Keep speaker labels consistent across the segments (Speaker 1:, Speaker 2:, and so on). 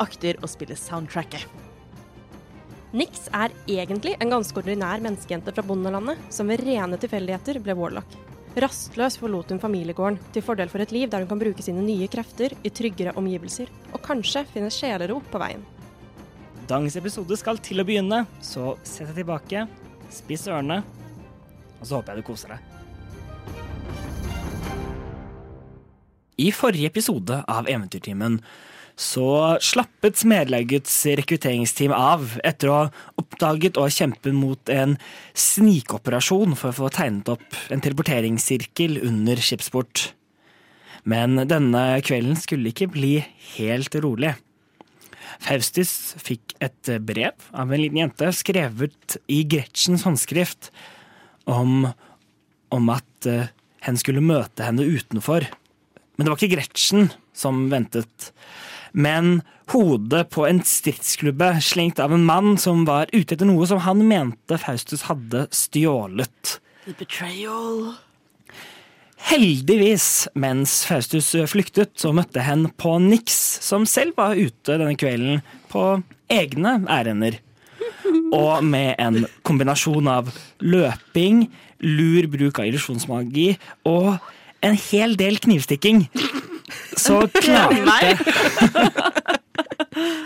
Speaker 1: akter å spille soundtracket.
Speaker 2: Nix er egentlig en ganske ordinær menneskejente fra bondelandet, som ved rene tilfeldigheter ble warlock. Rastløs forlot hun familiegården, til fordel for et liv der hun kan bruke sine nye krefter i tryggere omgivelser, og kanskje finne sjelero på veien.
Speaker 3: Dagens episode skal til å begynne, så sett deg tilbake, spiss ørene, og så håper jeg du koser deg. I forrige episode av Eventyrtimen så slappet Smedlaugets rekrutteringsteam av etter å ha oppdaget og kjempet mot en snikoperasjon for å få tegnet opp en teleporteringssirkel under skipsport. Men denne kvelden skulle ikke bli helt rolig. Faustus fikk et brev av en liten jente skrevet i Gretchens håndskrift om, om at eh, hen skulle møte henne utenfor. Men det var ikke Gretchen som ventet, men hodet på en stridsklubbe slengt av en mann som var ute etter noe som han mente Faustus hadde stjålet. Heldigvis, mens Faustus flyktet, så møtte hen på Nix, som selv var ute denne kvelden på egne ærender. Og med en kombinasjon av løping, lur bruk av illusjonsmagi og en hel del knivstikking, så klarte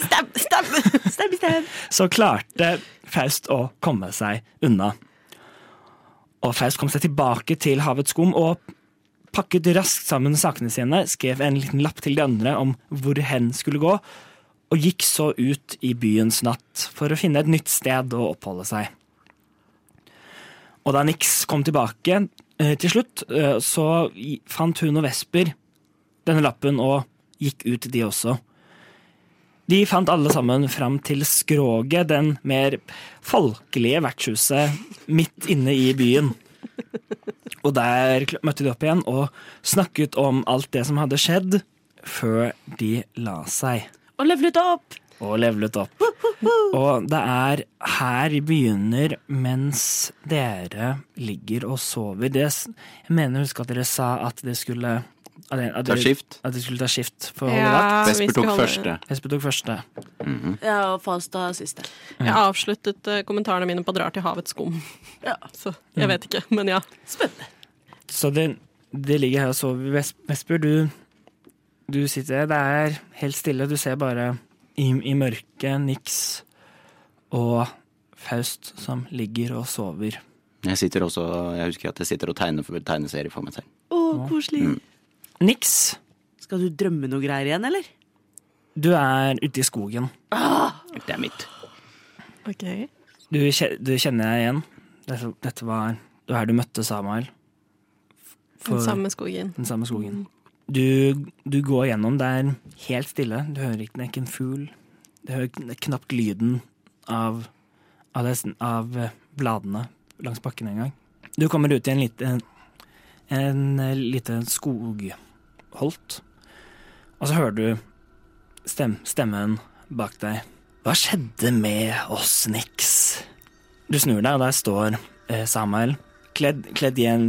Speaker 1: Stab, stab, stab, stab.
Speaker 3: så klarte Faust å komme seg unna. Og Faust kom seg tilbake til havets skum og pakket raskt sammen sakene sine, skrev en liten lapp til de andre om hvor hen skulle gå, og gikk så ut i byens natt for å finne et nytt sted å oppholde seg. Og da Nix kom tilbake eh, til slutt, eh, så i- fant hun og Vesper denne lappen og gikk ut, de også. De fant alle sammen fram til Skroget, den mer folkelige vertshuset midt inne i byen. Og der kl- møtte de opp igjen og snakket om alt det som hadde skjedd, før de la seg
Speaker 1: Og levelet opp!
Speaker 3: og levelet opp. Og det er her vi begynner mens dere ligger og sover. Det, s- jeg mener husk at dere sa at det skulle at dere, at
Speaker 4: Ta
Speaker 3: dere,
Speaker 4: skift.
Speaker 3: at dere skulle ta skift for å holde vakt.
Speaker 2: vi
Speaker 4: Vesper
Speaker 2: skal
Speaker 4: tok
Speaker 2: holde-
Speaker 4: første.
Speaker 3: Espen tok første.
Speaker 5: Ja, og Falstad er siste.
Speaker 2: Jeg avsluttet eh, kommentarene mine på 'drar til havets skum'.
Speaker 5: Ja.
Speaker 2: Så jeg vet ikke, men ja.
Speaker 5: Spennende.
Speaker 3: Så det, det ligger her og sover. Ves- Vesper, du, du sitter Det er helt stille. Du ser bare i, i mørket Nix og Faust som ligger og sover.
Speaker 4: Jeg sitter også, jeg husker at jeg sitter og tegner for tegneserie for meg selv.
Speaker 5: Å, koselig.
Speaker 3: Nix,
Speaker 5: Skal du drømme noe greier igjen, eller?
Speaker 3: du er ute i skogen.
Speaker 4: Det er mitt.
Speaker 2: Ok.
Speaker 3: Du, kje- du kjenner deg igjen. Dette, dette var det var her du møtte Samael. For
Speaker 2: Den samme skogen.
Speaker 3: den samme skogen. Du, du går gjennom der helt stille. Du hører ikke det er ikke en fugl. Du hører kn- knapt lyden av, av, det, av eh, bladene langs bakken engang. Du kommer ut i en lite, en eh, lite skogholt, og så hører du stem, stemmen bak deg. Hva skjedde med oss, Nix? Du snur deg, og der står eh, Samuel, kledd, kledd i en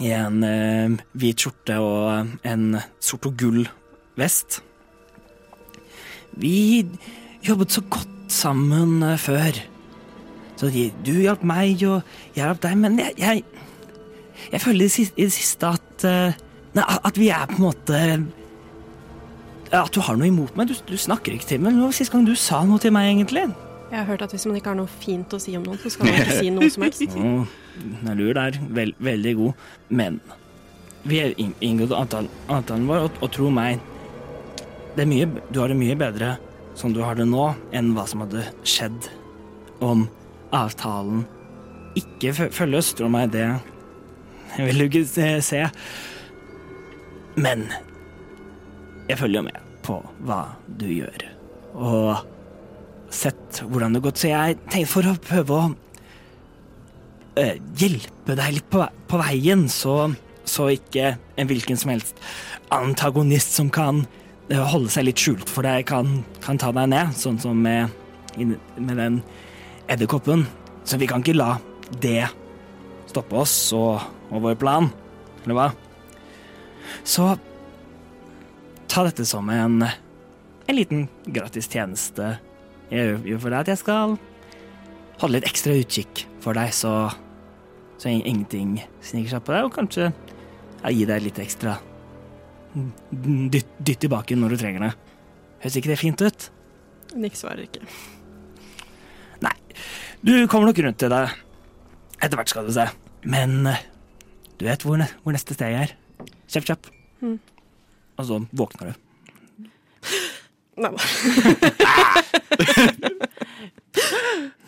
Speaker 3: i en eh, hvit skjorte og en sort og gull vest. Vi jobbet så godt sammen eh, før. Så de, du hjalp meg, og jeg hjalp deg, men jeg, jeg, jeg føler i det siste, i det siste at, eh, nei, at vi er på en måte At du har noe imot meg. Du, du snakker ikke til meg. Når var sist gang du sa noe til meg, egentlig?
Speaker 2: Jeg har hørt at hvis man ikke har noe fint å si om noen, så skal man ikke si noe som helst.
Speaker 3: Oh, den er lur der. Vel, veldig god. Men vi har inn- inngått avtalen, avtalen vår, og, og tro meg, det er mye, du har det mye bedre som du har det nå, enn hva som hadde skjedd om avtalen ikke fø- følges. Tro meg, det vil du ikke se- se. Men jeg følger med på hva du gjør, og sett hvordan det har gått. Så jeg tenkte for å prøve å eh, hjelpe deg litt på, ve- på veien, så, så ikke en hvilken som helst antagonist som kan eh, holde seg litt skjult for deg, kan, kan ta deg ned, sånn som med, inn- med den edderkoppen. Så vi kan ikke la det stoppe oss og, og vår plan, eller hva? Så ta dette som en, en liten gratis tjeneste jeg gjør- gjør for deg, at jeg skal holde litt ekstra utkikk for deg, så, så in- ingenting sniker seg på deg, og kanskje ja, gi deg litt ekstra dytt, dytt i baken når du trenger det. Høres ikke det fint ut?
Speaker 2: Nick svarer ikke.
Speaker 3: Du kommer nok rundt til det. Etter hvert skal du se. Men eh, du vet hvor, ne hvor neste steg er. Kjapp, kjapp.
Speaker 2: Mm.
Speaker 3: Og så våkner du.
Speaker 2: Nei da.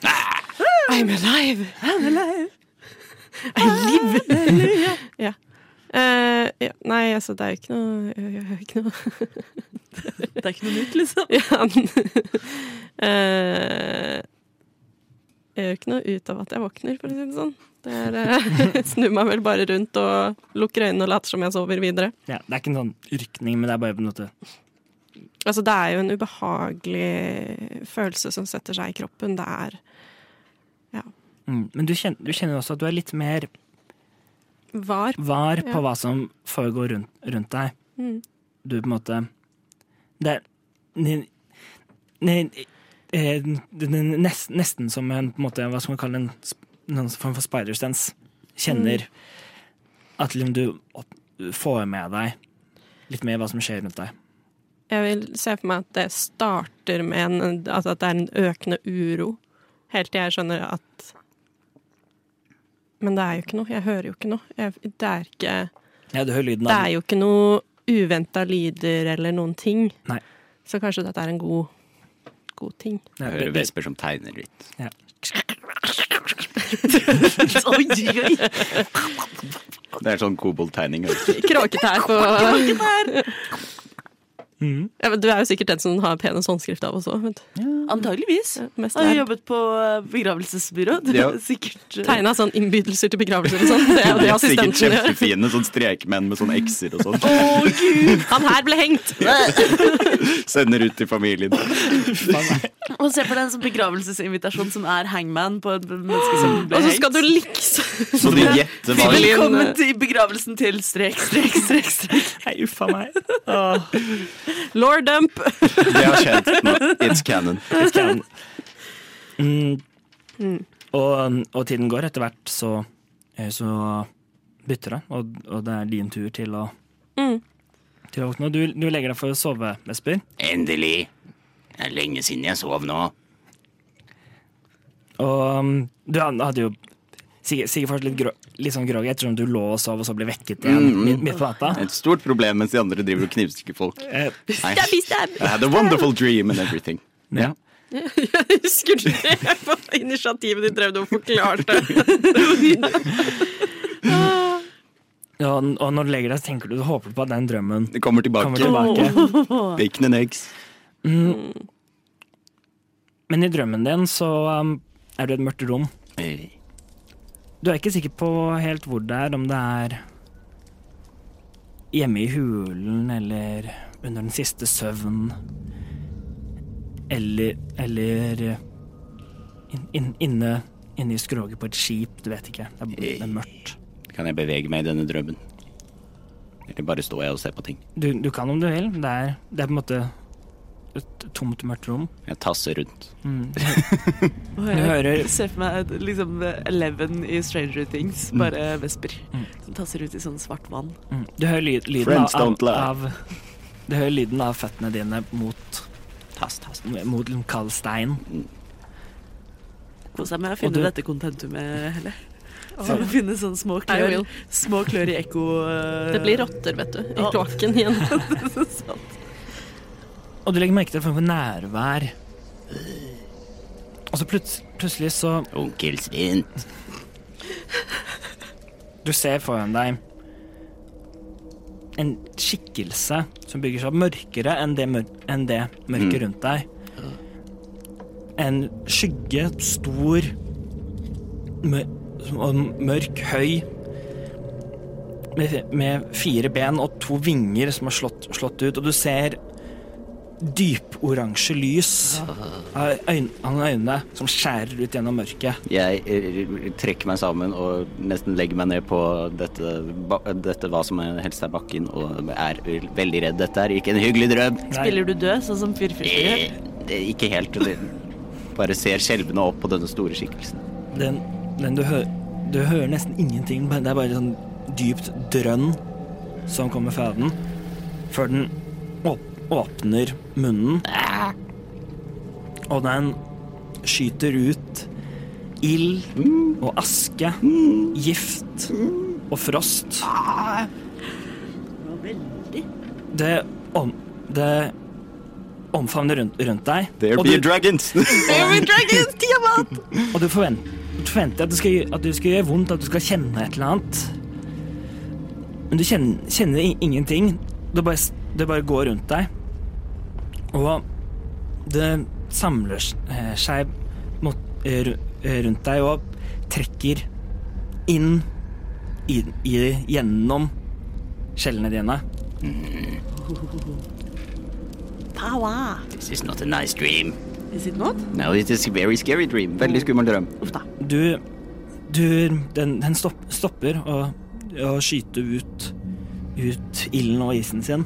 Speaker 2: I'm alive!
Speaker 5: I'm alive.
Speaker 2: Eh, ja, nei, altså, det er jo ikke noe Jeg jeg har ikke noe
Speaker 5: Det er ikke noe nytt, liksom.
Speaker 2: Ja. eh, jeg gjør ikke noe ut av at jeg våkner, for å si det sånn. Det er, eh, snur meg vel bare rundt og lukker øynene og later som jeg sover videre.
Speaker 3: Ja, det er ikke en sånn rykning, men det er bare på en måte
Speaker 2: Altså, det er jo en ubehagelig følelse som setter seg i kroppen. Det er
Speaker 3: mm. Men du kjenner, du kjenner også at du er litt mer
Speaker 2: var.
Speaker 3: var på
Speaker 2: Ja.
Speaker 3: hva som foregår rundt, rundt deg.
Speaker 2: Mm.
Speaker 3: Du på en måte Det er ne- ne- eh, det er nes- nesten som en på en måte, Hva skal man kalle en, sp- noen form for spider-sense. Kjenner
Speaker 2: Mm.
Speaker 3: at liksom du opp, får med deg litt mer hva som skjer rundt deg.
Speaker 2: Jeg vil se for meg at det starter med en, altså at det er en økende uro, helt til jeg skjønner at Men det er jo ikke noe. Jeg hører jo ikke noe. Jeg, det er ikke
Speaker 3: Ja, du hører lyden
Speaker 2: Det
Speaker 3: av
Speaker 2: er jo ikke noe uventa lyder eller noen ting.
Speaker 3: Nei.
Speaker 2: Så kanskje dette er en god, god ting.
Speaker 3: Ja,
Speaker 4: Jeg hører
Speaker 3: det-
Speaker 4: vesper som tegner litt.
Speaker 5: Oi, oi.
Speaker 4: Det er sånn koboldtegning. altså.
Speaker 2: Kråketær på
Speaker 3: Mhm.
Speaker 2: ja, men Du er jo sikkert den som har penest håndskrift av oss òg.
Speaker 5: Antageligvis.
Speaker 2: Mest
Speaker 5: Jeg
Speaker 2: der.
Speaker 5: har jobbet på eh, begravelsesbyrå. Du
Speaker 4: Ja.
Speaker 5: er sikkert eh,
Speaker 2: Tegna sånn innbydelser til begravelser og sånn. Det er jo det
Speaker 4: Sikkert
Speaker 2: assistenten gjør.
Speaker 4: kjempefine sånn strekmenn med sånn ekser og sånn.
Speaker 5: Å, gud!
Speaker 2: Han her ble hengt!
Speaker 4: Sender ut til familien.
Speaker 5: Og se for deg en sånn begravelsesinvitasjon som er hangman på et menneske som ble
Speaker 2: Og så skal
Speaker 5: hengt.
Speaker 2: du liksom
Speaker 4: Så de gjetter hva
Speaker 2: Sivilien.
Speaker 5: Velkommen til begravelsen til strek, strek, strek. strek.
Speaker 3: Nei, uff a meg. Åh,
Speaker 2: Lord dump!
Speaker 4: Det har skjedd nå. It's canon.
Speaker 3: jeg skal- Mm. Og, og tiden går. Etter hvert så, eh, så bytter det, og, og det er din tur til å
Speaker 2: Mm.
Speaker 3: til å våkne. Og Du, du legger deg for å sove, Vesper.
Speaker 4: Endelig. Det er lenge siden jeg sov nå.
Speaker 3: Og um, du had- hadde jo sikkert, sikkert fortsatt litt, grå, litt sånn groggy ettersom du lå og sov, og så ble vekket igjen
Speaker 4: Mm.
Speaker 3: midt, midt på natta.
Speaker 4: Et stort problem mens de andre driver og knivstikker folk.
Speaker 3: Eh,
Speaker 4: I, I had a wonderful dream and everything. Ja.
Speaker 2: Jeg husker du det på initiativet ditt drev du og forklarte?
Speaker 3: og, og når du legger deg, så tenker du, du håper på at den drømmen
Speaker 4: Det kommer
Speaker 3: kommer
Speaker 4: tilbake.
Speaker 3: tilbake.
Speaker 4: Bacon and eggs.
Speaker 3: Men i drømmen din så um, er du i et mørkt rom.
Speaker 4: Eh,
Speaker 3: Du er ikke sikker på helt hvor det er, om det er hjemme i hulen eller under den siste søvnen. Eller, eller inn- inn- inne, inne i skroget på et skip, du vet ikke. Det er, det er mørkt.
Speaker 4: Kan jeg bevege meg i denne drømmen? Eller bare står jeg og ser på ting?
Speaker 3: Du, du kan om du vil. Det er, det er på en måte et tomt, mørkt rom. Mm.
Speaker 4: Jeg tasser rundt.
Speaker 5: Og
Speaker 3: Du hører-
Speaker 5: jeg ser for meg et- liksom Eleven i Stranger Things, bare vesper. Som tasser ut i sånn svart vann.
Speaker 3: Mm. Du hører lyd, lyden
Speaker 4: Friends
Speaker 3: av,
Speaker 4: don't lie.
Speaker 3: av Du hører lyden av føttene dine mot,
Speaker 4: Tas, tas.
Speaker 3: mot kald stein.
Speaker 5: Kos deg med å
Speaker 3: Og
Speaker 5: finne
Speaker 3: du-
Speaker 5: dette kontentumet, Helle. For å finne sånne små
Speaker 2: I
Speaker 5: klør,
Speaker 2: will.
Speaker 5: små klør i ekko... eh,
Speaker 2: Det blir rotter, vet du. I
Speaker 5: Ja.
Speaker 2: kloakken igjen.
Speaker 3: Og du legger merke til en form for nærvær. Og så plut plutselig så
Speaker 4: Onkel Svint.
Speaker 3: Du ser foran deg en skikkelse som bygger seg opp mørkere enn det, mør enn det mørket rundt deg. En skygge, stor mør og mørk, høy, med, med fire ben og to vinger som har slått, slått ut, og du ser dyporansje lys av øyn- av øynene som skjærer ut gjennom mørket.
Speaker 4: Jeg eh, trekker meg sammen og nesten legger meg ned på dette, ba- dette hva som helst er bakken, og er veldig redd. Dette er ikke en hyggelig drøm.
Speaker 5: Spiller du død, sånn som fyrfyrfyr gjør?
Speaker 4: Eh, det er Ikke helt. Det bare ser skjelvende opp på denne store skikkelsen.
Speaker 3: Den, den du, hø du hører nesten ingenting. men Det er bare sånn dypt drønn som kommer fra den. Før den åp åpner munnen. Og den skyter ut ild og aske, gift og frost. Det, om det omfavner rundt, rundt deg. og du-
Speaker 4: dragons!
Speaker 3: og du forvent- du forventer at det, skal, at det skal gjøre vondt, at du skal kjenne et eller annet. Men du kjenner, kjenner i- ingenting. Det bare, s- det bare går rundt deg. Og det samler s- eh, seg mot, eh, ru- eh, rundt deg og trekker inn i, i, gjennom skjellene dine.
Speaker 5: Power!
Speaker 4: This is not a nice dream.
Speaker 5: Is it not?
Speaker 4: No, it is a very scary dream. Veldig skummel drøm.
Speaker 5: Uff da.
Speaker 3: Du, du Den, den stopp, stopper å, å skyte ut, ut ilden og isen sin.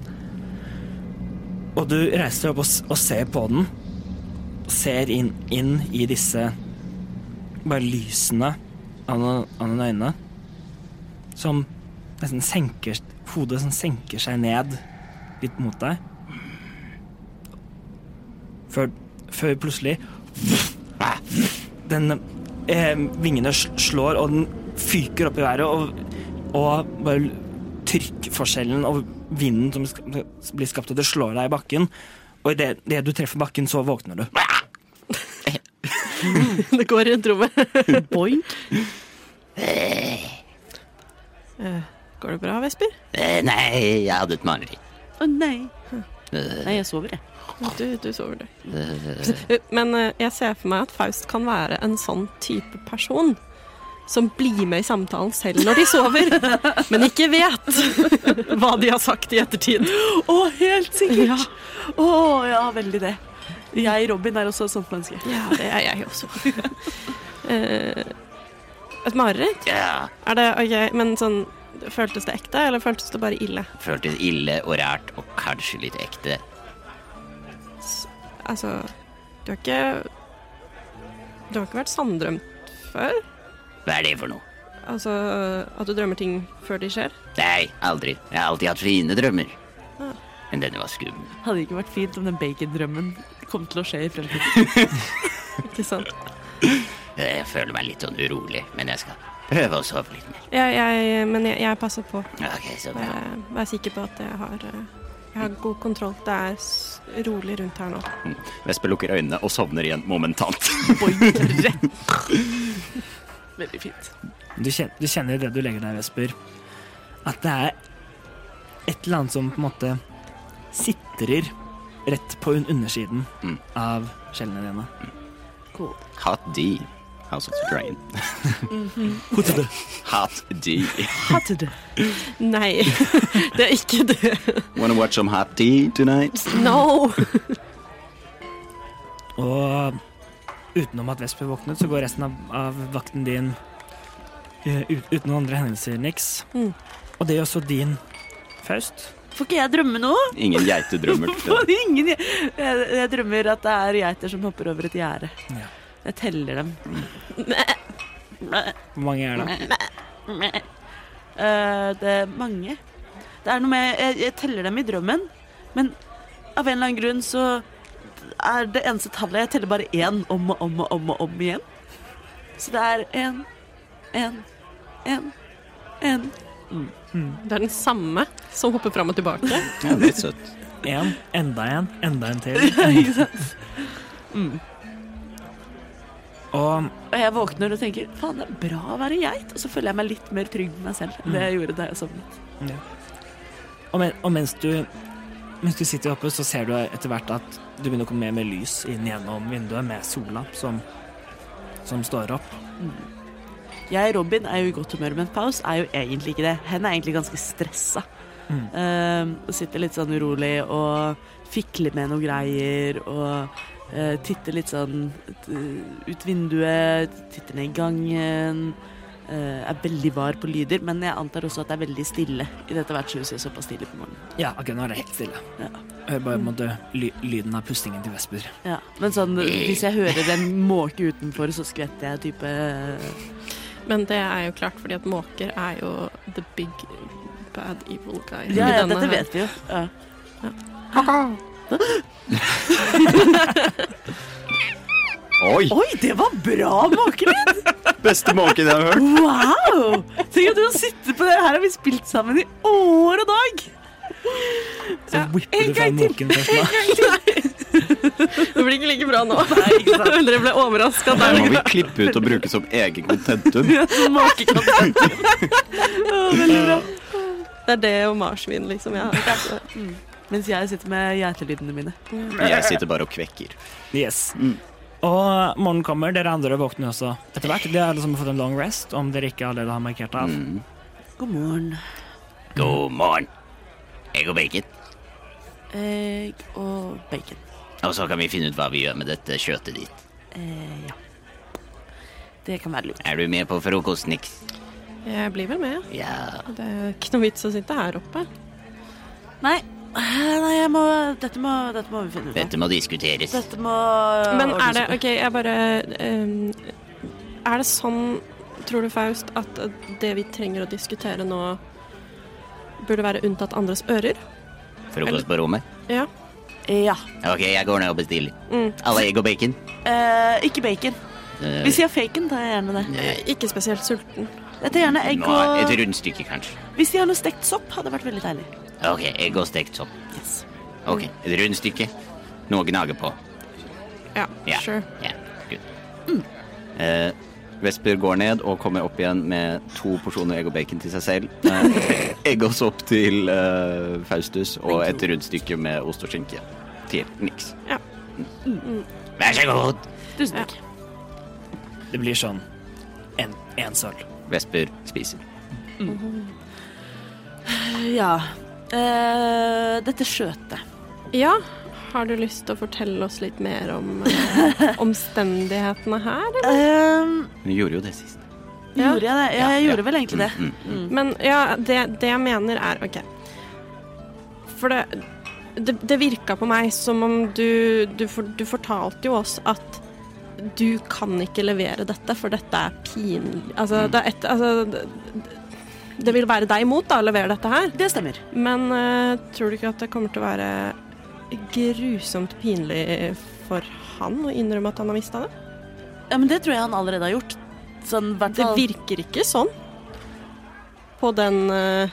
Speaker 3: Og du reiser deg opp og, s- og ser på den. Ser inn, inn i disse bare lysene av noen av noen øyne. Som nesten senker Hodet som senker seg ned litt mot deg. Før, før plutselig den eh, Vingene sl- slår, og den fyker opp i været, og, og bare l- trykkforskjellen og vinden som sk- blir skapt, og det slår deg i bakken. Og idet det du treffer bakken, så våkner du.
Speaker 2: Det går rundt rommet.
Speaker 5: Boink.
Speaker 2: Eh, Går det bra, Vesper?
Speaker 4: Eh, Nei, jeg hadde et mareritt.
Speaker 5: Å nei. Nei, jeg sover, jeg.
Speaker 2: Du, du sover, du. Men eh, jeg ser for meg at Faust kan være en sånn type person. Som blir med i samtalen selv når de sover, men ikke vet hva de har sagt i ettertid.
Speaker 5: Å, helt sikkert! Ja. Å ja, veldig det. Jeg, Robin, er også et sånt menneske.
Speaker 2: Ja, det er jeg også. Eh, Et mareritt?
Speaker 4: Ja,
Speaker 2: Er det ok, men sånn Føltes det ekte, eller føltes det bare ille?
Speaker 4: føltes ille og rært og kanskje litt ekte.
Speaker 2: Altså, du har ikke Du har ikke vært sanndrømt før?
Speaker 4: Hva er det for noe?
Speaker 2: Altså at du drømmer ting før de skjer?
Speaker 4: Nei, aldri. Jeg har alltid hatt fine drømmer. Ah. Men denne var skummel.
Speaker 5: Hadde det ikke vært fint om den bacondrømmen kom til å skje i fremtiden?
Speaker 2: Ikke sant?
Speaker 4: Jeg føler meg litt sånn urolig, men jeg skal prøve å sove litt mer.
Speaker 2: Jeg, jeg, men jeg, jeg passer på.
Speaker 4: Ok, så bra.
Speaker 2: Vær, vær sikker på at jeg har eh, jeg har god kontroll. Det er s- rolig rundt her nå.
Speaker 4: Vespe lukker øynene og sovner igjen momentant.
Speaker 5: Boink rett. Veldig fint.
Speaker 3: Du kjenner, du kjenner i det du legger deg, Vesper, at det er et eller annet som på en måte sitrer rett på un- undersiden
Speaker 4: Mm.
Speaker 3: av skjellene dine.
Speaker 4: Hot D. House of the Dragon. Hot D.
Speaker 5: Hadde det.
Speaker 2: Nei, det er ikke det.
Speaker 4: Wanna watch some hot D tonight?
Speaker 2: No!
Speaker 3: Og utenom at Vesper våknet, så går resten av, av vakten din eh, ut, uten noen andre hendelser, niks.
Speaker 2: Mm.
Speaker 3: Og det er også din Faust.
Speaker 5: Får ikke jeg drømme nå?
Speaker 4: Ingen geitedrømmer.
Speaker 5: Får ingen jeg, jeg drømmer at det er geiter som hopper over et gjerde.
Speaker 3: Ja.
Speaker 5: Jeg teller dem.
Speaker 3: Hvor mange er det?
Speaker 5: Eh, det er mange. Det er noe med jeg, jeg teller dem i drømmen, Men av en eller annen grunn så er det eneste tallet Jeg teller bare én om og om og om og om igjen. Så det er én, én, én, én.
Speaker 2: Det er den samme som hopper fram og tilbake.
Speaker 4: Ja, det er søtt.
Speaker 3: En, enda en, enda en til.
Speaker 5: Ikke sant? Mm.
Speaker 3: Og
Speaker 5: Og jeg våkner og tenker faen, det er bra å være geit. Og så føler jeg meg litt mer trygg med meg selv enn det jeg gjorde da jeg sovnet.
Speaker 3: Og, men, og mens, du, mens du sitter oppe, så ser du etter hvert at du begynner å komme mer med lys inn gjennom vinduet med sola som, som står opp.
Speaker 5: Jeg, Robin, er jo i godt humør, men Paus er jo egentlig ikke det. Hen er egentlig ganske stressa.
Speaker 3: Mm.
Speaker 5: Eh, og sitter litt sånn urolig og fikler med noe greier og eh, titter litt sånn eh, ut vinduet, titter ned i gangen. eh, er veldig var på lyder, men jeg antar også at det er veldig stille i dette vertshuset såpass tidlig på morgenen.
Speaker 3: Ja, akkurat nå er det helt stille.
Speaker 5: Ja.
Speaker 3: Hører bare på en måte ly, lyden av pustingen til Vesper.
Speaker 5: Ja. Men sånn, hvis jeg hører en måke utenfor, så skvetter jeg type eh,
Speaker 2: Men det er jo klart, fordi at måker er jo the big bad evil guy. i
Speaker 5: Ja, ja
Speaker 2: denne
Speaker 5: dette
Speaker 2: her.
Speaker 5: vet vi jo. Ja.
Speaker 4: Oi!
Speaker 5: Oi, det var bra måkelyd!
Speaker 4: Beste måken jeg har hørt.
Speaker 5: Wow! Tenk at du har sittet på det. Her har vi spilt sammen i år og dag.
Speaker 3: Så whipper
Speaker 5: en
Speaker 3: du fram
Speaker 5: gang
Speaker 3: måken
Speaker 5: til.
Speaker 3: først nå.
Speaker 2: Det blir ikke like bra nå.
Speaker 5: Nei, ikke sant?
Speaker 2: Dere ble overraska
Speaker 4: Det
Speaker 2: der.
Speaker 4: må vi klippe ut og bruke som egen contentum.
Speaker 5: Måkeknapp. Veldig bra.
Speaker 2: Det er det og marsvin, liksom. Jeg har.
Speaker 5: Mens jeg sitter med geitelydene mine.
Speaker 4: Jeg sitter bare og kvekker.
Speaker 3: Yes.
Speaker 4: Mm.
Speaker 3: Og morgenen kommer, dere andre våkner også etter hvert. Dere har liksom fått en long rest, om dere ikke allerede har markert av.
Speaker 4: Mm.
Speaker 5: God morgen.
Speaker 4: God morgen. Egg og bacon.
Speaker 5: Egg og bacon.
Speaker 4: Og så kan vi finne ut hva vi gjør med dette kjøttet ditt.
Speaker 5: Eh, ja. Det kan være lurt.
Speaker 4: Er du med på frokost, Nix?
Speaker 2: Jeg blir vel med.
Speaker 4: Ja.
Speaker 2: Det er ikke noe vits å sitte her oppe.
Speaker 5: Nei, eh, nei jeg må, dette, må, dette må vi finne ut av.
Speaker 4: Dette må diskuteres.
Speaker 5: Dette må
Speaker 2: Men er det OK, jeg bare ehm, Er det sånn, tror du, Faust, at det vi trenger å diskutere nå, burde være unntatt andres ører?
Speaker 4: Frokost på rommet?
Speaker 2: Ja.
Speaker 5: Ja.
Speaker 4: Ok, jeg går ned og bestiller.
Speaker 2: Mm.
Speaker 4: Alle egg og bacon?
Speaker 5: Eh, ikke bacon.
Speaker 4: Eh,
Speaker 5: Hvis jeg har faken, tar jeg gjerne det.
Speaker 2: Jeg er Eh, Ikke spesielt sulten.
Speaker 5: Jeg tar gjerne egg
Speaker 4: må ha et
Speaker 5: og
Speaker 4: rundstykke, kanskje.
Speaker 5: Hvis de har noe stekt sopp, hadde vært veldig deilig.
Speaker 4: Ok, egg og stekt sopp.
Speaker 5: Yes.
Speaker 4: Ok, et rundstykke. Noe å gnage på.
Speaker 2: Ja,
Speaker 4: Ja.
Speaker 2: sure.
Speaker 4: Ja, good. Eh, Vesper går ned og kommer opp igjen med to porsjoner egg og bacon til seg selv. Eh, egg og sopp til eh, Faustus og et rundstykke med ost og skinke til Nix.
Speaker 2: Ja.
Speaker 4: Vær så god!
Speaker 5: Tusen takk.
Speaker 3: Det blir sånn en, en sølv.
Speaker 4: Vesper spiser.
Speaker 5: Ja. Eh, dette skjøtet.
Speaker 2: Ja, har du lyst til å fortelle oss litt mer om eh, omstendighetene her? eller?
Speaker 5: Um,
Speaker 4: Hun gjorde jo det sist.
Speaker 2: Ja.
Speaker 5: Gjorde jeg det? Ja, jeg gjorde vel egentlig det.
Speaker 4: Mm, mm.
Speaker 2: Men ja, det, det jeg mener er OK. For det, det, det virka på meg som om du du, for, du fortalte jo oss at du kan ikke levere dette, for dette er pinlig Altså,
Speaker 5: Mm.
Speaker 2: det, er et, altså det, det vil være deg imot da, å levere dette her.
Speaker 5: Det stemmer.
Speaker 2: Men eh, tror du ikke at det kommer til å være grusomt pinlig for han å innrømme at han har mista det?
Speaker 5: Ja, men det tror jeg han allerede har gjort. Sånn, hvert
Speaker 2: Det
Speaker 5: fall-
Speaker 2: virker ikke sånn på den eh,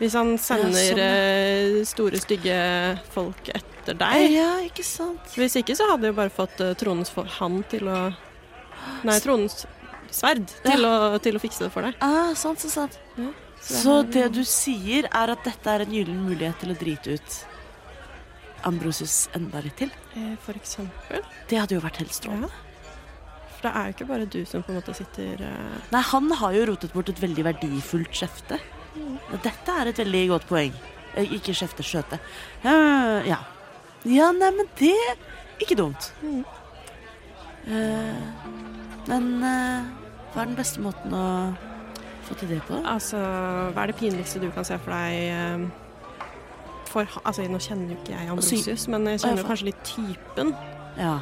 Speaker 2: Hvis han sender
Speaker 5: Ja, sånn, ja.
Speaker 2: eh, store, stygge folk etter deg.
Speaker 5: Mm. Ja, ikke sant.
Speaker 2: Hvis ikke så hadde vi bare fått eh, Tronens for han til å Nei, Tronens sverd til, å, til å fikse det for deg.
Speaker 5: Ah, sant, så sant.
Speaker 2: Ja,
Speaker 5: Så
Speaker 2: det
Speaker 5: det du sier er at dette er en gyllen mulighet til å drite ut Ambrosius enda litt til?
Speaker 2: Eh, For eksempel.
Speaker 5: Det hadde jo vært helt strålende.
Speaker 2: Ja. For det er jo ikke bare du som på en måte sitter eh,
Speaker 5: Nei, han har jo rotet bort et veldig verdifullt skjefte. Og Dette er et veldig godt poeng. Eh, Ikke skjefte, skjøte. Eh, Ja. Ja, nei, men det Ikke dumt.
Speaker 2: Mm.
Speaker 5: Eh, Men eh, hva er den beste måten å få til det på?
Speaker 2: Altså, hva er det pinligste du kan se for deg eh, for, ha- altså, Nå kjenner jo ikke jeg
Speaker 5: Altså,
Speaker 2: Ambrosius, men jeg
Speaker 5: Å,
Speaker 2: kjenner
Speaker 5: ja,
Speaker 2: jo kanskje litt typen.
Speaker 5: Ja,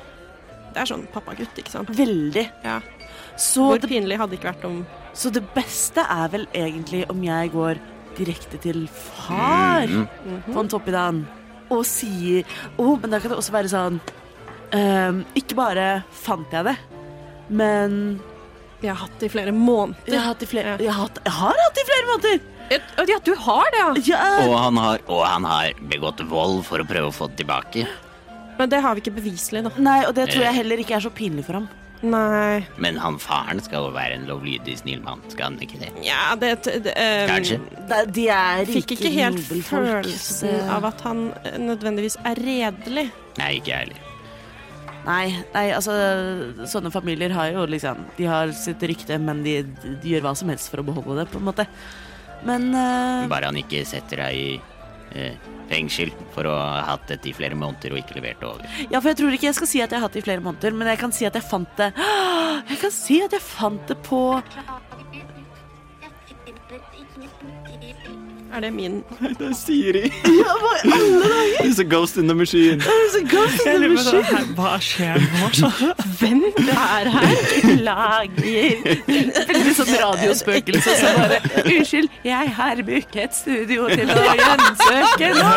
Speaker 2: Det er sånn pappagutt, ikke sant?
Speaker 5: veldig.
Speaker 2: Ja.
Speaker 5: Så
Speaker 2: Hvor
Speaker 5: det,
Speaker 2: pinlig hadde det ikke vært om
Speaker 5: så det beste er vel egentlig om jeg går direkte til far på en toppiddan og sier oh, Men da kan det også være sånn ehm, Ikke bare fant jeg det, men
Speaker 2: Jeg har hatt det i flere måneder.
Speaker 5: jeg har hatt det i flere,
Speaker 2: Ja.
Speaker 5: jeg har, hatt- jeg har hatt det i flere måneder!
Speaker 2: Et- Ja, du har det, ja!
Speaker 5: Ja,
Speaker 4: Og han, har, og han har begått vold for å prøve å få det tilbake.
Speaker 2: Men det har vi ikke beviselig, da.
Speaker 5: nei, og det tror jeg heller ikke er så pinlig for ham.
Speaker 2: Nei
Speaker 4: Men han faren skal jo være en lovlydig, snill mann. Skal han ikke det?
Speaker 2: Nja, det det, eh,
Speaker 4: Kanskje.
Speaker 5: Da- De er
Speaker 2: Fikk
Speaker 5: rike
Speaker 2: ikke helt
Speaker 5: nobelfolk, så-
Speaker 2: følelsen av at han eh, nødvendigvis er redelig.
Speaker 4: Nei, ikke jeg heller.
Speaker 5: Nei, nei, altså sånne familier har jo liksom De har sitt rykte, men de, de gjør hva som helst for å beholde det, på en måte. Men eh,
Speaker 4: Bare han ikke setter deg i eh, fengsel for å ha hatt dette i flere måneder og ikke levert det over.
Speaker 5: Ja, for jeg tror ikke jeg skal si at jeg har hatt det i flere måneder, men jeg kan si at jeg fant det Jeg kan si at jeg fant det på
Speaker 2: Er det min
Speaker 4: Det er Siri. It's a ghost in the machine.
Speaker 3: Jeg lurer på sånn, her, Hva skjer nå? Så-
Speaker 2: Hvem er her?
Speaker 5: Lager Veldig sånn radiospøkelse som bare Unnskyld, jeg har booket studio til å gjensøke nå.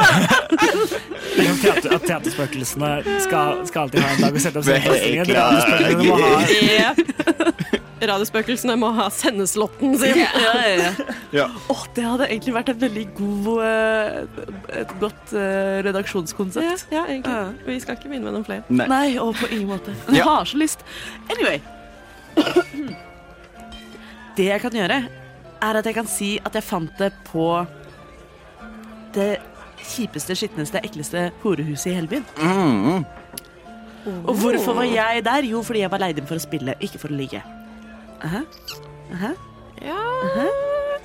Speaker 3: Teater, at teaterspøkelsene skal, skal alltid ha en dag å sette opp sine forestillinger. Dramaspøkelsene
Speaker 4: Beklager.
Speaker 3: må ha
Speaker 2: Ja. Radiospøkelsene må ha sendeslåtten sin.
Speaker 5: Ja, ja, ja.
Speaker 4: Ja.
Speaker 5: Åh, det hadde egentlig vært en veldig god eh, Et godt eh,
Speaker 2: Ja,
Speaker 5: redaksjonskonsept.
Speaker 2: ja, egentlig. Vi skal ikke begynne med noen flere.
Speaker 4: Nei.
Speaker 5: Nei, og på ingen måte. Jeg
Speaker 4: Ja.
Speaker 5: har så lyst. Anyway. Det jeg kan gjøre, er at jeg kan si at jeg fant det på det kjipeste, skitneste, ekleste horehuset i hele byen.
Speaker 4: Mm,
Speaker 5: Og hvorfor var jeg der? Jo, fordi jeg var leid inn for å spille, ikke for å ligge. Aha. Aha.
Speaker 2: Ja,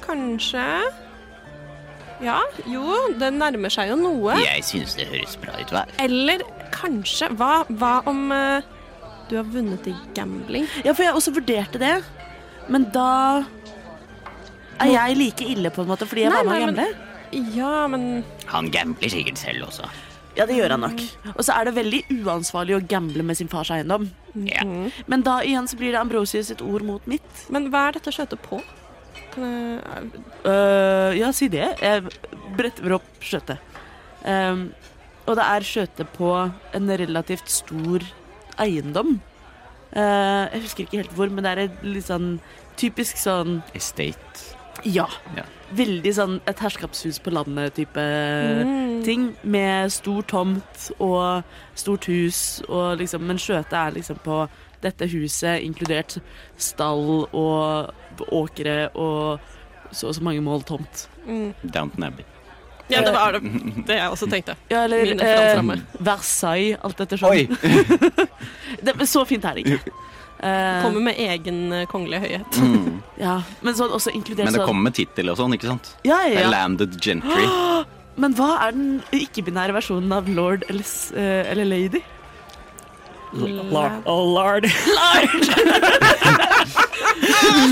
Speaker 2: kanskje Ja, jo, det nærmer seg jo noe.
Speaker 4: jeg syns det høres bra ut. Hva?
Speaker 2: Eller kanskje Hva, hva om eh, du har vunnet i gambling?
Speaker 5: Ja, for jeg også vurderte det, men da er jeg like ille, på en måte, fordi jeg
Speaker 2: Nei,
Speaker 5: var med
Speaker 2: nei,
Speaker 5: og
Speaker 2: men-
Speaker 5: gamble.
Speaker 2: Ja, men
Speaker 4: Han gambler sikkert selv også.
Speaker 5: Ja, det gjør han nok. Og så er det veldig uansvarlig å gamble med sin fars eiendom.
Speaker 4: Ja.
Speaker 5: Men da igjen så blir det Ambrosius sitt ord mot mitt.
Speaker 2: Mm. Men hva er dette skjøtet på? Kan jeg,
Speaker 5: Øh, ja, si det. Jeg bretter opp skjøtet. Ehm, og det er skjøte på en relativt stor eiendom. Eh, jeg husker ikke helt hvor, men det er et litt sånn typisk sånn
Speaker 4: Estate.
Speaker 5: Ja.
Speaker 4: Ja.
Speaker 5: Veldig sånn et herskapshus på landet-type Eh,
Speaker 2: Mm.
Speaker 5: ting. Med stor tomt og stort hus, og liksom, men skjøtet er liksom på dette huset, inkludert stall og åkre og så og så mange mål tomt.
Speaker 2: Mm.
Speaker 4: Downton Abbey.
Speaker 2: ja, det var det, det jeg også tenkte.
Speaker 5: Ja, eller
Speaker 2: Min referanse er
Speaker 5: eh,
Speaker 2: meg.
Speaker 5: Versailles, alt dette
Speaker 4: Oi!
Speaker 5: sånn. Det, men så fint er det ikke. Eh,
Speaker 2: Kommer med egen eh, kongelig høyhet.
Speaker 4: Mm.
Speaker 5: ja, men sånn også inkludert
Speaker 4: Men det
Speaker 5: sånn
Speaker 4: kommer med tittel og sånn, ikke sant?
Speaker 5: ja,
Speaker 4: Det
Speaker 5: ja,
Speaker 4: er
Speaker 5: ja.
Speaker 4: Landed Gentry.
Speaker 5: Men hva er den ikke-binære versjonen av lord eller, s- eh, eller lady?
Speaker 3: Lord, oh lord,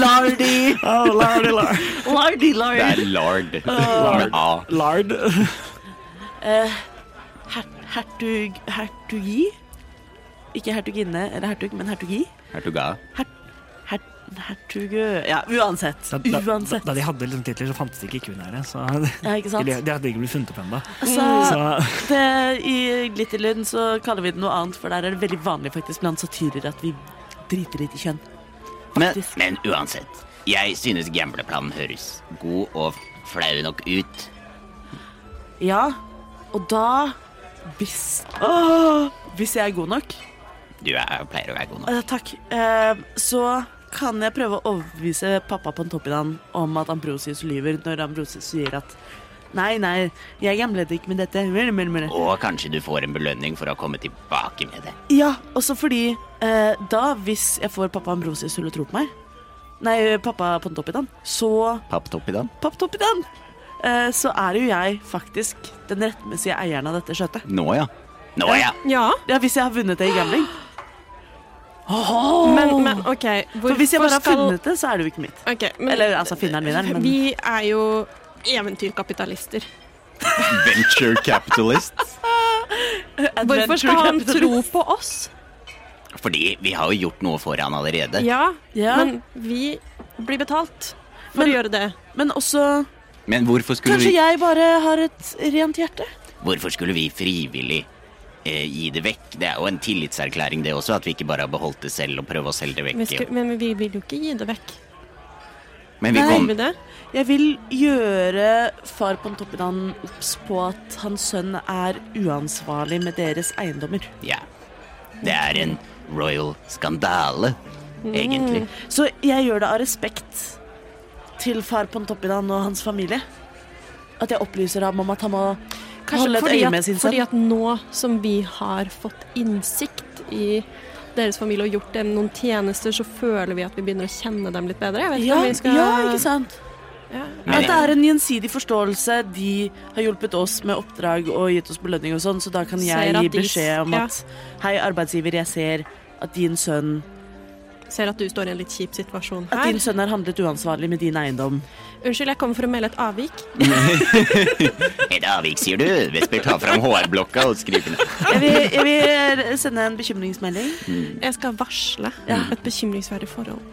Speaker 5: Lardy!
Speaker 3: oh lord, lord.
Speaker 5: Lardy,
Speaker 4: Det
Speaker 5: lardy.
Speaker 4: er Lard. Med A.
Speaker 3: lord.
Speaker 5: Eh, her, hertug Hertugi? Ikke hertuginne eller hertug, men hertugi.
Speaker 4: Hertuga.
Speaker 5: Her, hertugø Ja, uansett.
Speaker 3: Da, da, da,
Speaker 5: Uansett.
Speaker 3: da de hadde liksom titler, så fantes det ikke kvinnære. Så
Speaker 5: Ja, ikke sant?
Speaker 3: de, de hadde ikke blitt funnet opp ennå.
Speaker 5: Altså,
Speaker 3: Så
Speaker 5: det, I Glitterlund så kaller vi det noe annet, for der er det veldig vanlig faktisk blant satyrer at vi driter litt i kjønn.
Speaker 4: Men,
Speaker 5: Faktisk.
Speaker 4: men uansett, jeg synes gambleplanen høres god og flau nok ut.
Speaker 5: Ja, og da Hvis Åh, Hvis jeg er god nok
Speaker 4: Du er, pleier å være god nok.
Speaker 5: Eh, Takk. Eh, så kan jeg prøve å overbevise pappa på en toppiddan om at Ambrosius lyver, når Ambrosius sier at Nei, nei, jeg gamblet ikke med dette. Mene, mene, mene.
Speaker 4: Og kanskje du får en belønning for å komme tilbake med det.
Speaker 5: Ja, også fordi eh, da, hvis jeg får pappa Ambrosius til å tro på meg Nei, pappa på en toppiddan, så
Speaker 4: Papptoppidan?
Speaker 5: Papptoppiddan! Eh, så er jo jeg faktisk den rettmessige eieren av dette skjøtet.
Speaker 4: Nå ja. Nå ja!
Speaker 2: Ja,
Speaker 5: Ja, hvis jeg har vunnet det i gambling.
Speaker 2: men, men OK.
Speaker 5: For hvis jeg
Speaker 2: hvorfor
Speaker 5: bare har
Speaker 2: skal-
Speaker 5: funnet det, så er det jo ikke mitt.
Speaker 2: Ok, men,
Speaker 5: Eller altså, finneren min er det, men
Speaker 2: Vi er jo eventyrkapitalister.
Speaker 4: Venture capitalist.
Speaker 2: Hvorfor skal han tro på oss?
Speaker 4: Fordi vi har jo gjort noe for han allerede.
Speaker 2: Ja,
Speaker 5: Ja.
Speaker 2: men vi blir betalt for
Speaker 5: Men-
Speaker 2: å gjøre det.
Speaker 5: Men også
Speaker 4: Men hvorfor skulle
Speaker 5: Kanskje
Speaker 4: vi
Speaker 5: jeg bare har et rent hjerte?
Speaker 4: Hvorfor skulle vi frivillig eh, gi det vekk? Det er jo en tillitserklæring, det også, at vi ikke bare har beholdt det selv og prøver å selge det
Speaker 2: Vi
Speaker 4: vekk.
Speaker 2: skulle, men vi vil jo ikke gi det vekk.
Speaker 4: Men vi
Speaker 5: Nei,
Speaker 4: kom
Speaker 2: Vil vi det?
Speaker 5: Jeg vil gjøre far Pontoppidan obs på at hans sønn er uansvarlig med deres eiendommer.
Speaker 4: Ja. Det er en royal skandale, egentlig.
Speaker 5: Så jeg gjør det av respekt til far Pontoppidan og hans familie. At jeg opplyser ham om at han må holde et
Speaker 2: fordi
Speaker 5: øye
Speaker 2: at,
Speaker 5: med sin
Speaker 2: fordi
Speaker 5: sønn.
Speaker 2: at nå som vi har fått innsikt i deres familie og gjort dem noen tjenester, så føler vi at vi begynner å kjenne dem litt bedre. Jeg vet ikke
Speaker 5: Ja,
Speaker 2: om vi skal
Speaker 5: ja, ikke sant?
Speaker 2: Ja.
Speaker 5: At det er en gjensidig forståelse. De har hjulpet oss med oppdrag og gitt oss belønning og sånn, så da kan jeg
Speaker 2: Ser at
Speaker 5: gi
Speaker 2: de-
Speaker 5: beskjed om
Speaker 2: ja.
Speaker 5: at Hei, arbeidsgiver, jeg ser at din sønn
Speaker 2: Ser at du står i en litt kjip situasjon
Speaker 5: At
Speaker 2: her.
Speaker 5: din sønn har handlet uansvarlig med din eiendom.
Speaker 2: Unnskyld, jeg kommer for å melde et avvik.
Speaker 4: Et avvik, sier du? Vesper tar fram HR-blokka og skriver ned.
Speaker 5: Jeg vil, jeg vil eh, sende en bekymringsmelding.
Speaker 2: Jeg skal varsle et bekymringsverdig forhold.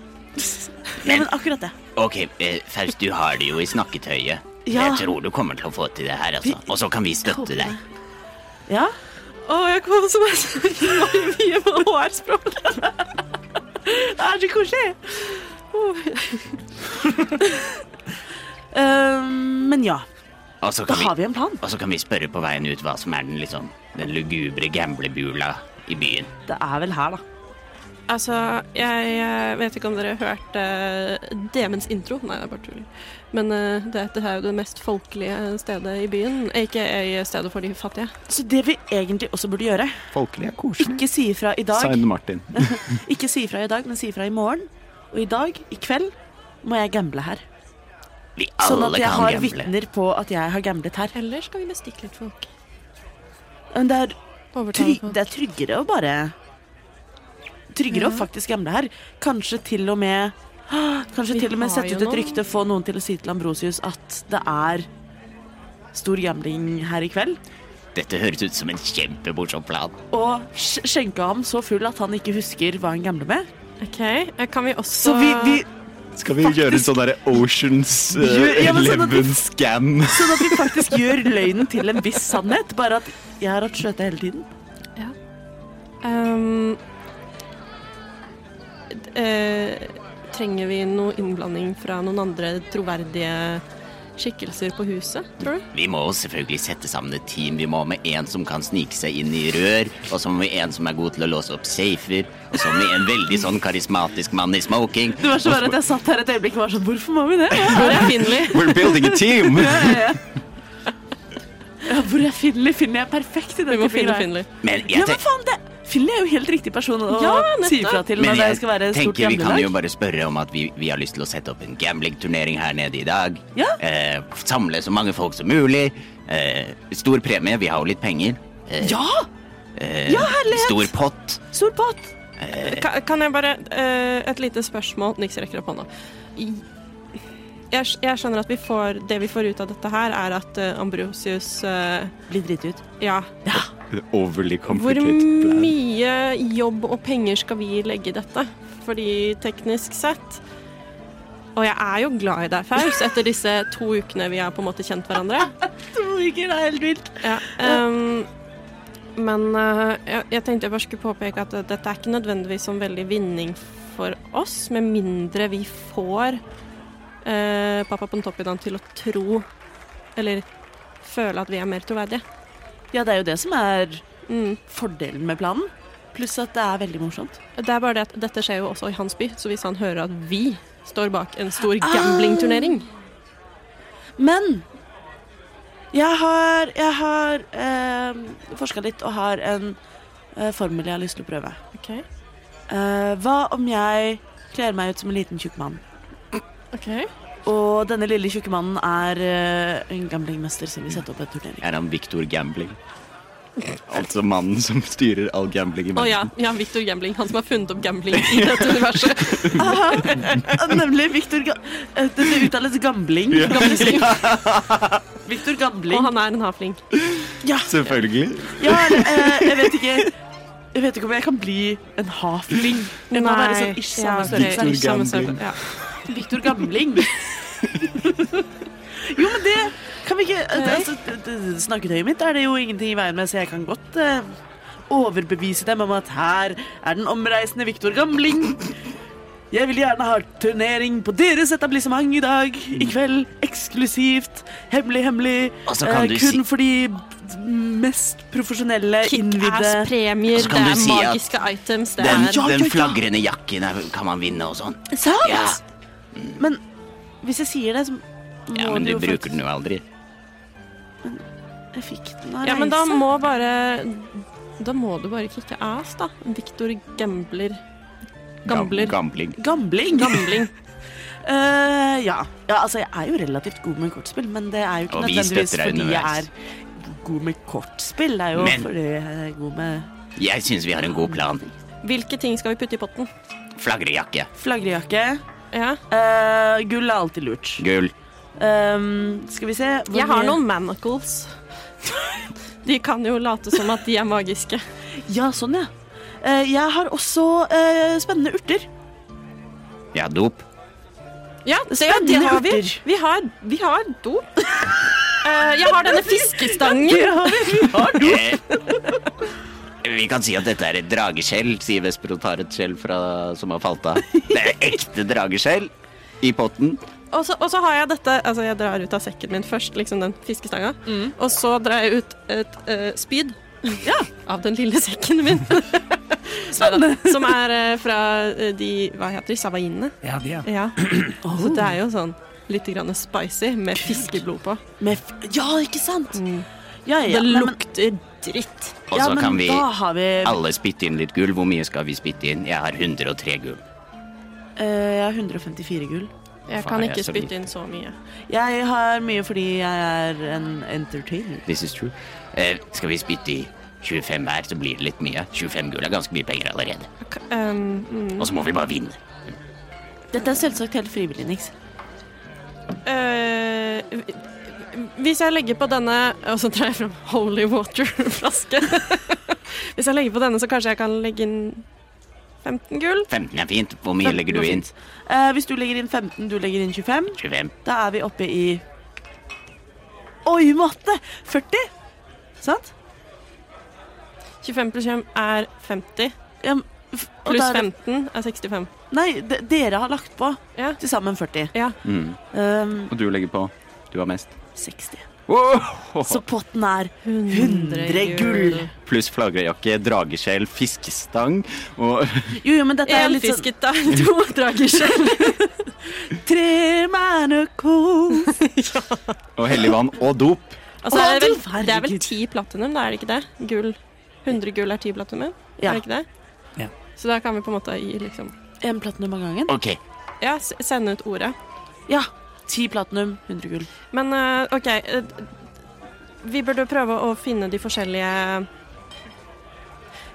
Speaker 5: Ja, men akkurat det.
Speaker 4: Ok, eh, Faust, du har det jo i snakketøyet.
Speaker 5: Ja.
Speaker 4: Jeg tror du kommer til å få til det her, altså. Og så kan vi støtte deg.
Speaker 5: Ja?
Speaker 2: Å, jeg kom så mye med HR-språk.
Speaker 5: Det er så koselig! Ehm, men ja,
Speaker 4: Og så
Speaker 5: da
Speaker 4: kan,
Speaker 5: har
Speaker 4: vi,
Speaker 5: vi en plan.
Speaker 4: og så kan vi spørre på veien ut hva som er den liksom Den lugubre gamblebula i byen.
Speaker 5: Det er vel her, da.
Speaker 2: Altså, jeg eh, vet ikke om dere hørte eh, Demens intro. Nei, det er bare tull. Men eh, dette er jo det mest folkelige stedet i byen. Ikke i stedet for de fattige.
Speaker 5: Så det vi egentlig også burde gjøre
Speaker 6: Folkelig er koselig.
Speaker 5: Ikke si ifra i dag,
Speaker 6: Martin.
Speaker 5: ikke si ifra i dag, men si ifra i morgen. Og i dag, i kveld, må jeg gamble her.
Speaker 4: Vi
Speaker 5: Sånn
Speaker 4: alle
Speaker 5: at jeg
Speaker 4: kan
Speaker 5: har
Speaker 4: gamble.
Speaker 5: vitner på at jeg har gamblet her.
Speaker 2: Eller skal vi bestikke litt folk?
Speaker 5: Men det er,
Speaker 2: Overtale
Speaker 5: tryg,
Speaker 2: folk.
Speaker 5: det er tryggere å bare Tryggere å faktisk gamble her. Kanskje til og med Ah, Kanskje
Speaker 2: Vi
Speaker 5: til og med
Speaker 2: har
Speaker 5: sette
Speaker 2: jo
Speaker 5: ut et
Speaker 2: noen-
Speaker 5: rykte, få noen til å si til Ambrosius at det er stor gambling her i kveld.
Speaker 4: Dette høres ut som en kjempemorsom plan.
Speaker 5: Og sk- skjenke ham så full at han ikke husker hva han gambler med.
Speaker 2: OK. eh, Kan vi også
Speaker 5: Så vi, vi,
Speaker 6: Skal vi gjøre sånn derre Oceans eh,
Speaker 5: Gjør- ja, men sånn at-
Speaker 6: scam?
Speaker 5: sånn at vi faktisk gjør løgnen til en viss sannhet. Bare at jeg har hatt skjøte hele tiden.
Speaker 2: Ehm, d- eh, trenger vi noe innblanding fra noen andre troverdige skikkelser på huset, tror du?
Speaker 4: Vi må jo selvfølgelig sette sammen et team. Vi må med en som kan snike seg inn i rør, og så må vi en som er god til å låse opp safer, og så må vi en veldig sånn karismatisk mann i smoking.
Speaker 5: Det var så verre at jeg satt her et øyeblikk og var sånn Hvorfor må vi det?
Speaker 2: Hvor er Finley?
Speaker 6: We're building a team!
Speaker 5: Ja, hvor er Finley? Finley er perfekt i
Speaker 2: Vi
Speaker 5: denne
Speaker 2: må finne
Speaker 5: greia.
Speaker 2: Finley.
Speaker 4: Men
Speaker 5: Ja,
Speaker 4: jeg
Speaker 5: men
Speaker 4: tenker
Speaker 5: faen, det Finley er jo helt riktig person å
Speaker 2: Ja, nettopp.
Speaker 5: si ifra til
Speaker 4: men
Speaker 5: når det altså, skal være
Speaker 4: jeg
Speaker 5: stort
Speaker 4: tenker vi kan jo
Speaker 5: gamledag.
Speaker 4: bare spørre om at vi, vi har lyst til å sette opp en gamblingturnering her nede i dag.
Speaker 5: Ja.
Speaker 4: Eh, samle så mange folk som mulig. Eh, stor premie, vi har jo litt penger. Eh,
Speaker 5: Ja!
Speaker 4: eh,
Speaker 5: ja, herlighet!
Speaker 4: Stor pott.
Speaker 5: Stor pott.
Speaker 2: Kan, kan jeg bare eh, Et lite spørsmål. Niks rekker opp hånda. I- Jeg, skj- jeg skjønner at vi får, det vi får ut av dette her, er at eh, Ambrosius eh,
Speaker 5: Blir driti ut.
Speaker 2: Ja.
Speaker 6: Overly
Speaker 2: Hvor
Speaker 6: complicated plan.
Speaker 2: mye jobb og penger skal vi legge i dette? Fordi teknisk sett Og jeg er jo glad i deg, Faus, etter disse to ukene vi har på en måte kjent hverandre.
Speaker 5: To uker, det er helt vilt.
Speaker 2: Ja, ehm, men eh, jeg, jeg tenkte jeg bare skulle påpeke at eh, dette er ikke nødvendigvis sånn veldig vinning for oss, med mindre vi får eh, pappa Pontoppidan til å tro eller føle at vi er mer troverdige.
Speaker 5: Ja, det er jo det som er
Speaker 2: Mm.
Speaker 5: fordelen med planen. Pluss at det er veldig morsomt.
Speaker 2: Det er bare det at dette skjer jo også i hans by, så hvis han hører at vi står bak en stor gamblingturnering
Speaker 4: Ah!
Speaker 5: Men jeg har, jeg har eh, forska litt og har en eh, formel jeg har lyst til å prøve.
Speaker 2: OK.
Speaker 5: Eh, hva om jeg kler meg ut som en liten tjukk mann?
Speaker 2: ok.
Speaker 5: Og denne lille tjukke mannen er eh, en gamblingmester som vil sette opp en turnering.
Speaker 4: Er han Victor Gambling?
Speaker 6: Altså mannen som styrer all gambling i
Speaker 2: Å ja, ja Victor Gambling. Han som har funnet opp gambling i dette universet.
Speaker 5: Ah, Nemlig Victor Ga eh, Det uttales gambling.
Speaker 2: Gambling.
Speaker 5: Victor
Speaker 2: Og
Speaker 5: Gambling.
Speaker 2: han er en havfling.
Speaker 5: Ja,
Speaker 6: Selvfølgelig.
Speaker 5: ja eller, eh, jeg vet ikke Jeg vet ikke om jeg kan bli en hafling. Jeg må være
Speaker 2: liksom
Speaker 5: sånn ish samme
Speaker 2: ja,
Speaker 5: størrelse.
Speaker 2: ok,
Speaker 6: Victor
Speaker 2: ish samme
Speaker 6: Gambling.
Speaker 2: størrelse, Ja.
Speaker 5: Victor Gambling. Jo, men det kan vi ikke altså, d- d- Snakketøyet mitt er det jo ingenting i veien med, så jeg kan godt eh, overbevise dem om at her er den omreisende Viktor Gamling. Jeg vil gjerne ha turnering på deres etablissement i dag. I kveld. Eksklusivt. Hemmelig, hemmelig.
Speaker 4: Og så Altså, kan du
Speaker 5: eh,
Speaker 4: si-
Speaker 5: kun for de b- mest profesjonelle, innvidde
Speaker 2: Kickass-premier,
Speaker 4: Så
Speaker 2: det
Speaker 4: kan
Speaker 2: er
Speaker 4: du si at
Speaker 2: magiske items, det
Speaker 4: Den,
Speaker 2: er
Speaker 4: den flagrende jakken er, kan man vinne og sånn.
Speaker 5: Sant?
Speaker 4: Ja.
Speaker 5: Men hvis jeg sier det, så må
Speaker 4: Ja, men du
Speaker 5: det jo
Speaker 4: bruker den jo aldri.
Speaker 5: faktisk- Jeg fikk den av
Speaker 2: Ja, men da
Speaker 5: reise.
Speaker 2: må bare Da må du bare kicke ass, da. Victor Gambler. Gambler.
Speaker 4: Gambling.
Speaker 5: Gambling.
Speaker 2: Gambling.
Speaker 5: Eh, ja. ja, altså jeg er jo relativt god med kortspill, men det er jo ikke
Speaker 4: Og vi
Speaker 5: nødvendigvis
Speaker 4: støtter deg
Speaker 5: fordi jeg
Speaker 4: underveis.
Speaker 5: er god med kortspill. Det er jo
Speaker 4: Men-
Speaker 5: fordi jeg er god med
Speaker 4: Jeg syns vi har en god plan.
Speaker 2: Hvilke ting skal vi putte i potten?
Speaker 4: Flagrejakke.
Speaker 5: flagrejakke.
Speaker 2: Ja.
Speaker 5: Eh, gull er alltid lurt.
Speaker 4: Gull.
Speaker 5: Ehm, skal vi se hvor
Speaker 2: Jeg har
Speaker 5: mye-
Speaker 2: noen manacles. De kan jo late som at de er magiske.
Speaker 5: Ja, sånn, ja. Eh, jeg har også eh, spennende urter.
Speaker 4: Ja, dop.
Speaker 2: Ja, se, ja, det
Speaker 5: Spennende
Speaker 2: har vi.
Speaker 5: urter.
Speaker 2: Vi har, vi har dop. Eh, jeg har denne fiskestangen.
Speaker 4: Eh, Vi kan si at dette er et drageskjell, sier Vesper og tar et skjell fra, som har falt av. Det er ekte drageskjell i potten.
Speaker 2: Og så, og så har jeg dette Altså, jeg drar ut av sekken min først, liksom den fiskestanga. Og så drar jeg ut et eh, spyd. Av den lille sekken min. Neida, Som er eh, fra eh, de Hva heter de? Savainene?
Speaker 3: Ja, de, ja.
Speaker 2: Ja. Så det er jo sånn litt grann spicy med fiskeblod på.
Speaker 5: Med f ja, ikke sant?
Speaker 2: Mm.
Speaker 5: Ja, ja,
Speaker 2: Det
Speaker 5: nei, men-
Speaker 2: lukter dritt.
Speaker 4: Og
Speaker 5: ja,
Speaker 4: så
Speaker 5: men
Speaker 4: kan vi
Speaker 5: Da har vi
Speaker 4: alle spytte inn litt gull. Hvor mye skal vi spytte inn? Jeg har 103 gull.
Speaker 5: Eh, Jeg har 154 gull.
Speaker 4: Faen,
Speaker 2: Jeg kan
Speaker 4: jeg er
Speaker 2: ikke
Speaker 4: så
Speaker 2: spytte inn så mye.
Speaker 5: Jeg har mye fordi jeg er en entertainer.
Speaker 4: This is true. Eh, skal vi spytte i 25 hver, så blir det litt mye. 25 gull er ganske mye penger allerede.
Speaker 2: K- ehm, mm.
Speaker 4: Og så må vi bare vinne.
Speaker 5: Dette er selvsagt helt frivillig, Nix.
Speaker 2: Eh, hvis jeg legger på denne Og så drar jeg fram Holy Water-flaske. hvis jeg legger på denne, så kanskje jeg kan legge inn 15 gull?
Speaker 4: 15 er fint. Hvor mye
Speaker 5: 15
Speaker 4: legger du
Speaker 5: var
Speaker 4: inn?
Speaker 5: fint. Eh, hvis du legger inn 15, du legger inn 25,
Speaker 4: 25.
Speaker 5: da er vi oppe i Oi, matte! 40? Sant?
Speaker 2: 25 pluss 5 er 50.
Speaker 5: Ja, men f- og
Speaker 2: Pluss
Speaker 5: da er det-
Speaker 2: 15 er 65.
Speaker 5: Nei, de, dere har lagt på
Speaker 2: Ja.
Speaker 5: til sammen 40.
Speaker 2: Ja.
Speaker 4: Mm.
Speaker 5: Um,
Speaker 4: Og du legger på. Du har mest.
Speaker 5: 60.
Speaker 4: Wow!
Speaker 5: Så potten er 100 gull.
Speaker 4: Pluss flagrejakke, drageskjell, fiskestang og
Speaker 5: Jo, jo, men dette er
Speaker 2: Én
Speaker 5: litt sånn
Speaker 2: fisket, da. To dragerskjell.
Speaker 5: Tre manacles.
Speaker 4: Og hellig vann og dop.
Speaker 2: Altså, det, er
Speaker 5: Å, du
Speaker 2: vel- det er vel
Speaker 5: herregud.
Speaker 2: 10 platinum, da er det ikke det? Gull. 100 gull er 10 platinum? Er
Speaker 5: Ja.
Speaker 2: det ikke det?
Speaker 3: Ja.
Speaker 2: Så da kan vi på en måte gi liksom
Speaker 5: En platinum av gangen.
Speaker 4: Ok,
Speaker 2: Ja, s- sende ut ordet.
Speaker 5: Ja. Ti platinum, 100 gull.
Speaker 2: Men eh, OK eh, Vi burde prøve å finne de forskjellige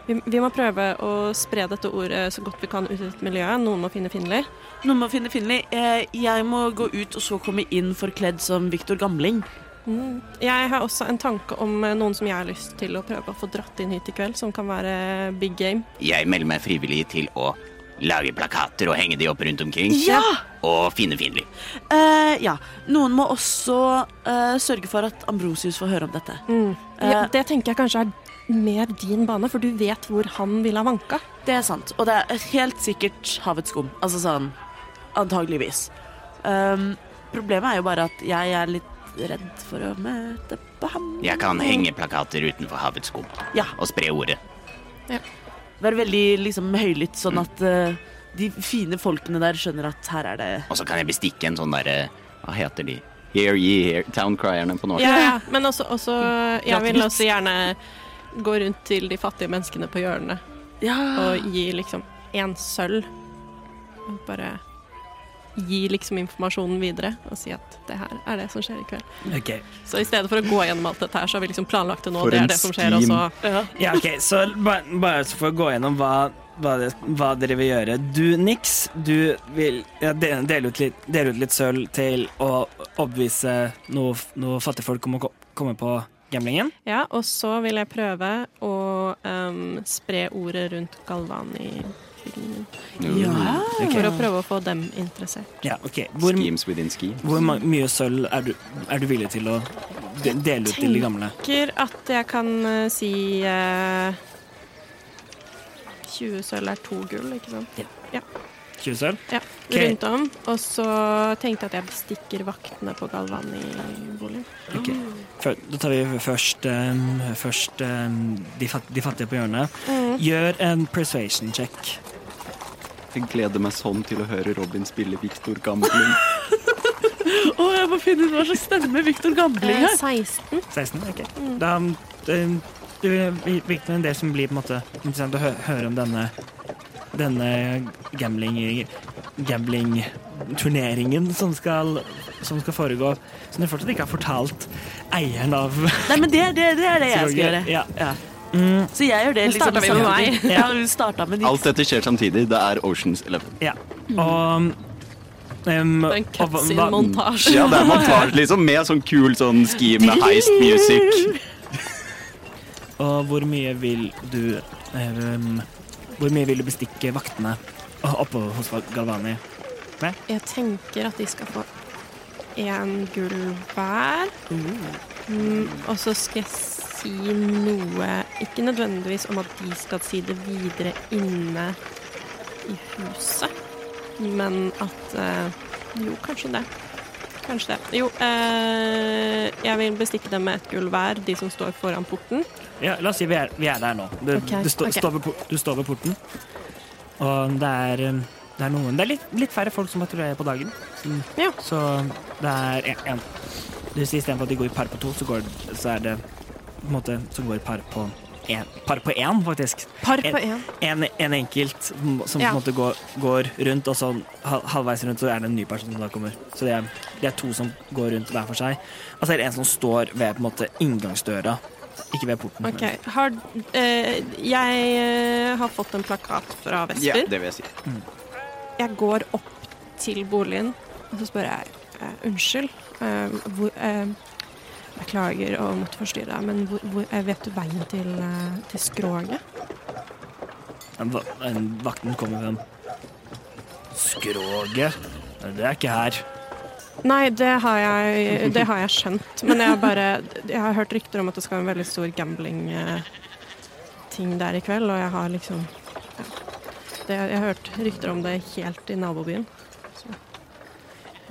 Speaker 2: vi, vi må prøve å spre dette ordet så godt vi kan ut i et miljø. Noen må finne Finley.
Speaker 5: Noe med å finne Finley. Eh, jeg må gå ut og så komme inn forkledd som Viktor Gamling.
Speaker 2: Jeg har også en tanke om eh, noen som jeg har lyst til å prøve å få dratt inn hit i kveld, som kan være big game.
Speaker 4: jeg melder meg frivillig til å lage plakater og henge de opp rundt omkring.
Speaker 5: Ja!
Speaker 4: Og finne Finli.
Speaker 5: Eh, ja. Noen må også eh, sørge for at Ambrosius får høre om dette.
Speaker 2: Ja, Eh, det tenker jeg kanskje er mer din bane, for du vet hvor han ville ha vanka.
Speaker 5: Det er sant. Og det er helt sikkert havets skum. Altså sånn antageligvis. Um, problemet er jo bare at jeg er litt redd for å møte på ham.
Speaker 4: Jeg kan henge plakater utenfor havets skum
Speaker 5: Ja.
Speaker 4: og spre ordet.
Speaker 5: Være veldig liksom høylytt, sånn at eh, de fine folkene der skjønner at her er det
Speaker 4: Og så kan jeg bestikke en sånn derre Hva heter de? Here ye here. Towncrierne på norsk.
Speaker 2: Ja, ja. Men også, også Jeg vil også gjerne gå rundt til de fattige menneskene på hjørnet.
Speaker 5: Ja.
Speaker 2: og gi liksom én sølv. Og bare gi liksom informasjonen videre og si at det her er det som skjer i kveld.
Speaker 3: Ok.
Speaker 2: Så i stedet for å gå gjennom alt dette her, så har vi liksom planlagt det nå.
Speaker 4: For
Speaker 2: det
Speaker 4: en
Speaker 2: er det som skjer, og så
Speaker 3: Ja, ok, så bare, bare så for å gå gjennom hva, hva, det, hva dere vil gjøre. Du, Nix, du vil ja, de- dele ut litt, dele ut litt sølv til å overbevise noe, noe fattigfolk om å ko- komme på gamblingen.
Speaker 2: Ja, og så vil jeg prøve å ehm, spre ordet rundt Galvani utviklingen min.
Speaker 5: Ja.
Speaker 2: For å prøve å få dem interessert.
Speaker 3: Ja, ok. Hvor,
Speaker 4: Schemes within schemes.
Speaker 3: hvor ma- mye sølv er du, er du villig til å de- dele ut til de gamle?
Speaker 2: Tenker at jeg kan eh, si eh, 20 sølv er to gull, ikke sant?
Speaker 3: 20 sølv?
Speaker 2: Ja,
Speaker 3: Ok.
Speaker 2: rundt om. Og så tenkte jeg at jeg bestikker vaktene på Galvan i boligen.
Speaker 3: Ok. Før, da tar vi først, eh, først eh, de, fat, de fattige på hjørnet. Gjør en persuasion check.
Speaker 4: Jeg gleder meg sånn til å høre Robin spille Viktor Gambling.
Speaker 5: Å, jeg må finne ut hva slags stemme Viktor Gambling
Speaker 2: Eh,
Speaker 5: har.
Speaker 2: 16.
Speaker 3: 16? Ok.
Speaker 5: Mm.
Speaker 3: Da eh, du, vi- vi- det er en del som blir på en måte interessant å hø høre om denne, denne gambling gamblingturneringen som skal, som skal foregå, som du fortsatt ikke har fortalt eieren av.
Speaker 5: Nei, men det, det, det er det jeg skal gjøre.
Speaker 3: Ja.
Speaker 5: Ja. Så jeg gjør det
Speaker 2: Nå starter vi med
Speaker 5: samtidig.
Speaker 3: meg.
Speaker 5: Ja, hun starta med
Speaker 4: Alt dette skjer samtidig. Det er Oceans Eleven.
Speaker 3: ja.
Speaker 5: Mm.
Speaker 3: Og em,
Speaker 2: Det er en
Speaker 3: og hva- hva-
Speaker 2: cutscene-montasje.
Speaker 4: Ja, det er montasje, liksom, med sånn kul sånn scheme med heist music.
Speaker 3: Og hvor mye vil du ehm, Hvor mye vil du bestikke vaktene oppe hos Galvani?
Speaker 2: Jeg tenker at de skal få én gull hver. Mm, og så skal jeg si noe Ikke nødvendigvis om at de skal si det videre inne i huset, men at eh, Jo, kanskje det. Kanskje det. Jo, eh, jeg vil bestikke dem med ett gull hver, de som står foran porten.
Speaker 3: Ja, la oss si vi er, vi er der nå. Du,
Speaker 2: Ok,
Speaker 3: du, stå,
Speaker 2: ok.
Speaker 3: står ved, por- du står ved porten, og det er, ehm, det er noen Det er litt, litt færre folk som patruljerer på dagen, Mm.
Speaker 2: Ja.
Speaker 3: så det er én. Du sier istedenfor at de går i par på to, så, går, så er det på en måte som går i par på én, par på én faktisk.
Speaker 2: Par
Speaker 3: på
Speaker 2: på én.
Speaker 3: En, en enkelt som som
Speaker 2: Ja.
Speaker 3: på en måte går, går rundt, og sånn hal- halvveis rundt så er det en ny person som da kommer. Så det er, det er to som går rundt hver for seg. Og så er det en som står ved på en måte inngangsdøra, ikke ved porten.
Speaker 2: Ok. Har, eh, jeg eh, har fått en plakat fra Vesper.
Speaker 4: Ja, det vil jeg si.
Speaker 2: Jeg går opp til boligen, og så spør jeg eh, unnskyld. eh, hvor, eh, beklager å måtte forstyrre deg, men hvor, hvor, eh, vet du veien til, eh, til skroget?
Speaker 3: Men va- en- Vakten kommer med en skroget. Det er ikke her.
Speaker 2: Nei, det har, jeg, det har jeg skjønt. Men jeg, har bare, jeg har hørt rykter om at det skal være en veldig stor gambling-ting der i kveld, og jeg har liksom ja, det, Jeg har hørt rykter om det helt i nabobyen.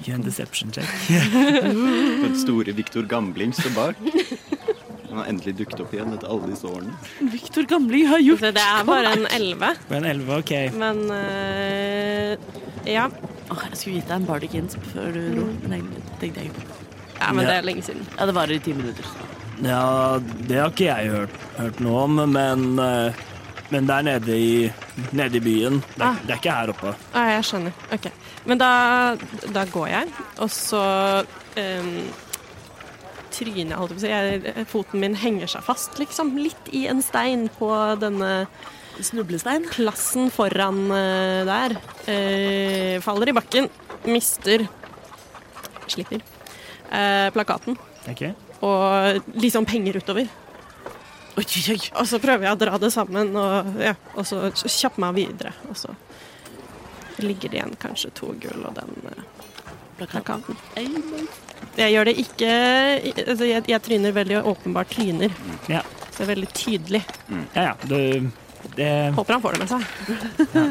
Speaker 3: Gjør en deception check.
Speaker 4: Den store Viktor Gambling står bak. Han har endelig dukket opp igjen etter alle disse årene.
Speaker 5: Viktor Gambling har gjort
Speaker 2: Det, er bare en elleve,
Speaker 3: Det er en 11, OK.
Speaker 2: men eh, ja.
Speaker 5: Åh, Jeg skulle gitt deg en Bardic Insp før du dro. men jeg tenkte jeg ikke.
Speaker 2: ja. Men det er lenge siden.
Speaker 5: Ja, det varer i ti minutter.
Speaker 3: Ja, det har ikke jeg hørt, hørt noe om, men, eh, men det er nede i, nede i byen. Det
Speaker 2: Ah.
Speaker 3: er, det er ikke her oppe.
Speaker 2: Ja, jeg skjønner. Ok. Men da, da går jeg, og så um, tryner jeg, holdt jeg på å si. Jeg, foten min henger seg fast, liksom. Litt i en stein på denne
Speaker 5: Snublestein.
Speaker 2: plassen foran eh, der. Eh, faller i bakken. Mister Slipper eh, plakaten.
Speaker 3: Okay.
Speaker 2: Og liksom penger utover.
Speaker 5: Oi, oi, oi.
Speaker 2: Og så prøver jeg å dra det sammen, og, ja, og så kjappe meg videre. Og så ligger det igjen kanskje to gull og den eh, plakaten. Jeg gjør det ikke altså jeg, jeg tryner veldig åpenbart tryner.
Speaker 3: Ja.
Speaker 2: Så det er veldig tydelig.
Speaker 3: Ja, ja. Du, det
Speaker 2: Håper han får det med seg.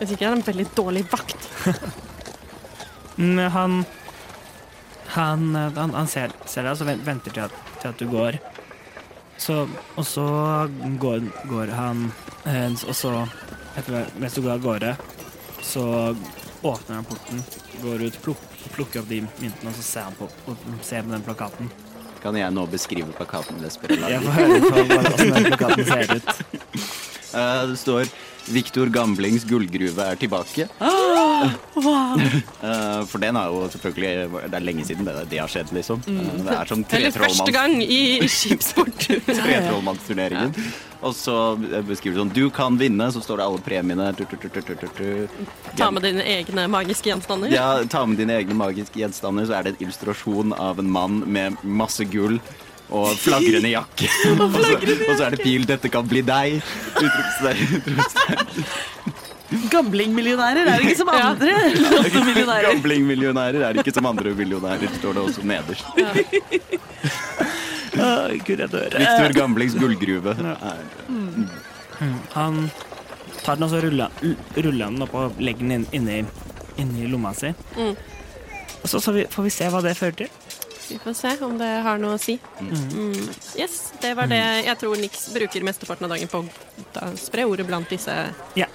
Speaker 2: Hvis ikke er han en veldig dårlig vakt.
Speaker 3: Mm, Han Han, eh, han, han ser, ser deg og så ven- venter til at, til at du går. Så, og så går, går han eh, Og så, etter, hvert- mens du går av gårde, så åpner han porten, går ut, pluk, plukker opp de myntene, og så ser han på, på, ser på den plakaten.
Speaker 4: Kan jeg nå beskrive plakaten Vesper har laget?
Speaker 3: Jeg får høre på hva- hvordan den plakaten ser ut.
Speaker 4: Eh, Det står 'Viktor Gamblings gullgruve er tilbake'. Ah, Eh, For den har jo selvfølgelig Det er lenge siden det, det har skjedd, liksom. Eh, Det er som
Speaker 2: Eller første gang i skipsport.
Speaker 4: tretrollmannsturneringen. Og så beskriver du sånn 'Du kan vinne', så står det alle premiene. Tu, tu, tu, tu, tu, tu, tu.
Speaker 2: Ta med dine egne magiske gjenstander.
Speaker 4: Ja, ta med dine egne magiske gjenstander, så er det en illustrasjon av en mann med masse gull. og flagrende jakke. og, så, og så er det pil 'Dette kan bli deg'. Utropstegn, utropstegn.
Speaker 5: Gamblingmillionærer er ikke som andre lottomillionærer.
Speaker 4: Gamblingmillionærer er ikke som andre millionærer, står det også nederst.
Speaker 3: Å, Gud, jeg dør.
Speaker 4: Viktor Gamblings gullgruve. er-
Speaker 3: Han tar den og så ruller, l- ruller han den opp og legger den inn, inni, inni lomma si.
Speaker 2: Mm.
Speaker 3: Og så, så vi, får vi se hva det fører til.
Speaker 2: Vi får se om det har noe å si. Mm. Yes, det var det
Speaker 4: Mm.
Speaker 2: jeg tror Nix bruker mesteparten av dagen på. å Da spre ordet blant disse
Speaker 3: Ja.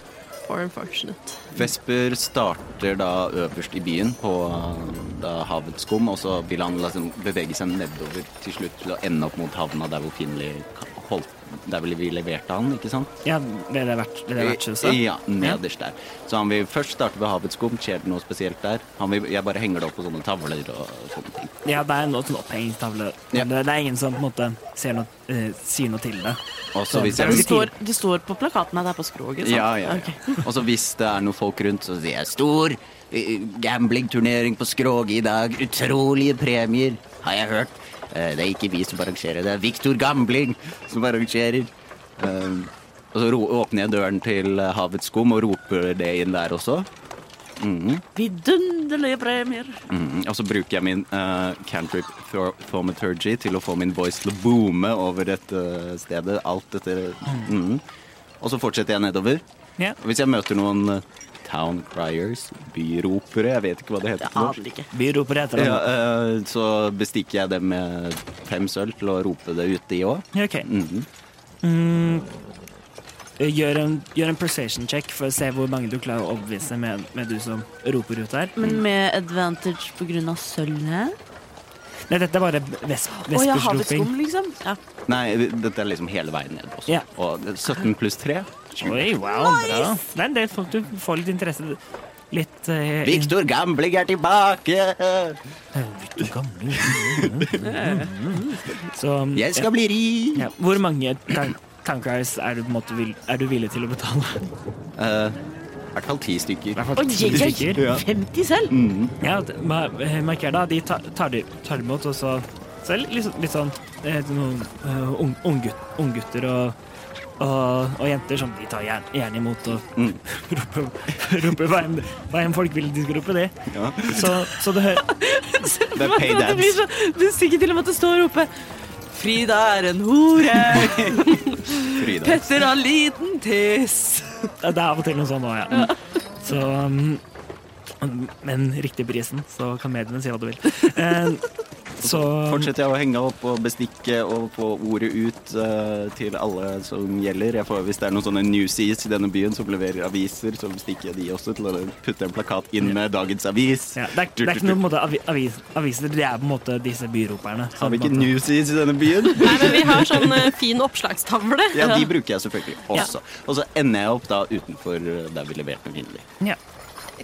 Speaker 2: for unfortunate.
Speaker 4: Vesper starter da øverst i byen på eh, da havets skum, og så vil han liksom bevege seg nedover til slutt til å ende opp mot havna der hvor Finley ka- holdt Der hvor vi leverte han, ikke sant?
Speaker 3: ja det er det verdt- det er det vertshuset.
Speaker 4: Ja, nederst der. Så han vil først starte ved havets skum. Skjer det noe spesielt der? Han vil, jeg bare henger det opp på sånne tavler og sånne ting.
Speaker 3: Ja, det er noe sånn opphengingstavle.
Speaker 4: Ja.
Speaker 3: Det, det er ingen som på en måte ser noe, eh, sier noe til det.
Speaker 4: Og så hvis
Speaker 3: Det er
Speaker 5: De
Speaker 4: jeg
Speaker 5: står, de står på plakaten at det er på skroget. sant?
Speaker 4: Ja, ja.
Speaker 5: Ok.
Speaker 4: ja. Og så hvis det er noen folk rundt, så sier jeg stor eh, gamblingturnering på Skroget i dag. Utrolige premier, har jeg hørt. Eh, Det er ikke vi som arrangerer, det er Viktor Gambling som arrangerer. Eh, Og så ro- åpner jeg døren til eh, Havets skum og roper det inn der også.
Speaker 5: Vidunderlige premier.
Speaker 4: Mhm. Og så bruker jeg min eh, cantrip thor- thaumaturgy til å få min voice til å boome over dette eh, stedet. Alt dette. Mhm. Og så fortsetter jeg nedover.
Speaker 3: Ja.
Speaker 4: Og Hvis jeg møter noen eh, town criers, byropere, jeg vet ikke hva det heter på norsk.
Speaker 5: Aner ikke.
Speaker 3: Vi roper etter
Speaker 4: Ja,
Speaker 3: ham.
Speaker 4: eh, så bestikker jeg dem med fem sølv til å rope det ut, de òg.
Speaker 3: Ja, ok.
Speaker 4: Mhm.
Speaker 3: Mm, gjør, en, gjør en persuasion check for å se hvor mange du klarer å overbevise med, med du som roper ut der.
Speaker 5: Men med advantage på grunn av sølvet?
Speaker 3: Nei, dette er bare vesp,
Speaker 5: Å ja, havets
Speaker 3: vespersroping.
Speaker 5: skum, liksom. Ja.
Speaker 4: Nei, dette er liksom hele veien ned også.
Speaker 3: Ja.
Speaker 4: Og det er 17 pluss 3
Speaker 3: Oi, wow, bra. Det er en del folk du får litt interesse Litt eh, inn-
Speaker 4: Viktor Gambling er tilbake!
Speaker 3: Så,
Speaker 4: Jeg skal bli rik!
Speaker 3: ja. Hvor mange tank tankers er du, på en måte, vil, er du villig til å betale?
Speaker 4: Eh, I hvert fall ti stykker.
Speaker 3: hvert fall
Speaker 5: Oi,
Speaker 3: ti
Speaker 5: oi,
Speaker 3: stykker.
Speaker 5: oi, 50 selv?
Speaker 3: Ja, d- ma- eh, marker da. De tar, tar, de, tar de imot, og så Så er det litt, sånn- litt sånn eh, noen eh, ung- unggutt- unggutter og, og, og jenter som de tar gjerne, gjerne imot og
Speaker 5: Mm.
Speaker 3: roper, roper hva, enn, hva enn folk vil de skal rope, det.
Speaker 4: Ja.
Speaker 3: Så, så det hører
Speaker 4: Det er pay
Speaker 5: Det
Speaker 4: dance.
Speaker 5: blir så, det stikker til og med at det står oppe Frida er en hore,
Speaker 4: Frida.
Speaker 5: Petter har liten tiss.
Speaker 3: Ja, Det er av og til noe sånt òg, ja. Så um, Men riktig prisen, så kan mediene si hva du vil. Eh, så
Speaker 4: Fortsetter jeg å henge opp og bestikke og få ordet ut eh, til alle som gjelder. Jeg får, hvis det er noen sånne newsies i denne byen som leverer aviser, så bestikker jeg de også til å putte en plakat inn med dagens avis.
Speaker 3: ja, det, er, det er ikke noe på en måte, avi- avis, aviser, det er på en måte disse byroperne.
Speaker 4: Har vi
Speaker 3: på
Speaker 4: ikke
Speaker 3: en måte-
Speaker 4: newsies i denne byen?
Speaker 2: Nei, men vi har sånn eh, fin oppslagstavle.
Speaker 4: Ja, de bruker jeg selvfølgelig også. Og så ender jeg opp da utenfor eh, der vi leverte Vinli.
Speaker 3: Ja.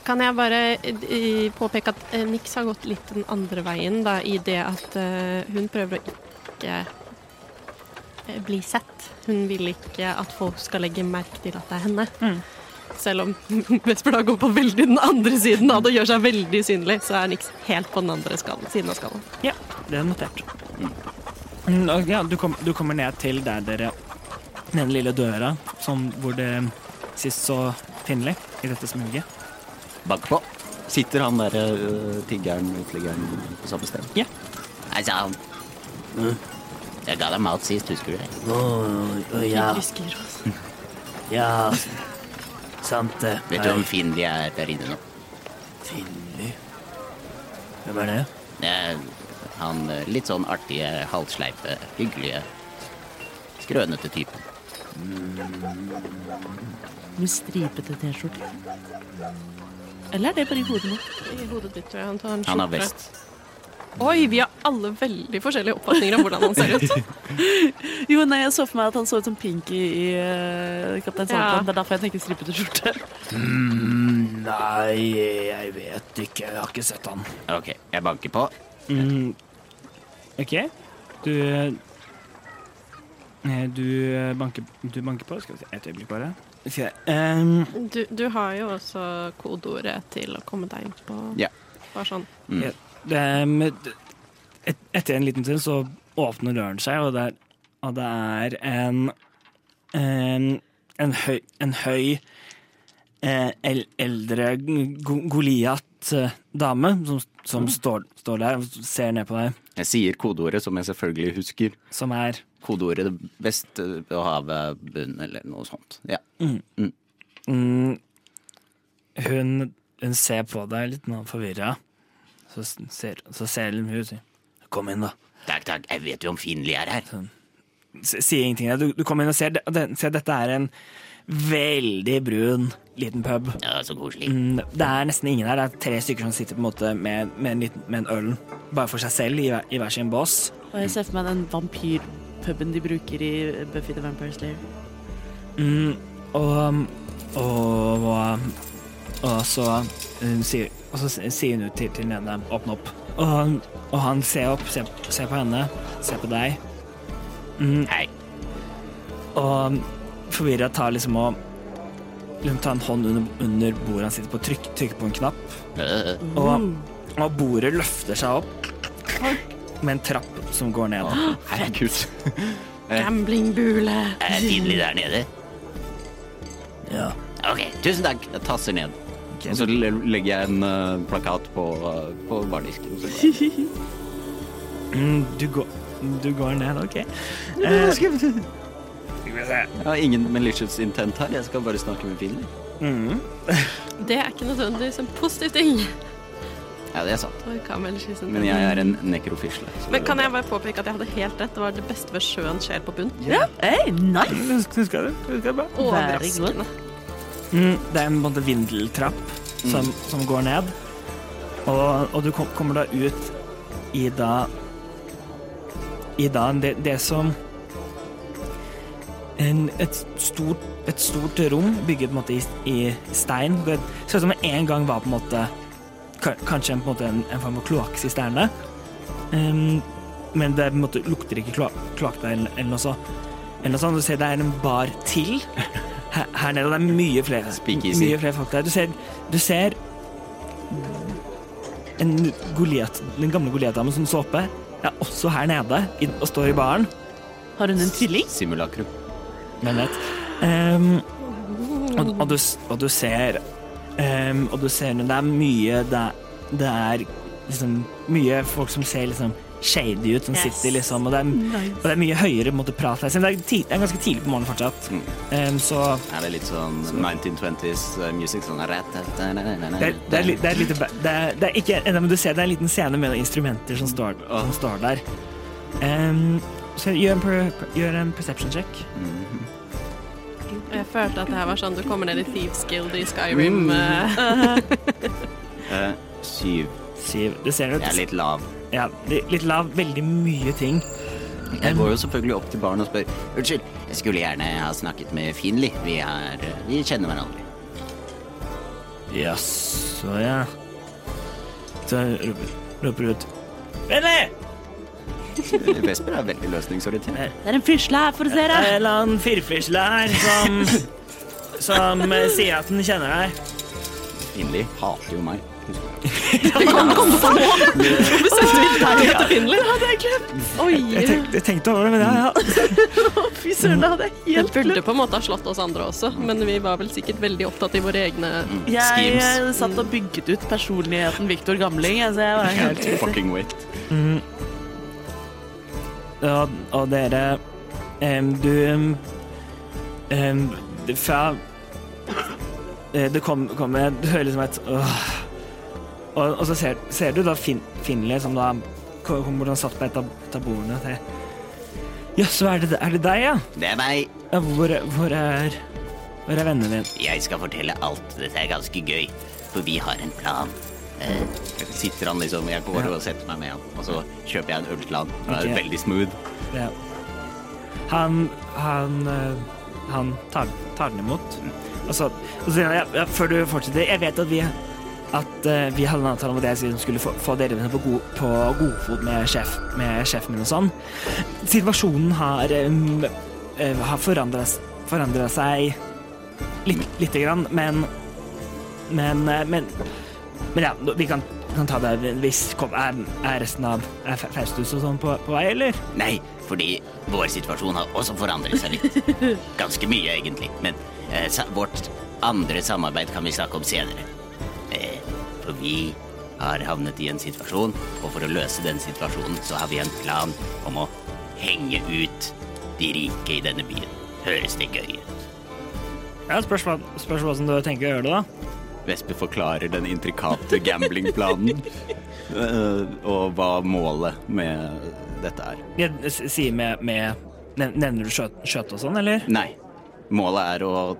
Speaker 2: Kan jeg bare eh, påpeke at eh, Nix har gått litt den andre veien, da, i det at eh, hun prøver å ikke eh, bli sett. Hun vil ikke at folk skal legge merke til at det er henne. Selv om Vesper da går på veldig den andre siden av det og gjør seg veldig synlig, så er Nix helt på den andre skallen, siden av skallen.
Speaker 3: ja, det er notert. Mm, og ja, du, kom, du kommer ned til der dere Den lille døra som, hvor det sist så Finley i dette smuget.
Speaker 4: Bank på. Sitter han der øh, tiggeren, uteliggeren, på samme sted? Mm.
Speaker 3: Ja.
Speaker 4: Hei sann. Jeg ga deg mat sist, husker du det?
Speaker 2: Jeg husker også.
Speaker 3: Ja, sant eh, det.
Speaker 4: Vet du om Finli er der inne nå?
Speaker 3: Finley Hvem er det?
Speaker 4: Det er han eh, litt sånn artige, halvsleipe, hyggelige, skrønete typen.
Speaker 5: Med stripete T-skjorte. Eller er det bare i hodet mitt?
Speaker 2: I hodet ditt, tror jeg. Han tar en
Speaker 4: Han har
Speaker 2: skjorte.
Speaker 4: vest.
Speaker 2: Oi, vi har alle veldig forskjellige oppfatninger av hvordan han ser ut.
Speaker 5: Jo, nei, jeg så for meg at han så ut som Pinky i eh, Kaptein
Speaker 2: Ja.
Speaker 5: Sabeltann. Det er derfor jeg tenker stripete skjorte.
Speaker 3: Nei, jeg vet ikke. Jeg har ikke sett han.
Speaker 4: Ok, jeg banker på.
Speaker 3: Mm. OK. Du eh, Du banker, du banker på. Skal vi se, et øyeblikk bare. Skal vi se. Ehm,
Speaker 2: Du, du har jo også kodeordet til å komme deg inn på
Speaker 4: Ja.
Speaker 2: Bare sånn.
Speaker 3: det, ehm, d- et, etter en liten stund så åpner døren seg, og det er, og det er en, en, en høy, en høy eh, el, eldre go- Goliat-dame eh, som, som står, står der og ser ned på deg,
Speaker 4: Jeg sier kodeordet, som jeg selvfølgelig husker.
Speaker 3: som er
Speaker 4: Kodeordet eh, vest på havet bunn, eller noe sånt. Ja.
Speaker 3: mm, hun, hun ser på deg litt nå forvirra, så, s- ser- så ser hun ut og sier 'kom inn', da.
Speaker 4: Takk, takk, jeg vet jo om Finli er her.
Speaker 3: s- sier ingenting. Du, du kommer inn og ser, det- det- ser at dette er en veldig brun liten pub.
Speaker 4: Ja, så koselig.
Speaker 3: Mm, Det er nesten ingen her. Det er tre stykker som sitter på en måte med, med, en, liten, med en øl bare for seg selv i hver, i hver sin bås.
Speaker 5: Og jeg ser for meg den vampyrpuben de bruker i Buffy the Vampire Slayer.
Speaker 3: Mm, og, og, og, og så hun sier, og så sier hun ut til, til den ene åpne opp. Og, han- og han ser opp, ser, ser på henne, ser på deg. Mm.
Speaker 4: Hei.
Speaker 3: Og forvirra tar liksom og liksom tar en hånd under, under bordet han sitter på, trykk, trykker på en knapp.
Speaker 4: Øh,
Speaker 3: Og, og bordet løfter seg opp med en trapp som går ned.
Speaker 4: Herregud.
Speaker 2: Gamblingbule.
Speaker 4: Er det Finli der nede?
Speaker 3: Ja.
Speaker 4: Ok, tusen takk. Jeg tasser ned. Og så le- legger jeg en eh, plakat på, eh, på bardisken. og så går jeg.
Speaker 3: Mm, du, går, du går ned, OK. Eh,
Speaker 4: Jeg har ingen malicious intent her. Jeg skal bare snakke med Finli.
Speaker 3: Mm.
Speaker 2: Det er ikke nødvendigvis en positiv ting.
Speaker 4: Ja, det er sant.
Speaker 2: Oi, hva med ellers?
Speaker 4: Men jeg er en nekrofisle. så
Speaker 2: Men
Speaker 4: det
Speaker 2: kan
Speaker 4: går
Speaker 2: jeg bare påpeke at jeg hadde helt rett? Det var det beste ved sjøen skjer på bunn.
Speaker 5: Ja, hey, nice!
Speaker 3: Husker husker jeg det? Husker jeg bra?
Speaker 5: Very good.
Speaker 2: Overraskende.
Speaker 3: Mm, det er en på en måte vindeltrapp som, som går ned. Og, og du kom, kommer da ut i da I da det, det som en, et, stort, et stort rom bygget på en måte i, i stein. Det ser ut som det en gang var på en måte ka- Kanskje en, på en, måte en, en form for kloakksisterne. Um, men det på en måte lukter ikke kloa- kloakk der eller, eller noe så- eller noe sånt. Du ser det er en bar til her, her nede. og Det er mye flere,
Speaker 4: Speakeasy.
Speaker 3: mye flere folk der. Du ser, du ser en Goliat, den gamle Goliat-damen som så oppe, er også her nede i, og står i baren.
Speaker 5: Har hun en tvilling?
Speaker 4: Simulakrum.
Speaker 3: Hvem vet. Ehm, og, og, du, s- og du ser ehm, Og du ser Det er mye Det, er- det er liksom mye folk som ser liksom shady ut, som sitter liksom Og det er, og det er mye høyere på en måte, prat her. Selv om Det er, ti, det er ganske tidlig på morgenen fortsatt.
Speaker 4: Mm.
Speaker 3: Ehm, så
Speaker 4: Er det litt sånn 1920s music? Sånn
Speaker 3: det er, det, er, li- det, er lite, ba- det, er, det er ikke ennå, men du ser det er en liten scene med noen instrumenter som står, som står der. Ehm, så gjør en, per- gjør en perception check.
Speaker 2: Og Jeg følte at det her var sånn du kommer ned i Thieves Guild i Skyrim.
Speaker 4: Mm.
Speaker 2: eh,
Speaker 4: Eh, syv.
Speaker 3: Syv. Du ser
Speaker 4: Jeg er
Speaker 3: det.
Speaker 4: litt lav.
Speaker 3: Ja, li- litt lav. Veldig mye ting.
Speaker 4: Jeg går jo selvfølgelig opp til baren og spør Unnskyld, jeg skulle gjerne ha snakket med Finli. Vi, er, eh, vi kjenner hverandre.
Speaker 3: Jaså, ja. Så roper, roper ut Benny!
Speaker 4: Eh, Vesper er veldig løsningsorientert.
Speaker 5: Det er en fisle her for å se
Speaker 3: Det
Speaker 5: deg!
Speaker 3: er en eller annen firfisle her som Som eh, sier at den kjenner deg.
Speaker 4: Finli hater jo meg. husker jeg.
Speaker 2: Oi!
Speaker 3: jeg tenkte over det, men ja, ja.
Speaker 5: Fy søren, det hadde jeg
Speaker 2: Den
Speaker 5: helt
Speaker 2: burde på en måte ha slått oss andre også, men vi var vel sikkert veldig opptatt i våre egne
Speaker 4: Mm.
Speaker 5: Jeg
Speaker 4: Schemes.
Speaker 5: eh, satt og bygget ut personligheten Victor Gamling. Altså, jeg var helt
Speaker 4: Fucking wait.
Speaker 3: Og, og dere em, Du em, em, det- Fra eh, Det kom- kommer Du hører liksom et åh. Og, og så ser, ser du da fin, Finley som da kommer bort og satt på et av et av bordene og sier Jaså, er, det- er det deg, ja?
Speaker 4: Det er meg.
Speaker 3: Ja, hvor, hvor er Hvor er vennene dine?
Speaker 4: Jeg skal fortelle alt. Dette er ganske gøy, for vi har en plan. Eh, sitter han liksom Jeg går og setter meg med han, og så kjøper jeg en øl til han. Han er
Speaker 3: Ok.
Speaker 4: veldig smooth.
Speaker 3: Ja. Han Han eh, Han tar, tar den imot. Og så, og så sier han ja, ja, Før du fortsetter, jeg vet at vi at eh, vi hadde en avtale om at jeg skulle- skulle få, få dere med på, god, på godfot med, sjef, med sjefen min og sånn. Situasjonen har, um, har forandra seg litt, lite grann, men men, eh, men men ja, vi kan Vi kan ta det hvis kom, er, er resten av er Fa- Faustus og sånn på, på vei, eller?
Speaker 4: Nei, fordi vår situasjon har også forandret seg litt. Ganske mye, egentlig. Men eh, sa vårt andre samarbeid kan vi snakke om senere. Eh, for vi har havnet i en situasjon, og for å løse den situasjonen så har vi en plan om å henge ut de rike i denne byen. Høres det gøy ut?
Speaker 3: Ja, spørs hva- spørs hvordan du tenker å gjøre det, da.
Speaker 4: Vespe forklarer den intrikate gamblingplanen, Eh, og hva målet med dette er.
Speaker 3: Jeg s- sier med, med nev- Nevner du skjøt, skjøt og sånn, eller?
Speaker 4: Nei. Målet er å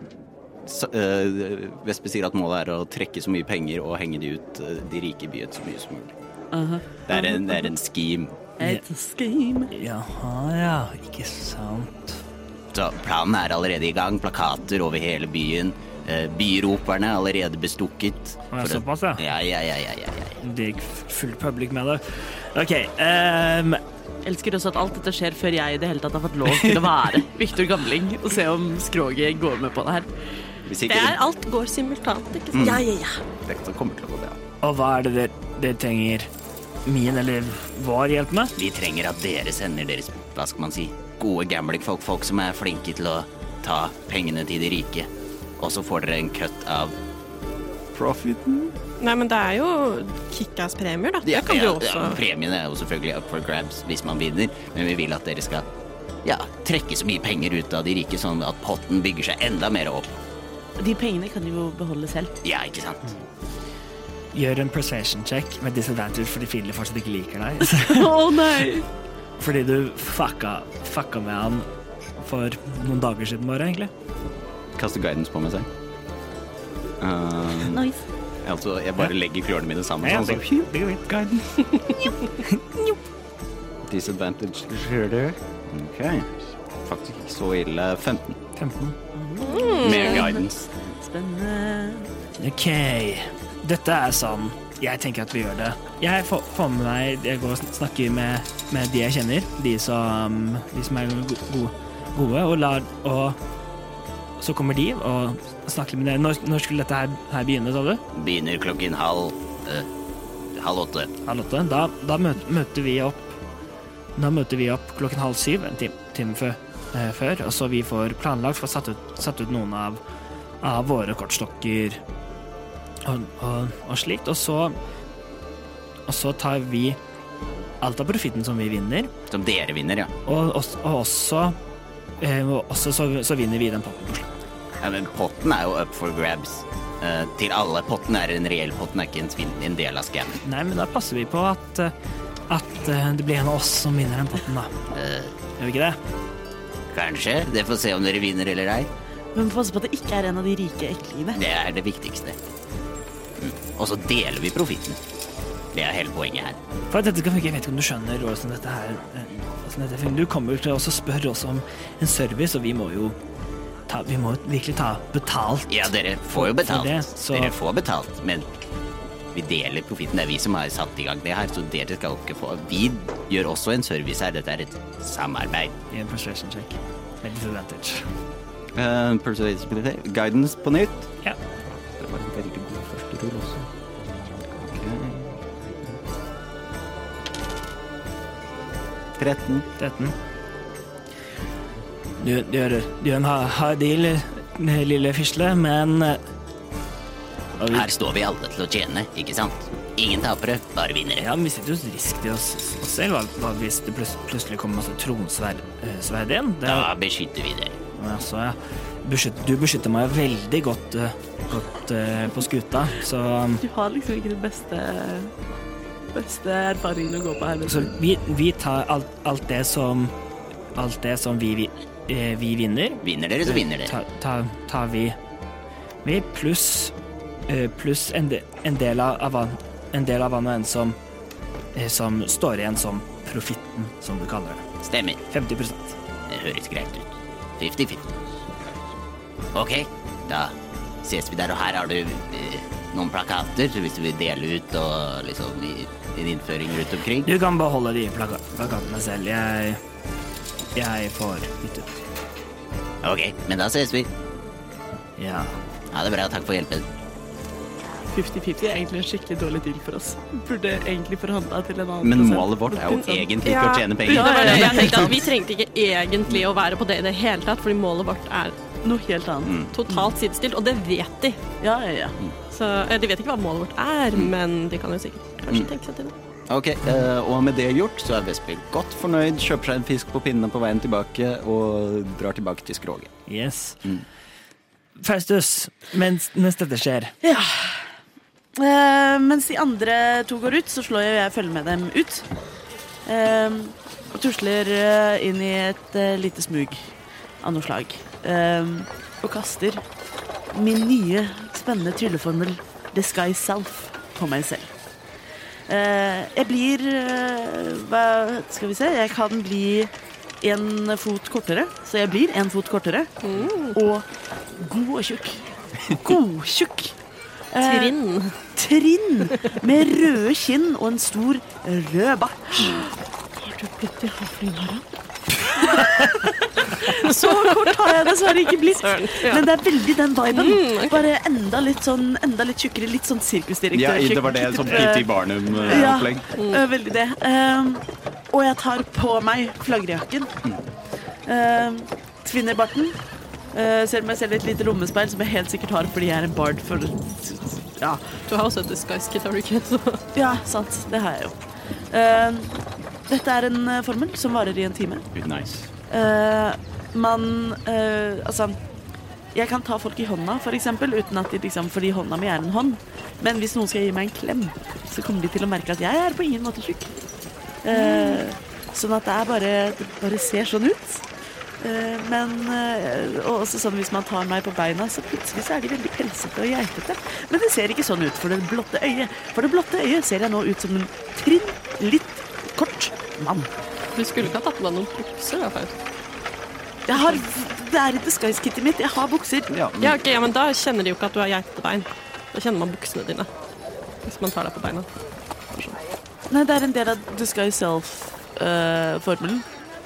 Speaker 4: s- øh, Vespe sier at målet er å trekke så mye penger og henge de ut øh, de rike i byen så mye som mulig. Det er en, det er en scheme.
Speaker 5: It's a scheme.
Speaker 3: Jaha, ja. Ikke sant.
Speaker 4: Så planen er allerede i gang. Plakater over hele byen. Eh, Byroperne er allerede bestukket.
Speaker 3: Å, ja,
Speaker 4: For å-
Speaker 3: såpass, ja.
Speaker 4: Ja, ja, ja, ja, ja, ja.
Speaker 3: Det gikk f- full public med det. OK. ehm,
Speaker 5: Elsker også at alt dette skjer før jeg i det hele tatt har fått lov til å være Viktor Gamling og se om skroget går med på det her.
Speaker 4: Hvis
Speaker 2: Det
Speaker 4: ikke
Speaker 2: er alt går simultant, ikke
Speaker 4: Mm.
Speaker 2: sant?
Speaker 5: Ja, ja, ja.
Speaker 4: det, det kommer til å gå bra.
Speaker 3: og hva er det dere dere trenger min eller vår hjelp med?
Speaker 4: Vi trenger at dere sender deres hva skal man si, gode gamblingfolk, folk som er flinke til å ta pengene til de rike. Og så får dere en cut av Profiten?
Speaker 2: Nei, men det er jo kickass-premier, da. Det kan du også.
Speaker 4: Premien er jo selvfølgelig up for grabs hvis man vinner, men vi vil at dere skal ja, trekke så mye penger ut av de rike, sånn at potten bygger seg enda mer opp.
Speaker 5: De pengene kan de jo beholde selv.
Speaker 4: Ja, ikke sant?
Speaker 3: Gjør en persuasion check med disadvantage fordi Philip fortsatt ikke liker deg. Så-
Speaker 5: Å nei!
Speaker 3: Fordi du fucka, fucka med han for noen dager siden bare, egentlig.
Speaker 4: Kaster guidance på meg selv.
Speaker 5: Nice.
Speaker 4: altså, jeg bare legger fjørene mine sammen.
Speaker 3: Ja,
Speaker 4: sånn,
Speaker 3: det går fint, det går fint. Guidance.
Speaker 4: Disadvantage Ok Faktisk ikke så ille 15
Speaker 3: 15.
Speaker 4: Med guidance
Speaker 5: Spennende.
Speaker 3: Ok, dette er sånn Jeg tenker at vi gjør det Jeg får, får med meg Jeg går og sn- snakker med, med de jeg kjenner De som, de som er go- go- gode Og, lar, og så kommer de og snakker med dere Når, når skulle dette her, her begynne, sa du?
Speaker 4: Begynner klokken halv eh, Halv åtte
Speaker 3: Halv åtte? Da, da møter, møter vi opp Da møter vi opp klokken halv syv En time, time før, eh, før Og så vi får planlagt Får satt ut, satt ut noen av Av våre kortstokker og, og, og slikt Og så Og så tar vi Alt av profitten som vi vinner
Speaker 4: Som dere vinner, ja
Speaker 3: Og, også- og også eh, og også så, så vinner vi den potten på slutt
Speaker 4: Ja, men potten er jo up for grabs Eh, Til alle Potten er en reell Potten er ikke en, svin, en del av scammen
Speaker 3: Nei, men da passer vi på at eh, At eh, det blir en av oss som vinner den potten da
Speaker 4: Eh,
Speaker 3: Gjør vi ikke det?
Speaker 4: Kanskje Det får se om dere vinner eller ei
Speaker 5: Men pass på at det ikke er en av de rike eklingene.
Speaker 4: Det er det viktigste mm. Og så deler vi profitten Det er hele poenget her
Speaker 3: For at dette skal funke, jeg vet ikke om du skjønner hvordan dette her eh, hvordan dette fungerer. Du kommer til å også spørre oss om en service, og vi må jo ta, vi må virkelig ta betalt.
Speaker 4: Ja, dere får jo betalt.
Speaker 3: For det, så-
Speaker 4: Dere får betalt, men vi deler profitten. Det er vi som har satt i gang det her, så dere skal ikke få Vi gjør også en service her. Dette er et samarbeid.
Speaker 3: I en persuasion check. Med disadvantage.
Speaker 4: Eh, Guidance på nytt.
Speaker 3: Ja.
Speaker 4: Det var en veldig god første rull også. Ok. 13.
Speaker 3: 13. Du, du, gjør, du gjør en hard hard deal, eh, lille fisle, men eh, og vi-
Speaker 4: Her står vi alle til å tjene, ikke sant? Ingen tapere, bare vinnere.
Speaker 3: Ja, men vi sitter jo risky oss, oss selv. Hva, hva hvis det plut- plutselig kommer masse tronsverd eh, sverd igjen? Det er-
Speaker 4: Da beskytter vi dere.
Speaker 3: Ja, så ja. Beskytt, du beskytter meg veldig godt, eh, godt eh, på skuta, så, um,
Speaker 5: Du har liksom ikke den beste, beste erfaringen å gå på her. liksom. vet
Speaker 3: så
Speaker 5: du.
Speaker 3: vi, vi tar alt, alt det som Alt det som vi, vi, eh, vi vinner,
Speaker 4: Vinner dere, så vinner dere.
Speaker 3: tar ta, tar vi. Vi pluss eh, pluss en, de, en del av av hva- en del av hva nå enn som eh, som står igjen som profitten, som du kaller det.
Speaker 4: Stemmer.
Speaker 3: 50
Speaker 4: Det høres greit ut. 50-50. Ok, da ses vi der, og her har du eh, noen plakater så hvis du vil dele ut og liksom i din innføring rundt omkring.
Speaker 3: Du kan beholde de plaka plakatene selv. Jeg, jeg får bytte ut.
Speaker 4: Ok, men da ses vi.
Speaker 3: Ja.
Speaker 4: Ha det bra, takk for hjelpen.
Speaker 5: 50-50 er egentlig en skikkelig dårlig deal for oss. Burde egentlig forhandla til en annen
Speaker 4: Men
Speaker 5: prosent.
Speaker 4: målet vårt er jo
Speaker 5: Litt sånn.
Speaker 4: egentlig ikke å tjene
Speaker 2: Ja,
Speaker 4: penger.
Speaker 2: det var det jeg tenkte at Vi trengte ikke egentlig å være på det i det hele tatt, fordi målet vårt er
Speaker 5: Noe helt annet.
Speaker 2: Mm. totalt sidestilt, og det vet de.
Speaker 5: Ja, ja, ja.
Speaker 2: Så, eh, de vet ikke hva målet vårt er, men de kan jo sikkert kanskje tenke seg til det.
Speaker 4: Ok, eh, Og med det gjort så er Vesper godt fornøyd, kjøper seg en fisk på pinnene på veien tilbake og drar tilbake til skroget.
Speaker 3: Yes. Faustus, mens, mens dette skjer
Speaker 5: Eh, mens de andre to går ut, så slår jeg og jeg følger med dem ut. Eh, og tusler eh, inn i et eh, lite smug av noe slag. Eh, og kaster min nye spennende trylleformel Disguise Self på meg selv. Eh, jeg blir eh, Hva skal vi se? Jeg kan bli en fot kortere, så jeg blir en fot kortere. Og god og tjukk. God tjukk. Eh,
Speaker 2: Trinn.
Speaker 5: trinn med røde kinn og en stor rød bart. Så kort har jeg dessverre ikke blitt.
Speaker 2: Søren, ja.
Speaker 5: Men det er veldig den viben.
Speaker 2: Mm, ok.
Speaker 5: Bare enda litt sånn Enda litt tjukkere, litt sånn
Speaker 4: Ja,
Speaker 5: sirkusdirektør.
Speaker 4: det var det som PT Barnum-opplegg.
Speaker 5: Ja, Mm. Eh, veldig det. Ehm, og jeg tar på meg flagrejakken. Ehm, tvinner barten. Eh, ser meg selv i et lite lommespeil som jeg helt sikkert har fordi jeg er en bard for Ja.
Speaker 2: Du har også et disguise-kit, har du ikke? Så.
Speaker 5: Ja, sant. Det har jeg jo. Eh, dette er en eh, formel som varer i en time.
Speaker 4: Nice.
Speaker 5: Eh, man eh, Altså, jeg kan ta folk i hånda, for eksempel, uten at de liksom Fordi hånda mi er en hånd. Men hvis noen skal gi meg en klem, så kommer de til å merke at jeg er på ingen måte tjukk. Eh, sånn at det er bare Det bare ser sånn ut. Eh, men eh, Og også sånn hvis man tar meg på beina, så plutselig så er de veldig pelsete og geitete. Men det ser ikke sånn ut for det blotte øyet. For det blotte øyet ser jeg nå ut som en trinn, litt kort mann.
Speaker 2: Du skulle ikke ha tatt på deg noen bukser, da, Faust.
Speaker 5: Jeg har, det er ikke disguise-kittet mitt. Jeg har bukser.
Speaker 4: Ja, men
Speaker 2: Ja, ok, ja, men da kjenner de jo ikke at du har geitebein. Da kjenner man buksene dine. Hvis man tar deg på beina.
Speaker 5: Nei, det er en del av disguise self-formelen.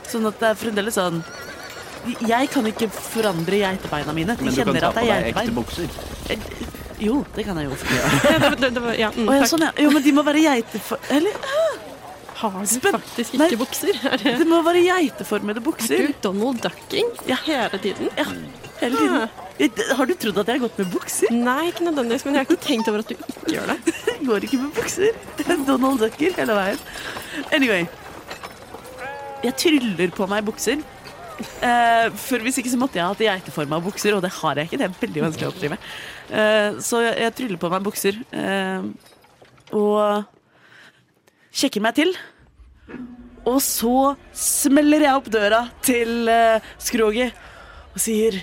Speaker 5: sånn at det er fremdeles sånn Jeg kan ikke forandre geitebeina mine. De
Speaker 4: men du kan
Speaker 5: kjenner
Speaker 4: ta
Speaker 5: at
Speaker 4: på
Speaker 5: det er
Speaker 4: deg ekte
Speaker 5: geitebein.
Speaker 4: bukser.
Speaker 5: Jo, det kan jeg jo.
Speaker 2: Ja, det, det, det, var- ja, mm,
Speaker 5: Å, ja,
Speaker 2: takk.
Speaker 5: sånn, ja. Jo, men de må være geitefor... Eller,
Speaker 2: Har du
Speaker 5: Spenn-
Speaker 2: faktisk
Speaker 5: Nei.
Speaker 2: ikke bukser? Er det
Speaker 5: Ah, det må være geiteformede
Speaker 2: du
Speaker 5: bukser
Speaker 2: Donald Ducking
Speaker 5: Ja.
Speaker 2: hele tiden? Ah,
Speaker 5: Ja, hele tiden. Jeg- Har du trodd at jeg har gått med bukser?
Speaker 2: Nei, ikke nødvendigvis, men jeg har ikke tenkt over at du ikke gjør det.
Speaker 5: Jeg går ikke med bukser. Det er Donald Ducker hele veien. Anyway. Jeg tryller på meg bukser. Eh, for hvis ikke så måtte jeg ha hatt geiteforma bukser, og det har jeg ikke. Det er veldig vanskelig å oppdrive. Eh, så jeg, jeg tryller på meg bukser eh, og sjekker meg til. Og så smeller jeg opp døra til eh, skroget og sier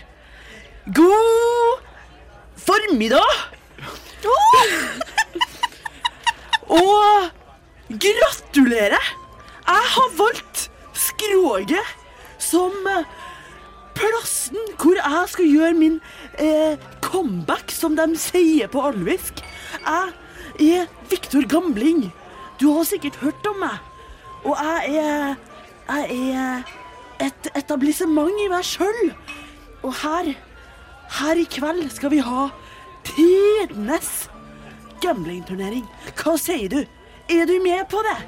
Speaker 5: God formiddag! Og gratulerer! Jeg har valgt skroget som eh, plassen hvor jeg skal gjøre min eh, comeback, som de sier på alvisk. Jeg er Viktor Gambling. Du har sikkert hørt om meg. Og jeg er, jeg er et etablissement i meg sjøl. Og her, her i kveld skal vi ha tidenes gamblingturnering. Hva sier du? Er du med på det?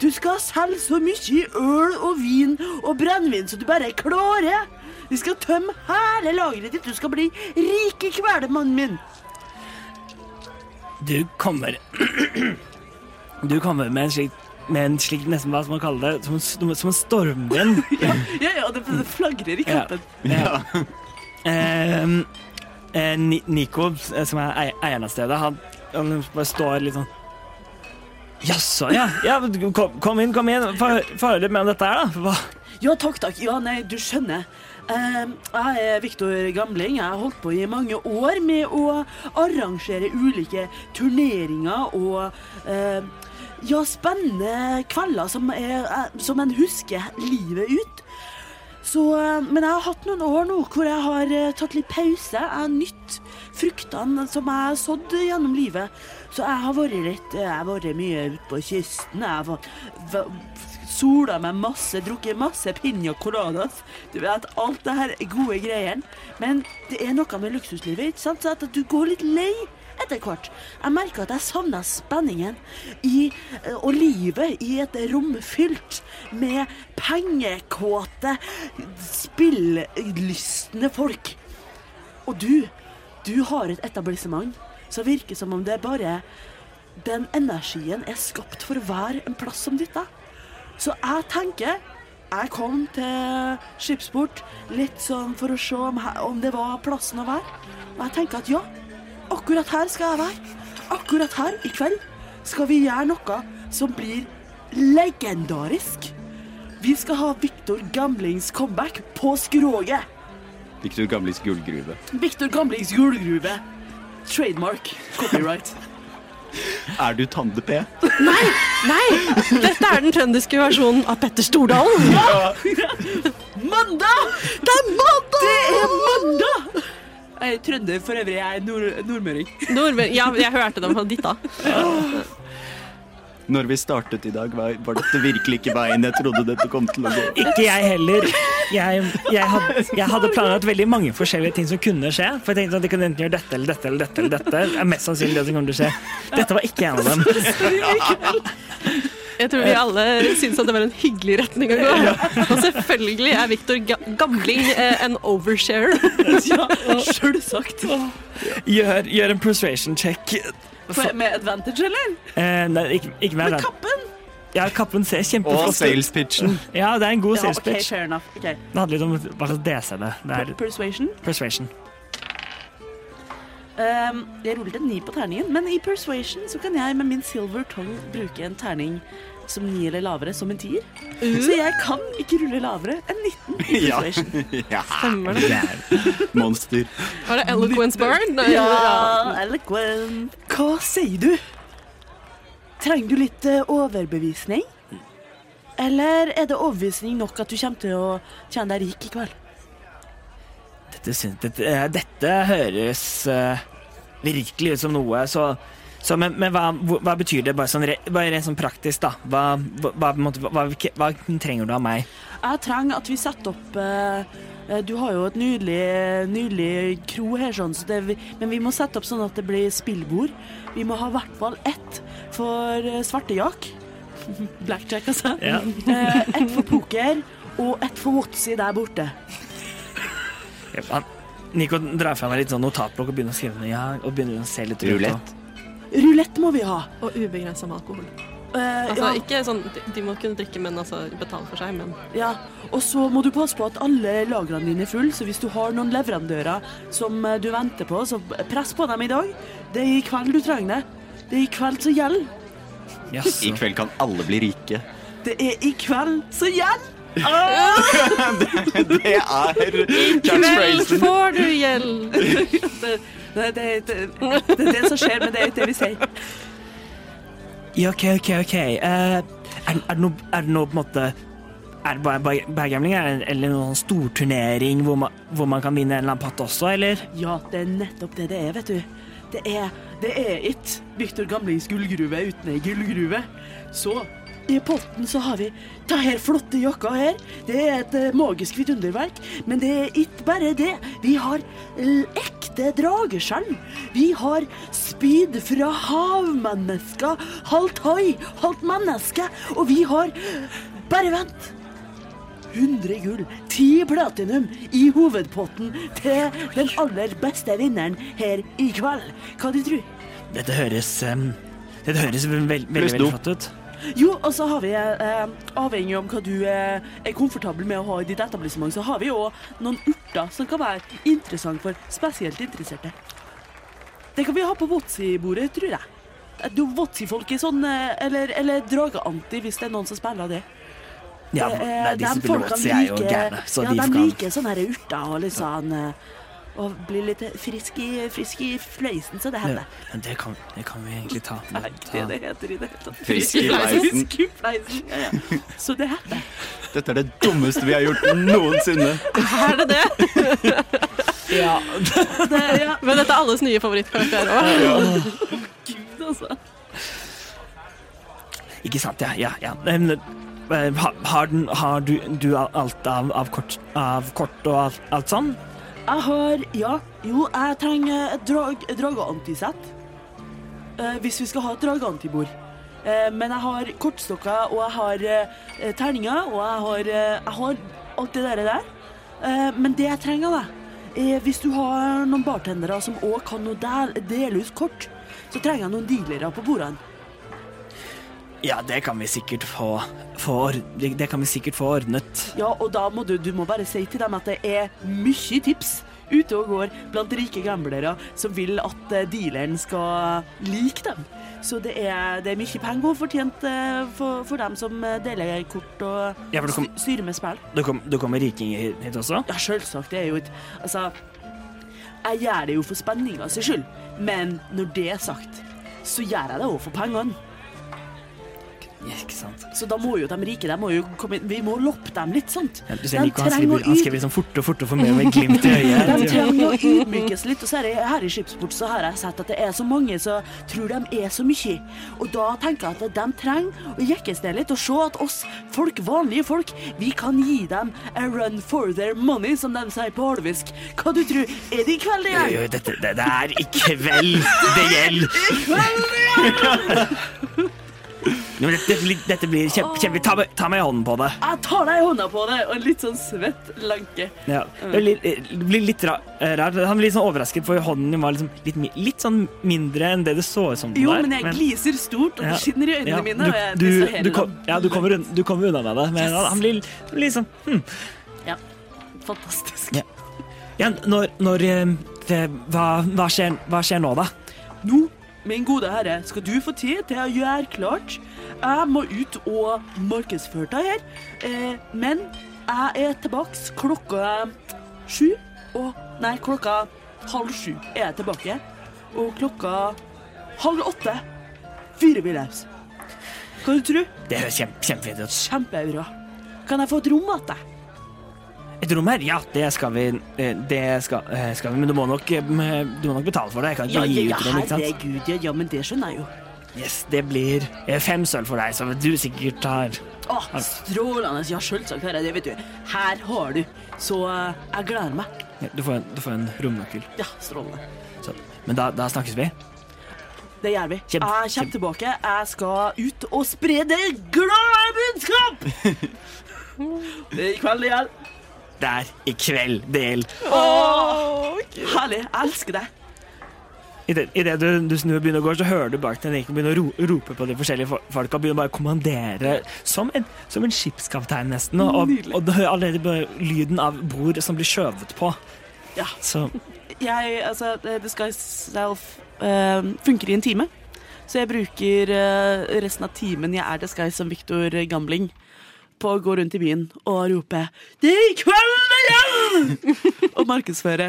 Speaker 5: Du skal selge så mye øl og vin og brennevin som du bare klarer. Vi skal tømme hele lageret ditt. Du skal bli rik i kveld, mannen min.
Speaker 3: Du kommer Du kommer med en slik med en slik nesten hva skal man kalle det, som, en s- som en stormvind.
Speaker 5: Ja, ja, det flagrer i
Speaker 3: kroppen. Ja. Ehm, eh, Ni- Nico, eh, som er ei- eieren av stedet, han, han bare står litt sånn Jaså, ja. ja men du- kom, kom inn, kom inn. Få hø- få høre litt mer om dette her, da. Hva?
Speaker 5: Ja, takk, takk. Ja, nei, du skjønner. Eh, jeg er Viktor Gamling. Jeg har holdt på i mange år med å arrangere ulike turneringer og eh, ja, spennende kvelder som, er, eh, som en husker livet ut. Så, eh, men jeg har hatt noen år nå hvor jeg har eh, tatt litt pause. Jeg har nytt fruktene som jeg har sådd gjennom livet. Så jeg har vært litt eh, Jeg har vært mye ute på kysten. Jeg har vært- væ- sola meg masse, drukket masse piña coladas. Du vet, alt det her er gode greier. Men det er noe med luksuslivet, ikke sant? Så at du går litt lei etter hvert. Jeg merker at jeg savner spenningen i, eh, og livet i et rom fylt med pengekåte, spilllystne folk. Og du, du har et etablissement som virker som om det er bare Den energien er skapt for å være en plass som ditt, da. Så jeg tenker Jeg kom til Skipsport litt sånn for å se om, he- om det var plassen å være. Og jeg tenker at ja, akkurat her skal jeg være. Akkurat her i kveld skal vi gjøre noe som blir legendarisk. Vi skal ha Viktor Gamlings comeback på skroget.
Speaker 4: Victor Gamlis gullgruve.
Speaker 5: Viktor Gamlings julegruve. Trademark. Copyright.
Speaker 4: Er du Tande P?
Speaker 2: Nei! Dette er den trønderske versjonen av Petter Stordalen.
Speaker 5: Mandag! Det er mandag! Det er mandag! Jeg er trønder for øvrig. Jeg er nord nordmøring.
Speaker 2: Nordmenn, ja, jeg hørte dem på ditta.
Speaker 4: Når vi startet i dag, var, var dette virkelig ikke veien jeg trodde dette kom til å gå.
Speaker 3: Ikke jeg heller. Jeg, jeg, hadde, jeg hadde planlagt veldig mange forskjellige ting som kunne skje. For jeg tenkte at de kunne enten gjøre dette eller dette eller dette. eller dette Det er mest sannsynlig det som kommer til å skje. Dette var ikke en av dem.
Speaker 2: Jeg tror
Speaker 5: Eh.
Speaker 2: vi alle syns at det var en hyggelig retning å gå. Og selvfølgelig er Viktor Ga Gamling eh, en overshare.
Speaker 5: Ja, Sjølsagt.
Speaker 3: Gjør, gjør en persuasion check.
Speaker 5: For- Med advantage, eller?
Speaker 3: Eh, nei, ikke, ikke mer.
Speaker 5: Med
Speaker 3: da.
Speaker 5: kappen?
Speaker 3: Ja, kappen ser
Speaker 4: Og
Speaker 3: kjempeflott ut.
Speaker 4: salespitchen.
Speaker 3: Ja, det er en god
Speaker 5: Ja,
Speaker 3: sales
Speaker 5: ok,
Speaker 3: pitch.
Speaker 5: fair enough. Ok.
Speaker 3: Det handler litt om hva slags DC det er. Det er
Speaker 5: Persuasion.
Speaker 3: persuasion.
Speaker 5: Um, jeg rullet en ni på terningen, men i persuasion så kan jeg med min silver tongue bruke en terning som ni eller lavere, som en tier. Så jeg kan ikke rulle lavere enn 19 i
Speaker 4: Ja.
Speaker 5: persuasion.
Speaker 4: ja.
Speaker 2: Stemmer det.
Speaker 3: Det er
Speaker 4: Monster.
Speaker 2: Var det Eloquence Burn?
Speaker 5: eloquent. Hva sier du? Trenger du litt eh, overbevisning? Eller er det overbevisning nok at du kommer til å tjene deg rik i kveld?
Speaker 3: Dette, syns- dette, eh, dette høres eh, virkelig ut som noe, så, så men, men hva, hvor- hva betyr det, bare, sånn, re- bare rent sånn praktisk, da? Hva, hva, hva, på en måte- hva, hva, hva trenger du av meg?
Speaker 5: Jeg trenger at vi setter opp eh, eh, Du har jo et nydelig, nydelig kro her, sånn, så det, vi- men vi må sette opp sånn at det blir spillbord. Vi må ha i hvert fall ett for eh, svartejakk. Blackjack, altså.
Speaker 3: Ja.
Speaker 5: Eh, ett for poker, og ett for Watsi der borte.
Speaker 3: Han, Nico drar fra meg litt sånn notatblokk og begynner å skrive ned. Ja, og begynner å se litt rundt,
Speaker 4: Rulett.
Speaker 3: og-
Speaker 5: Rulett må vi ha.
Speaker 2: Og ubegrensa med alkohol.
Speaker 5: Eh,
Speaker 2: Altså,
Speaker 5: ja.
Speaker 2: ikke sånn, de- de må kunne drikke, men altså, betale for seg. Men
Speaker 5: Ja, og så må du passe på at alle lagrene dine er fulle, så hvis du har noen leverandører som eh, du venter på, så press på dem i dag. Det er i kveld du trenger det. Det er i kveld som gjelder.
Speaker 4: I
Speaker 3: Jaså.
Speaker 4: kveld kan alle bli rike.
Speaker 5: Det er i kveld som gjelder. Ah!
Speaker 4: Det er catchphrasen.
Speaker 2: får du gjeld!
Speaker 5: Det, det, det, det, det er det som skjer, men det er ikke det vi sier.
Speaker 3: Ja, OK, OK, OK. Eh, er, er det noe er det noe på en måte Er det bare bare- bare gambling, er det- eller noen sånn storturnering hvor, man- hvor man kan vinne en eller annen pott også, eller?
Speaker 5: Ja, det er nettopp det det er, vet du. Det er det er ikke Viktor Gamlings gullgruve uten ei gullgruve. Så i potten så har vi det her flotte jakka her. Det er et eh, magisk vidunderverk. Men det er ikke bare det. Vi har l- ekte drageskjelv. Vi har spyd fra havmennesker. Halvt hai, halvt menneske. Og vi har Bare vent. 100 gull, 10 platinum i hovedpotten til den aller beste vinneren her i kveld. Hva du tror?
Speaker 3: Dette høres em, Dette høres veld, veld, veldig,
Speaker 4: Pluss
Speaker 3: veldig
Speaker 4: dop.
Speaker 3: flott ut.
Speaker 5: Jo, og så har vi, eh, avhengig om hva du eh, er komfortabel med å ha i ditt etablissement, så har vi jo noen urter som kan være interessant for spesielt interesserte. Det kan vi ha på Votsi-bordet, tror jeg. Eh, Du, Votsi-folk er sånn, eh, eller, eller drageanti hvis det er noen som spiller det.
Speaker 3: Ja,
Speaker 5: Det
Speaker 3: nei,
Speaker 5: er-
Speaker 3: disse
Speaker 5: dem folkene
Speaker 3: pilotene er jo
Speaker 5: Eh, liker-
Speaker 3: gærne, så
Speaker 5: ja,
Speaker 3: de
Speaker 5: de
Speaker 3: kan
Speaker 5: liker sånne her urter og litt sånn eh, Og blir litt frisk i, frisk i fløysen, så det
Speaker 3: ja,
Speaker 5: heter.
Speaker 3: men det kan, det kan vi egentlig ta.
Speaker 5: Det er ikke det det heter i det hele tatt.
Speaker 4: Frisk i fleisen.
Speaker 5: Frisk i fleisen, ja, ja. Så det heter.
Speaker 4: Dette er det dummeste vi har gjort noensinne.
Speaker 2: Er det det?
Speaker 3: Ja.
Speaker 5: det ja.
Speaker 2: Men dette er alles nye favorittkarakter òg.
Speaker 5: Gud, altså.
Speaker 3: Ikke sant, ja. ja, ja. Men, Eh, ha- Har, den, har du, du alt av, av, kort, av kort og alt, alt sånn?
Speaker 5: Jeg har Ja, jo, jeg trenger et drag, et dragantisett. Eh, hvis vi skal ha et dragantibord. Eh, men jeg har kortstokker, og jeg har eh, terninger, og jeg har, eh, jeg har alt det der. der. Eh, men det jeg trenger, da eh, Hvis du har noen bartendere som òg kan noe del, dele ut kort, så trenger jeg noen dealere på bordene.
Speaker 3: Ja, det kan vi sikkert få, få, ord- det det kan vi sikkert få ordnet.
Speaker 5: Ja, og da må du, du må bare si til dem at det er mye tips ute og går blant rike gamblere som vil at eh, dealeren skal like dem. Så det er, det er mye penger å fortjent eh, for, for dem som eh, deler kort og
Speaker 3: Ja, for det kom-
Speaker 5: sty- styrer med spill.
Speaker 3: Det kom, det kommer rikinger hit- hit også?
Speaker 5: Ja, selvsagt. Det er jo et Altså, jeg gjør det jo for spenninga sin skyld, men når det er sagt, så gjør jeg det òg for pengene.
Speaker 3: Ja, ikke sant.
Speaker 5: Så da må jo de rike de må jo komme inn Vi må loppe dem litt, sant?
Speaker 3: Ja, du ser
Speaker 5: De
Speaker 3: Nico, han
Speaker 5: trenger å
Speaker 3: skriver, han
Speaker 5: ut-
Speaker 3: skriver sånn fort og fort og får med med glimt i øyet.
Speaker 5: De trenger å ydmykes litt. Og så er det, her i Skipsport så har jeg sett at det er så mange som tror de er så mye. Og da tenker jeg at de trenger å jekkes ned litt og se at oss folk, vanlige folk, vi kan gi dem a run for their money, som de sier på alvisk. Hva du tror? Er det i kveld det
Speaker 3: Jo,
Speaker 5: gjør?
Speaker 3: jo, dette, det, det er i kveld det gjelder! Jo, men dette, dette, blir- dette blir kjempe, kjempe ta, meg- ta meg i hånden på det.
Speaker 5: Jeg tar deg i hånda på det, og en litt sånn svett lanke.
Speaker 3: Ja. Det blir, det blir litt ra- eh, rart. Han blir litt sånn overrasket, for hånden din var liksom litt, mi- litt sånn mindre enn det det så ut som den
Speaker 5: Jo,
Speaker 3: var.
Speaker 5: men jeg gliser stort, og
Speaker 3: Ja.
Speaker 5: det skinner i øynene
Speaker 3: Ja,
Speaker 5: mine.
Speaker 3: du-
Speaker 5: og jeg
Speaker 3: du-
Speaker 5: distraherer
Speaker 3: du kom-
Speaker 5: dem.
Speaker 3: Ja, du kommer, unna, du kommer unna med det, men han- han blir, han blir liksom
Speaker 5: Ja. Fantastisk.
Speaker 3: Ja. ja, Når, når eh, det, hva, hva, skjer, hva skjer nå, da?
Speaker 5: Nå, min gode herre, skal du få tid til å gjøre klart. Jeg må ut og markedsføre deg her. Eh, men jeg er tilbake klokka sju. Og, nei, klokka halv sju er jeg tilbake. Og klokka halv åtte fyrer vi løs. Hva du tror?
Speaker 3: Det høres kjempe, kjempefint ut.
Speaker 5: Kjempebra. Kan jeg få et rom til deg?
Speaker 3: Et rom her? Ja, det skal vi. eh, Det skal, eh, skal vi men du må, nok, eh, du må nok betale for det. Jeg kan ikke
Speaker 5: Ja,
Speaker 3: bare gi
Speaker 5: ja,
Speaker 3: ut den, ikke sant?
Speaker 5: herregud, ja, ja, men det skjønner jeg jo.
Speaker 3: Yes, det blir eh, fem sølv for deg, som du sikkert har.
Speaker 5: Å, strålende. Ja, selvsagt har jeg det, vet du. Her har du. Så eh, jeg gleder meg.
Speaker 3: Ja, Du får en, du får en romnøkkel.
Speaker 5: Ja, strålende.
Speaker 3: Så. Men da, da snakkes vi.
Speaker 5: Det gjør vi.
Speaker 3: Kjempe-
Speaker 5: jeg kommer tilbake. Jeg skal ut og spre det glade budskap! Det er i kveld det gjelder.
Speaker 3: Det er i kveld del.
Speaker 5: Herlig. Jeg elsker deg.
Speaker 3: Idet du, du snur og begynner å gå, så hører du bak deg Nico begynne å ro, rope på de forskjellige fo- folka. Begynner bare å kommandere som en, som en skipskaptein, nesten. Og, og,
Speaker 5: Nydelig.
Speaker 3: og du hører allerede bare lyden av bord som blir skjøvet på.
Speaker 5: Ja.
Speaker 3: Så
Speaker 5: Jeg, altså, eh, Disguise Self eh, funker i en time. Så jeg bruker eh, resten av timen jeg er Disguise som Victor Gambling, på å gå rundt i byen og rope 'Det er i kveld det gjelder!' og markedsføre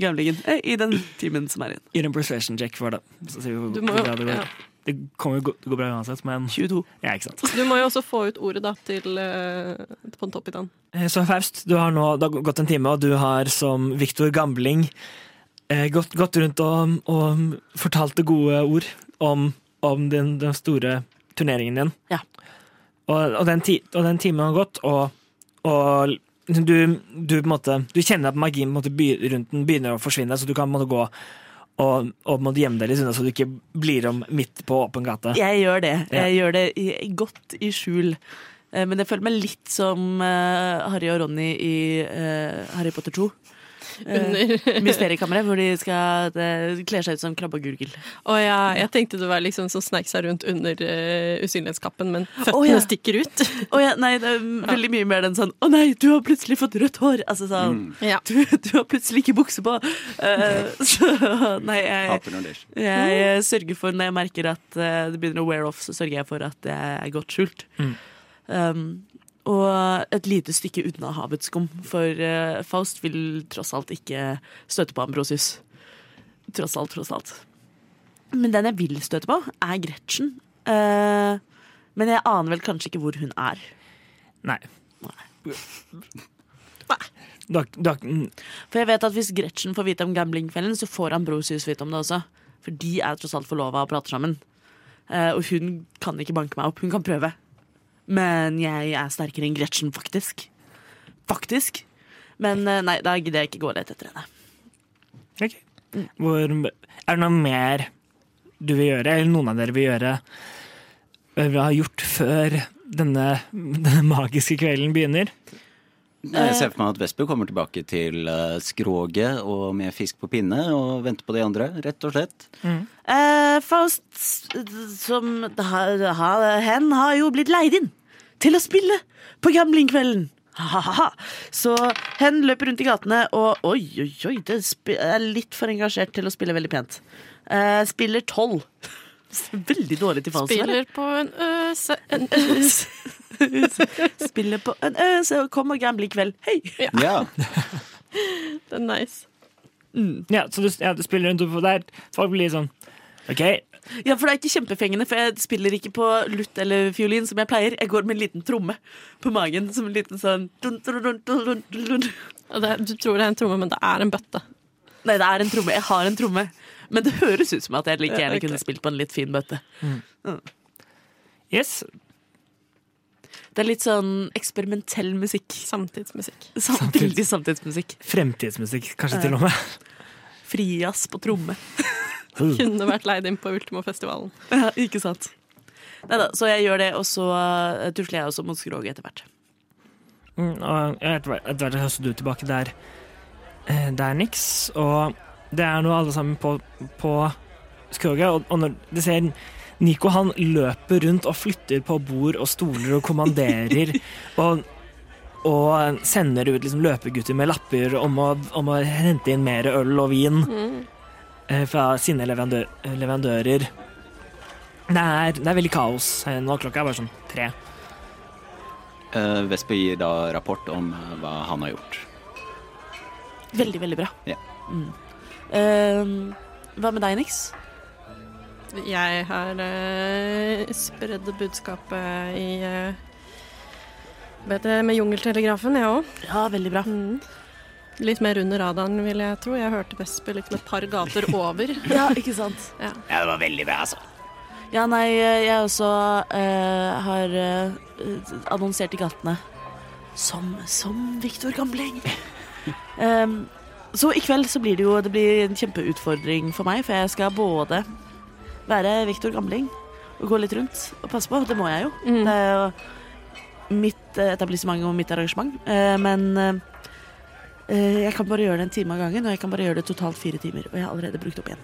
Speaker 5: gamblingen eh, i den timen som er igjen.
Speaker 3: Gjør en persuasion check for det. Så ser vi hvor,
Speaker 2: Du må
Speaker 3: hvor
Speaker 2: jo-
Speaker 3: bra det går.
Speaker 2: ja.
Speaker 3: Det kommer jo gå- det går bra uansett, men
Speaker 5: 22.
Speaker 3: Ja, ikke sant.
Speaker 2: Du må jo også få ut ordet da til eh, på en topp i den.
Speaker 3: Eh, Så Faust, du har nå, det har gått en time, og du har som Viktor Gambling eh, gått, gått rundt og, og fortalt det gode ord om, om den, den store turneringen din.
Speaker 5: Ja.
Speaker 3: Og, og, den, ti, og den timen har gått, og, og liksom du, du, på en måte, du kjenner at magien på en måte, by, rundt den begynner å forsvinne, så du kan på en måte, gå og, og på en måte, gjemme deg litt unna, så du ikke blir om midt på åpen gate.
Speaker 5: Jeg gjør det.
Speaker 3: Ja.
Speaker 5: Jeg gjør det i, godt i skjul. Eh, Men jeg føler meg litt som eh, Harry og Ronny i eh, Harry Potter 2.
Speaker 2: Under.
Speaker 5: Mysteriekammeret, hvor de skal eh, kle seg ut som krabbe og gurgel.
Speaker 2: Og jeg, jeg tenkte det var liksom som sneik seg rundt under eh, usynlighetskappen, men føttene
Speaker 5: Å, ja.
Speaker 2: stikker ut.
Speaker 5: Å ja, nei, det er veldig mye mer den sånn 'Å nei, du har plutselig fått rødt hår'. Altså sånn
Speaker 4: Mm.
Speaker 2: Ja.
Speaker 5: du, du har plutselig ikke bukse på. Eh, så nei, jeg,
Speaker 4: Hater når det skjer.
Speaker 5: jeg eh, sørger for når jeg merker at eh, det begynner å wear off, så sørger jeg for at det er godt skjult.
Speaker 3: Mm.
Speaker 5: Um, og et lite stykke unna havets skum, for eh, Faust vil tross alt ikke støte på Ambrosius. Tross alt, tross alt. Men den jeg vil støte på, er Gretchen. Eh, men jeg aner vel kanskje ikke hvor hun er.
Speaker 3: Nei. Du har, du har, mm,
Speaker 5: For jeg vet at hvis Gretchen får vite om gamblingkvelden, så får Ambrosius vite om det også. For de er tross alt forlova og prater sammen. Eh, og hun kan ikke banke meg opp. Hun kan prøve. Men jeg er sterkere enn Gretchen, faktisk. Faktisk. Men eh, nei, da gidder jeg ikke gå lett etter henne.
Speaker 3: Ok. Hvor, er det noe mer du vil gjøre, eller noen av dere vil gjøre, vil ha gjort før denne, denne magiske kvelden begynner? Eh.
Speaker 4: Jeg ser for meg at Vesper kommer tilbake til eh, skroget og med fisk på pinne og venter på de andre, rett og slett.
Speaker 5: Eh, Faust, s- som ha, ha, hen har jo blitt leid inn til å spille på gamblingkvelden. Ha-ha-ha. Så hen løper rundt i gatene og oi, oi, oi, det sp er litt for engasjert til å spille veldig pent. Eh, spiller tolv. Veldig dårlig til Faust. eller?
Speaker 2: Spiller på en øse en,
Speaker 5: Spiller på en ø, så kom og gamble i kveld. Hei!
Speaker 4: Ja.
Speaker 2: Det er nice.
Speaker 3: Ja, så du, ja, du spiller rundt oppå der. Folk blir litt sånn OK,
Speaker 5: Ja, for det er ikke kjempefengende, for jeg spiller ikke på lutt eller fiolin som jeg pleier. Jeg går med en liten tromme på magen, som en liten sånn dun, dun, dun, dun, dun, dun.
Speaker 2: Og det, du tror det er en tromme, men det er en bøtte.
Speaker 5: Nei, det er en tromme. Jeg har en tromme. Men det høres ut som at jeg like
Speaker 2: Ja,
Speaker 5: gjerne
Speaker 2: ok.
Speaker 5: kunne spilt på en litt fin bøtte.
Speaker 3: yes.
Speaker 5: Det er litt sånn eksperimentell musikk.
Speaker 2: Samtidsmusikk.
Speaker 5: Sam
Speaker 3: Samtids-
Speaker 5: Veldig samtidsmusikk.
Speaker 3: Fremtidsmusikk, kanskje til og med.
Speaker 5: Frijazz på tromme.
Speaker 2: Kunne vært leid inn på Ultimofestivalen.
Speaker 5: Ja, ikke sant? Nei da, så jeg gjør det, og så eh, tusler jeg også mot skroget etter hvert.
Speaker 3: Mm, og ja, etter hvert etter hvert høster du tilbake der eh, det er niks. Og det er nå alle sammen på, på skroget. Og, og når du ser Nico, han løper rundt og flytter på bord og stoler og kommanderer. og og sender ut liksom løpegutter med lapper om å, om å hente inn mer øl og vin eh, fra sine leverandø eh, leverandører. Det er, det er veldig kaos eh, nå. Klokka er bare sånn tre.
Speaker 4: Eh, Vesper gir da rapport om eh, hva han har gjort.
Speaker 5: Veldig, veldig bra.
Speaker 4: Ja.
Speaker 5: Mm. Eh, hva med deg, Nix?
Speaker 2: Jeg har uh, spredd budskapet i eh, Hva heter det med jungeltelegrafen, jeg òg.
Speaker 5: Ja, veldig bra.
Speaker 2: Mm. Litt mer under radaren, vil jeg tro. Jeg hørte Vesper liksom et par gater over.
Speaker 5: Ja, ikke sant?
Speaker 4: Ja, det var veldig bra, altså.
Speaker 5: Ja, nei, jeg også eh, har eh, annonsert i gatene som, som Viktor Gambling. Em, så i kveld så blir det jo det blir en kjempeutfordring for meg, for jeg skal både være Viktor Gambling og gå litt rundt og passe på. Det må jeg jo.
Speaker 2: Mm.
Speaker 5: Det er jo mitt eh, etablissement og mitt arrangement. Eh, men eh, eh, jeg kan bare gjøre det en time av gangen, og jeg kan bare gjøre det totalt fire timer. Og jeg har allerede brukt opp én.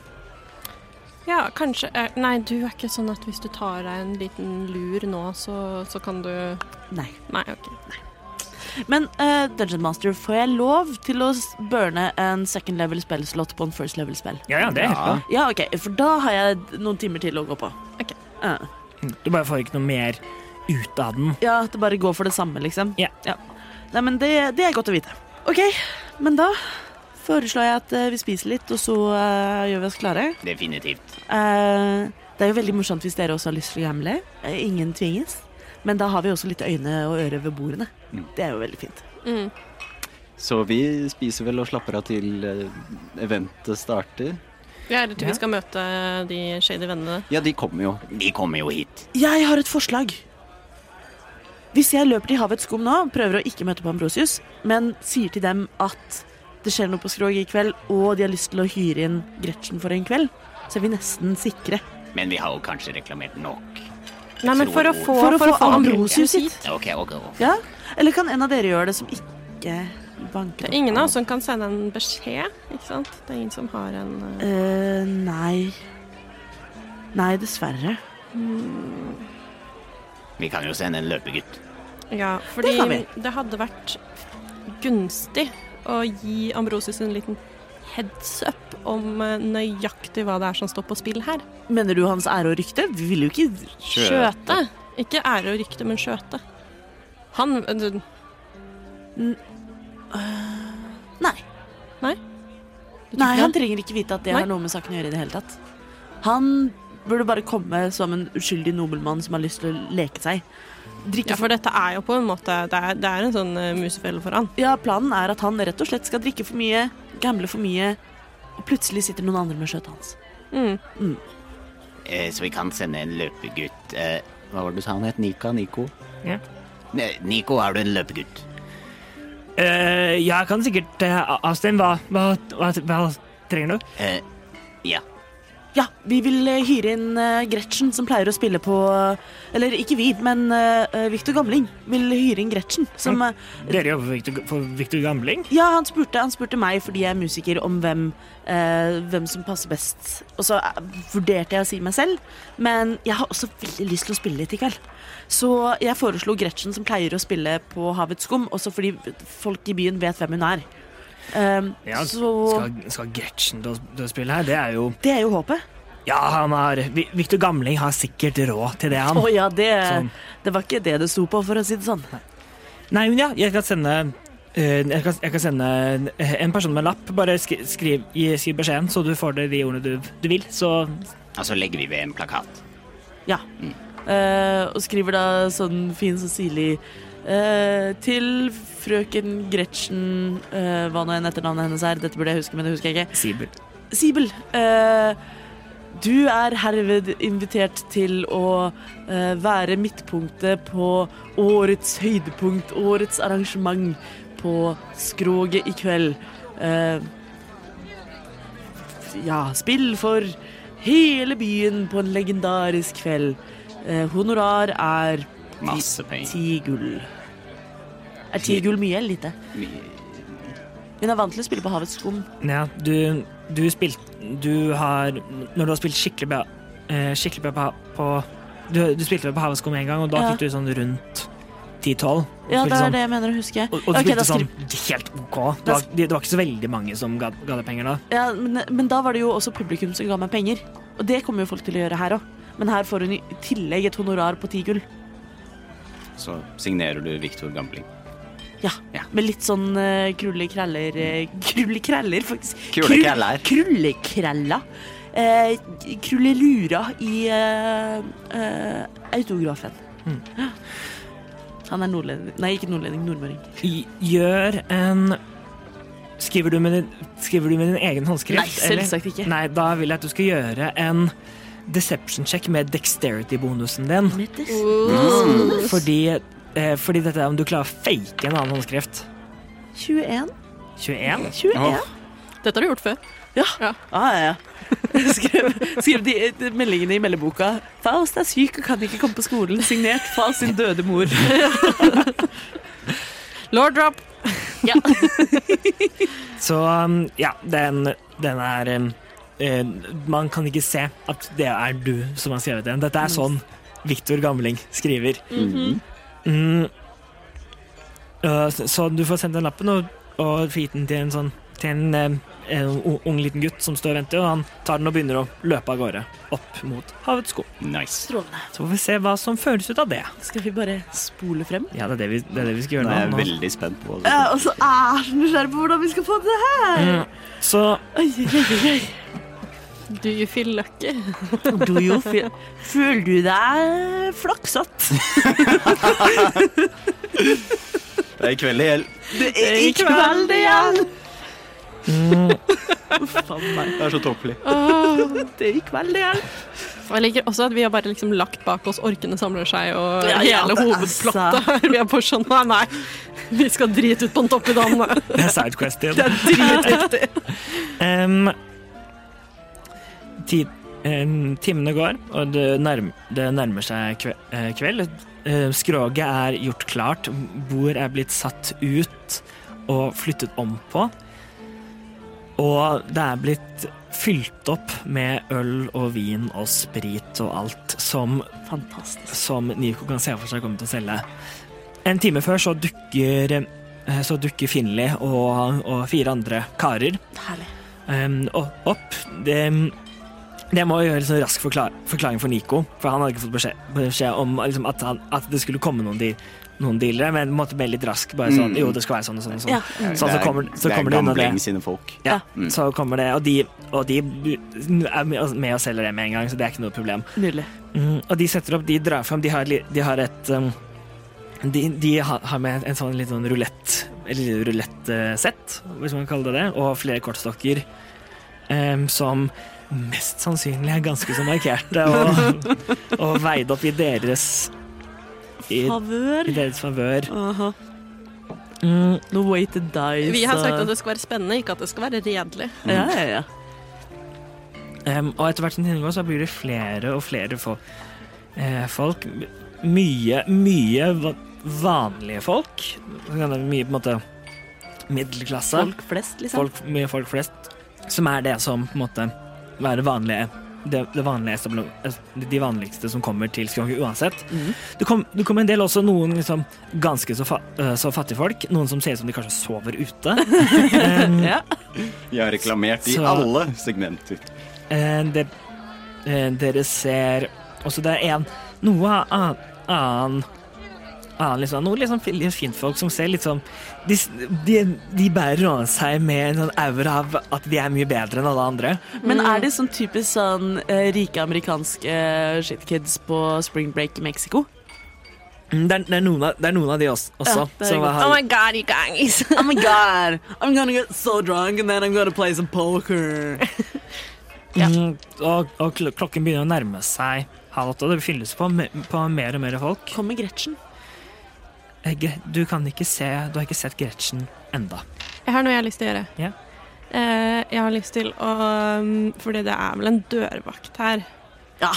Speaker 2: Ja, kanskje eh, Nei, du er ikke sånn at hvis du tar deg en liten lur nå, så, så kan du
Speaker 5: Nei.
Speaker 2: Nei, OK.
Speaker 5: Men eh, Dungeon Master, får jeg lov til å s- burne en second level spellslott på en first level spell?
Speaker 3: Ja, ja, det er helt bra.
Speaker 4: Ja.
Speaker 5: Ja, ok, for da har jeg noen timer til å gå på.
Speaker 2: Ok.
Speaker 5: Ja.
Speaker 3: Du bare får ikke noe mer ut av den.
Speaker 5: ja, at det bare går for det samme, liksom.
Speaker 3: Ja.
Speaker 5: Nei, men det, det er godt å vite. Ok, men da foreslår jeg at eh, vi spiser litt, og så eh, gjør vi oss klare.
Speaker 4: Definitivt.
Speaker 5: Eh, det er jo veldig morsomt hvis dere også har lyst til å gamble. Eh, ingen tvinges. Men da har vi også litt øyne og ører ved bordene.
Speaker 4: Mm.
Speaker 5: Det er jo veldig fint.
Speaker 2: Mm.
Speaker 4: Så vi spiser vel og slapper av til eh, eventet starter.
Speaker 2: Ja, eller til vi skal møte de shady vennene.
Speaker 4: Ja, de kommer jo. De kommer jo hit.
Speaker 5: Jeg har et forslag. Hvis jeg løper til havets skum nå, prøver å ikke møte på Ambrosius, men sier til dem at det skjer noe på skroget i kveld, og de har lyst til å hyre inn Gretchen for en kveld, så er vi nesten sikre.
Speaker 4: Men vi har jo kanskje reklamert nok.
Speaker 2: Nei, men for å få,
Speaker 5: For å få Ambrosius
Speaker 2: Ambrosius
Speaker 5: hit.
Speaker 4: Ok, ok. ok.
Speaker 5: Ja? Eller kan en av dere gjøre det som ikke banker
Speaker 2: Det
Speaker 5: opp?
Speaker 2: er ingen av oss som kan sende en beskjed, ikke sant? Det er ingen som har en eh,
Speaker 5: Eh, nei. Nei, dessverre.
Speaker 4: Vi kan jo sende en løpegutt.
Speaker 2: Ja, fordi
Speaker 5: kan
Speaker 2: eh, det,
Speaker 5: vi.
Speaker 2: hadde vært gunstig å gi Ambrosius en liten heads up om eh, nøyaktig hva det er som står på spill her.
Speaker 5: Mener du hans ære og rykte? Vi vil jo ikke
Speaker 2: Skjøte. Ikke ære og rykte, men skjøte. Han eh, du-
Speaker 5: Nei.
Speaker 2: Nei?
Speaker 5: Nei,
Speaker 2: ikke
Speaker 5: han
Speaker 2: det?
Speaker 5: trenger ikke vite at det
Speaker 2: Nei.
Speaker 5: har noe med saken å gjøre i det hele tatt. Han burde bare komme som en uskyldig nobelmann som har lyst til å leke seg. Drikke
Speaker 2: Ja, for dette er jo på en måte Det er, det er en sånn eh, musefelle for han.
Speaker 5: ja, planen er at han rett og slett skal drikke for mye, gamble for mye, og plutselig sitter noen andre med skjøtet hans.
Speaker 2: Mm.
Speaker 4: Eh, så vi kan sende en løpegutt. Eh, hva var det du sa han het? Nika? Nico?
Speaker 7: Ja.
Speaker 4: Ne- Nico, er du en løpegutt?
Speaker 3: Eh, jeg kan sikkert eh, a- avstemme. Hva, hva, hva, hva trenger du?
Speaker 4: Eh, ja.
Speaker 5: Ja, vi vil eh, hyre inn eh, Gretchen, som pleier å spille på eh, Eller ikke vi, men eh, Victor Gamling vil hyre inn Gretchen. Som, eh,
Speaker 3: Dere jobber for Victor, for Victor Gambling?
Speaker 5: ja, han spurte, han spurte meg, fordi jeg er musiker, om hvem, eh, hvem som passer best. Og så eh, vurderte jeg å si meg selv, men jeg har også veldig lyst til å spille litt i kveld. Så jeg foreslo Gretchen, som pleier å spille på Havets skum, også fordi folk i byen vet hvem hun er. Eh,
Speaker 3: Ja,
Speaker 5: så
Speaker 3: skal, skal Gretchen til å, til å spille her? Det er jo
Speaker 5: det er jo håpet.
Speaker 3: Ja, han har Vi- Victor Gamling har sikkert råd til det, han.
Speaker 5: Å ja, det,
Speaker 3: Sånn.
Speaker 5: det var ikke det det sto på, for å si det sånn.
Speaker 3: Nei, men ja, jeg kan sende eh, jeg kan, jeg kan sende en- en person med en lapp. Bare skri, skriv, gi, skriv beskjeden, så du får det de ordene du, du vil. Så
Speaker 4: Og så legger vi ved en plakat.
Speaker 5: Ja. Eh, og skriver da sånn fin sånn sirlig eh, Til frøken Gretchen eh, Hva nå enn etternavnet hennes er. Dette burde jeg huske, men det husker jeg ikke.
Speaker 3: Sibel.
Speaker 5: Sibel, eh, du er herved invitert til å eh, være midtpunktet på årets høydepunkt, årets arrangement på Skroget i kveld. Eh, ja, spill for hele byen på en legendarisk kveld. Eh, honorar er
Speaker 4: Masse penger.
Speaker 5: ti gull. Er ti gull mye eller lite? Hun er vant til å spille på havets skum.
Speaker 3: Ja, du, du spilte Du har Når du har spilt skikkelig bra eh, Skikkelig bra på, på du, du spilte vel på Haveskum en gang, og da
Speaker 5: Ja.
Speaker 3: fikk du sånn rundt 10-12.
Speaker 5: Ja,
Speaker 3: Spilte
Speaker 5: det er
Speaker 3: sånn-
Speaker 5: det jeg mener å huske.
Speaker 3: Og, og du
Speaker 5: Ok, da
Speaker 3: spilte
Speaker 5: skri-
Speaker 3: sånn helt OK. Det
Speaker 5: Da
Speaker 3: var, det, det var ikke så veldig mange som ga, ga deg penger da.
Speaker 5: Ja, men, men da var det jo også publikum som ga meg penger. Og det kommer jo folk til å gjøre her òg. Men her får hun i tillegg et honorar på ti gull.
Speaker 4: Så signerer du Victor Gambling.
Speaker 5: Ja,
Speaker 4: Ja.
Speaker 5: Med litt sånn uh, krullekraller uh, Krullekraller, faktisk.
Speaker 4: Krullekraller.
Speaker 5: Krull- Krullekrella. Eh, krullelura i eh, eh, autografen.
Speaker 3: Hmm.
Speaker 5: Han er nordlending Nei, ikke nordlending, nordmøring.
Speaker 3: I- Gjør en Skriver du med din, skriver du med din egen håndskrift?
Speaker 5: Nei, selvsagt ikke.
Speaker 3: Nei, da vil jeg at du skal gjøre en deception check med dexterity-bonusen din.
Speaker 5: Mettes.
Speaker 2: Mm.
Speaker 3: Fordi, eh, fordi dette er om du klarer å fake en annen håndskrift.
Speaker 5: 21.
Speaker 3: 21?
Speaker 5: 21.
Speaker 7: Dette har du gjort før.
Speaker 5: Ah, ja, ja. Skrev, skrev de, de meldingene i meldeboka. Faust er syk og kan ikke komme på skolen. Signert Faust sin døde mor.
Speaker 7: Lord drop.
Speaker 3: Så um, ja, den, den er um, eh, Man kan ikke se at det er du som har skrevet den. Dette er sånn Victor Gamling skriver. Mm. Uh, så, så du får sendt den lappen og, og få gitt den til en sånn til en, um, en u- ung liten gutt som står og venter, og han tar den og begynner å løpe av gårde opp mot havets sko.
Speaker 4: Nice.
Speaker 5: Strålende.
Speaker 3: Så får vi se hva som føles ut av det.
Speaker 5: Skal vi bare spole frem?
Speaker 3: Ja, det er det vi, det er det vi skal
Speaker 4: Nå
Speaker 3: gjøre
Speaker 4: er jeg
Speaker 3: nå. nå.
Speaker 4: veldig spent på
Speaker 5: Ja, og så er så nysgjerrig på hvordan vi skal få det her.
Speaker 3: Mm. Så
Speaker 5: Oi, oi, oi, oi.
Speaker 7: Do you feel lucky?
Speaker 5: Do you feel Føler du deg flaksatt?
Speaker 4: Det er i kveld i hjel.
Speaker 5: Det er i kveld igjen.
Speaker 3: mm,
Speaker 5: Faen meg.
Speaker 4: Det er så tåpelig.
Speaker 2: Ah.
Speaker 5: Det er i kveld igjen.
Speaker 7: Og jeg liker også at vi har bare liksom lagt bak oss orkene samler seg og
Speaker 5: Ja, ja,
Speaker 7: hele
Speaker 5: det-
Speaker 7: hovedplottet her. Vi er bare sånn nei, nei, vi skal drite ut på en topp i dag. nei.
Speaker 3: det er sidequest igjen.
Speaker 5: Det er dritviktig.
Speaker 3: Um, ti, em, timene går, og det, nærm, det nærmer seg kve, eh, kveld. Eh, skroget er gjort klart, bord er blitt satt ut og flyttet om på. Og det er blitt fylt opp med øl og vin og sprit og alt som
Speaker 5: Fantastisk.
Speaker 3: som Nico kan se for seg kommer til å selge. En time før så dukker, eh, så dukker Finley og, og fire andre karer
Speaker 5: Herlig.
Speaker 3: em, o- opp. Det, det må jo gjøre en sånn rask forklar, forklaring for Nico, for han hadde ikke fått beskjed, beskjed om liksom, at, han, at det skulle komme noen, deal, noen dealere, men måtte med litt rask. Bare sånn,
Speaker 4: Mm.
Speaker 3: jo, det skal være sånn og sånn. Og sånn.
Speaker 5: Ja.
Speaker 3: Sånn, så kommer- så
Speaker 4: det er
Speaker 3: kommer det unna det.
Speaker 4: Gambling sine folk.
Speaker 3: Ja,
Speaker 4: Mm.
Speaker 3: Så kommer det, og de, og de er med og selger det med en gang, så det er ikke noe problem.
Speaker 5: Nydelig.
Speaker 3: Mm, og de setter opp, de drar fram, de har, li- de har et um, de, de har har med en sånn litt sånn rulett Eller lille rulettsett, hvis man kan kalle det det, og flere kortstokker em, som mest sannsynlig er ganske så markerte og, og veid opp i deres i,
Speaker 5: favør.
Speaker 3: i deres favør.
Speaker 5: Aha.
Speaker 8: Mm,
Speaker 5: No way to die.
Speaker 2: Vi har
Speaker 5: så-
Speaker 2: sagt at det skal være spennende, ikke at det skal være redelig.
Speaker 5: Ja, ja, ja.
Speaker 3: Em, Ehm, og etter hvert som tiden går, så blir det flere og flere fo- eh, folk. M- Mye, mye va- vanlige folk. Så kan det være Mye på en måte middelklasse.
Speaker 5: Folk flest, liksom.
Speaker 3: Folk, mye folk flest. Som er det som på en måte være vanlige det, det vanlige establo- es- De vanligste som kommer til skråket uansett.
Speaker 5: Mhm.
Speaker 3: Det kom- det kommer kom en del også noen liksom, ganske så, fa eh, så fattige folk. Noen som ser ut som de kanskje sover ute. Em,
Speaker 5: Ja.
Speaker 4: Jeg har reklamert i
Speaker 3: Så-
Speaker 4: alle segmenter.
Speaker 3: Eh, det, eh, dere ser også det er en noe annen, annen, annen liksom, noe liksom fin- litt fint folk som ser litt sånn de, s- de, de bærer over seg med en sånn aura av at de er mye bedre enn alle andre.
Speaker 5: Men er de sånn typisk sånn eh, rike amerikanske shitkids på spring break i Mexico?
Speaker 3: Mm, Det er, det er, noen, av, det er noen av de også. også
Speaker 5: Ja, det er Oh
Speaker 3: som
Speaker 5: godt.
Speaker 3: har,
Speaker 2: Oh god, you guys!
Speaker 5: Oh my god, I'm gonna get so drunk and then I'm gonna play some poker. ja.
Speaker 3: mm, og, og kl- klokken begynner å nærme seg halv åtte, og det fylles på, me- på mer og mer folk.
Speaker 5: Kommer Gretchen?
Speaker 3: Eh, Gre- Du, kan ikke se, du har ikke sett Gretchen enda.
Speaker 2: Jeg har noe jeg har lyst til å gjøre.
Speaker 3: Ja.
Speaker 2: Eh, jeg har lyst til å um, Fordi det er vel en dørvakt her.
Speaker 5: Ja.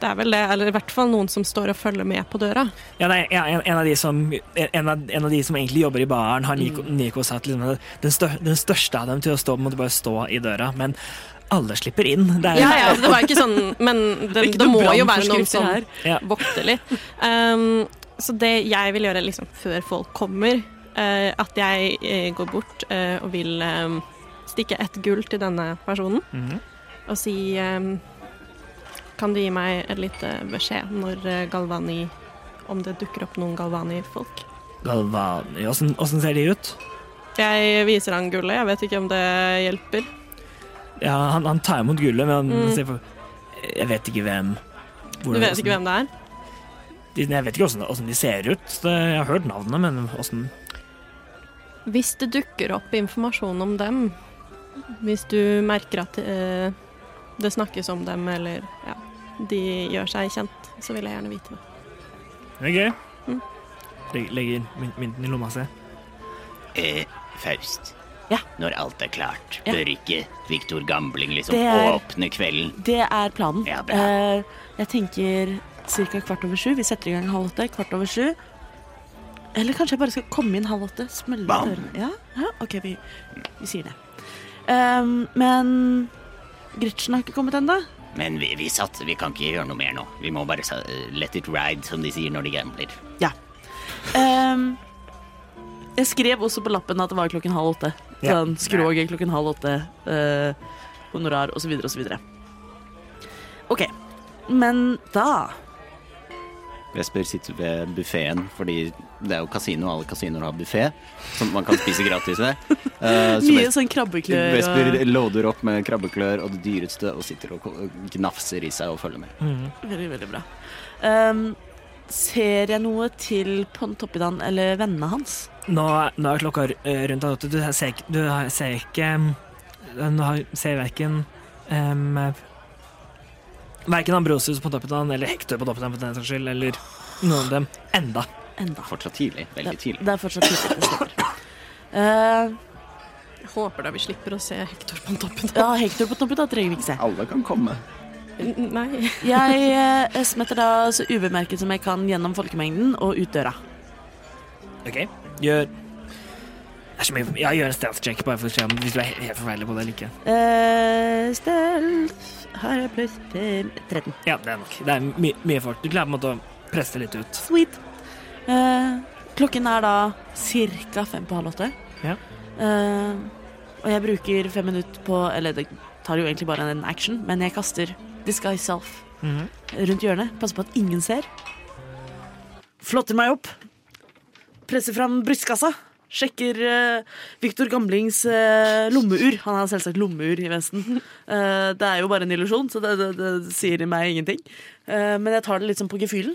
Speaker 2: Det er vel det, eller i hvert fall noen som står og følger med på døra.
Speaker 3: Ja, nei, ja, en, en, av de som, en, av, en av de som egentlig jobber i baren, har Nico,
Speaker 2: Mm.
Speaker 3: Nico satt liksom, den, stør, den største av dem til å stå, måtte bare stå i døra. Men alle slipper inn. Det er,
Speaker 2: Ja, ja, altså, det var ikke sånn Men det,
Speaker 5: Ikke
Speaker 2: det
Speaker 5: noe
Speaker 2: må jo være noen
Speaker 5: brannforskrifter
Speaker 2: som
Speaker 5: her.
Speaker 3: Ja.
Speaker 2: vokter litt. Um, så det jeg vil gjøre liksom før folk kommer, eh, at jeg eh, går bort eh, og vil eh, stikke et gull til denne personen
Speaker 3: Mhm.
Speaker 2: og si eh, Kan du gi meg et lite beskjed når eh, Galvani Om det dukker opp noen Galvani-folk?
Speaker 3: Galvani, åssen åssen ser de ut?
Speaker 2: Jeg viser han gullet, jeg vet ikke om det hjelper.
Speaker 3: Ja, han, han tar imot gullet, men han
Speaker 2: Mm.
Speaker 3: ser på Jeg vet ikke hvem.
Speaker 2: Du vet ikke hvem det er?
Speaker 3: De, jeg vet ikke åssen åssen de ser ut. Det- Jeg har hørt navnet, men åssen
Speaker 2: Hvis det dukker opp informasjon om dem, hvis du merker at eh, det snakkes om dem, eller ja, de gjør seg kjent, så vil jeg gjerne vite det.
Speaker 3: Det er gøy.
Speaker 2: Mm.
Speaker 3: Leg- Legger mynt- mynten i lomma si.
Speaker 4: Eh, Faust.
Speaker 5: Ja.
Speaker 4: Når alt er klart,
Speaker 5: Ja.
Speaker 4: bør ikke Viktor Gambling liksom
Speaker 5: Det er-
Speaker 4: åpne kvelden.
Speaker 5: Det er planen.
Speaker 4: Ja, bra.
Speaker 5: Eh, jeg tenker ca. kvart over sju. Vi setter i gang halv åtte. Kvart over sju. Eller kanskje jeg bare skal komme inn halv åtte. Smelle
Speaker 4: Bam.
Speaker 5: dørene. Ja? ja, OK, vi, vi sier det. Ehm, men Gretchen har ikke kommet ennå.
Speaker 4: Men vi, vi satser, vi kan ikke gjøre noe mer nå. Vi må bare sa- eh, let it ride, som de sier når de gambler.
Speaker 5: Ehm, jeg skrev også på lappen at det var klokken halv åtte.
Speaker 3: Ja.
Speaker 5: Sånn, Skroget klokken halv åtte, eh, honorar osv. osv. OK. Men da
Speaker 4: Vesper sitter ved buffeen, fordi det er jo kasino, alle kasinoer har buffé, som man kan spise gratis ved. Eh, så
Speaker 5: Mye
Speaker 4: Ves-
Speaker 5: sånn krabbeklør
Speaker 4: Vesper
Speaker 5: og
Speaker 4: loader opp med krabbeklør og det dyreste og sitter og ko- gnafser i seg og følger med.
Speaker 3: Mm.
Speaker 5: Veldig, veldig bra. Ehm, ser jeg noe til Pontoppidan eller vennene hans?
Speaker 3: Nå, nå er klokka r- eh, rundt halv åtte. Du ser, ikke- du har- ser ikke um, Nå har- ser verken um, Verken Ambrosius på toppen av den, eller Hector på toppen av den, for den saks skyld, eller noen av dem enda.
Speaker 5: Enda.
Speaker 4: Fortsatt tidlig. Veldig
Speaker 5: Det,
Speaker 4: tidlig.
Speaker 5: det er fortsatt tidlig. det stemmer. Eh,
Speaker 2: Jeg håper da vi slipper å se Hector på toppen.
Speaker 5: ja, Hector på Pontoppidan trenger vi ikke se.
Speaker 4: Alle kan komme.
Speaker 2: N- Nei.
Speaker 5: Jeg eh, smetter da så ubemerket som jeg kan gjennom folkemengden og ut døra.
Speaker 3: OK? Gjør det er så mye, ja, gjør en stealth check bare for å se om hvis du er he- helt forferdelig på det eller ikke.
Speaker 5: Uh, har jeg pluss til 13.
Speaker 3: Ja, det er nok. Det er my mye folk. Du klarer på en måte å presse det litt ut.
Speaker 5: Sweet. Eh, klokken er da ca. fem på halv åtte.
Speaker 3: Ja.
Speaker 5: Eh, og jeg bruker fem minutter på Eller det tar jo egentlig bare en action, men jeg kaster Disguise Self
Speaker 3: Mhm.
Speaker 5: rundt hjørnet. Passer på at ingen ser. Flotter meg opp. Presser fram brystkassa. Sjekker eh, Victor Gamblings eh, lommeur. Han har selvsagt lommeur i vesten. Eh, det er jo bare en illusjon, så det, det, det sier meg ingenting. Eh, men jeg tar det litt sånn på gefühlen.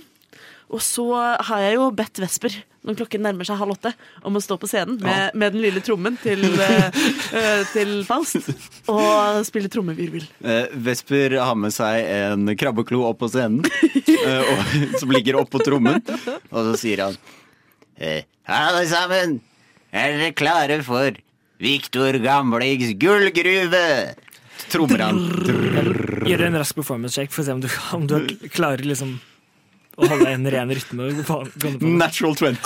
Speaker 5: Og så har jeg jo bedt Vesper, når klokken nærmer seg halv åtte, om å stå på scenen med, med den lille trommen til, eh, eh, til Faust og spille trommevirvel.
Speaker 4: Eh, Vesper har med seg en krabbeklo opp på scenen, eh, og, som ligger oppå trommen. Og så sier han eh, Alle sammen, er dere klare for Viktor Gamlings gullgruve? Så Trommer han.
Speaker 3: Gjør en rask performance check for å se om du, om du klarer liksom å holde en ren rytme. og gå på- gå på.
Speaker 4: Natural 20.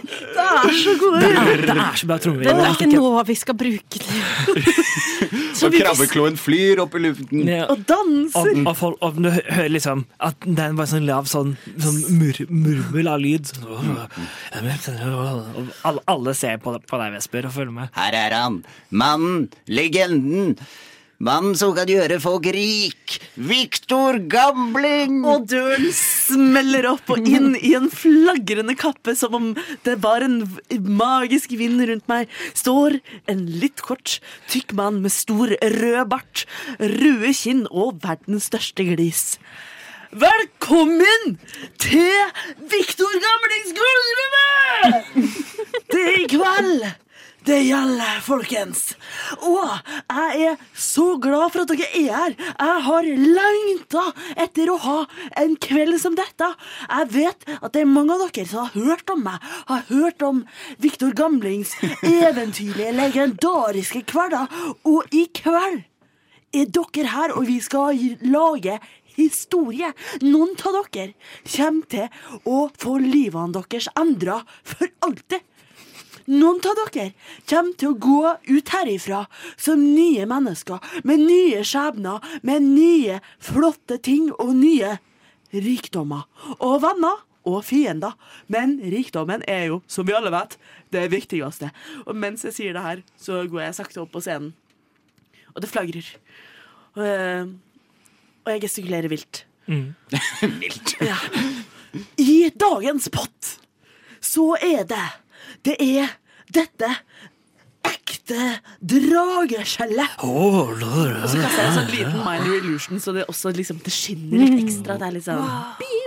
Speaker 3: Det er, det er så bra trommer.
Speaker 7: Det er ikke nå vi skal bruke det.
Speaker 4: Og krabbekloen flyr opp i luften.
Speaker 3: Ja.
Speaker 5: Og danser!
Speaker 3: Om, og folk, om du hø- hører liksom at det er bare sånn lav sånn, sånn mur, murmel av lyd sånn, «Åh,
Speaker 5: Mm.
Speaker 3: jeg vet ikke, åh», og alle, alle ser på, deg- på deg, Vesper, og følger med.
Speaker 4: Her er han. Mannen, legenden. Mannen som kan gjøre folk rik. Viktor Gambling!
Speaker 5: Og døren smeller opp og inn i en flagrende kappe, som om det var en v- magisk vind rundt meg, står en litt kort, tykk mann med stor rød bart, røde kinn og verdens største glis. Velkommen til Viktor Gamlings gullrømme! Det er i kveld! Det gjelder, folkens. Og jeg er så glad for at dere er her. Jeg har lengta etter å ha en kveld som dette. Jeg vet at det er mange av dere som har hørt om meg, har hørt om Viktor Gamlings eventyrlige, legendariske hverdag. Og i kveld er dere her, og vi skal lage historie. Noen av dere kommer til å få livene deres endra for alltid. Noen av dere kommer til å gå ut herifra som nye mennesker, med nye skjebner, med nye flotte ting og nye rikdommer. Og venner og fiender. Men rikdommen er jo, som vi alle vet, det viktigste. Og mens jeg sier det her, så går jeg sakte opp på scenen og det flagrer. Og, eh, og jeg gestikulerer vilt. vilt. Ja. I dagens pott så er det Det er dette ekte drageskjellet. Og så kaster jeg en sånn liten minor illusion, så det også liksom det skinner litt ekstra. Det er litt sånn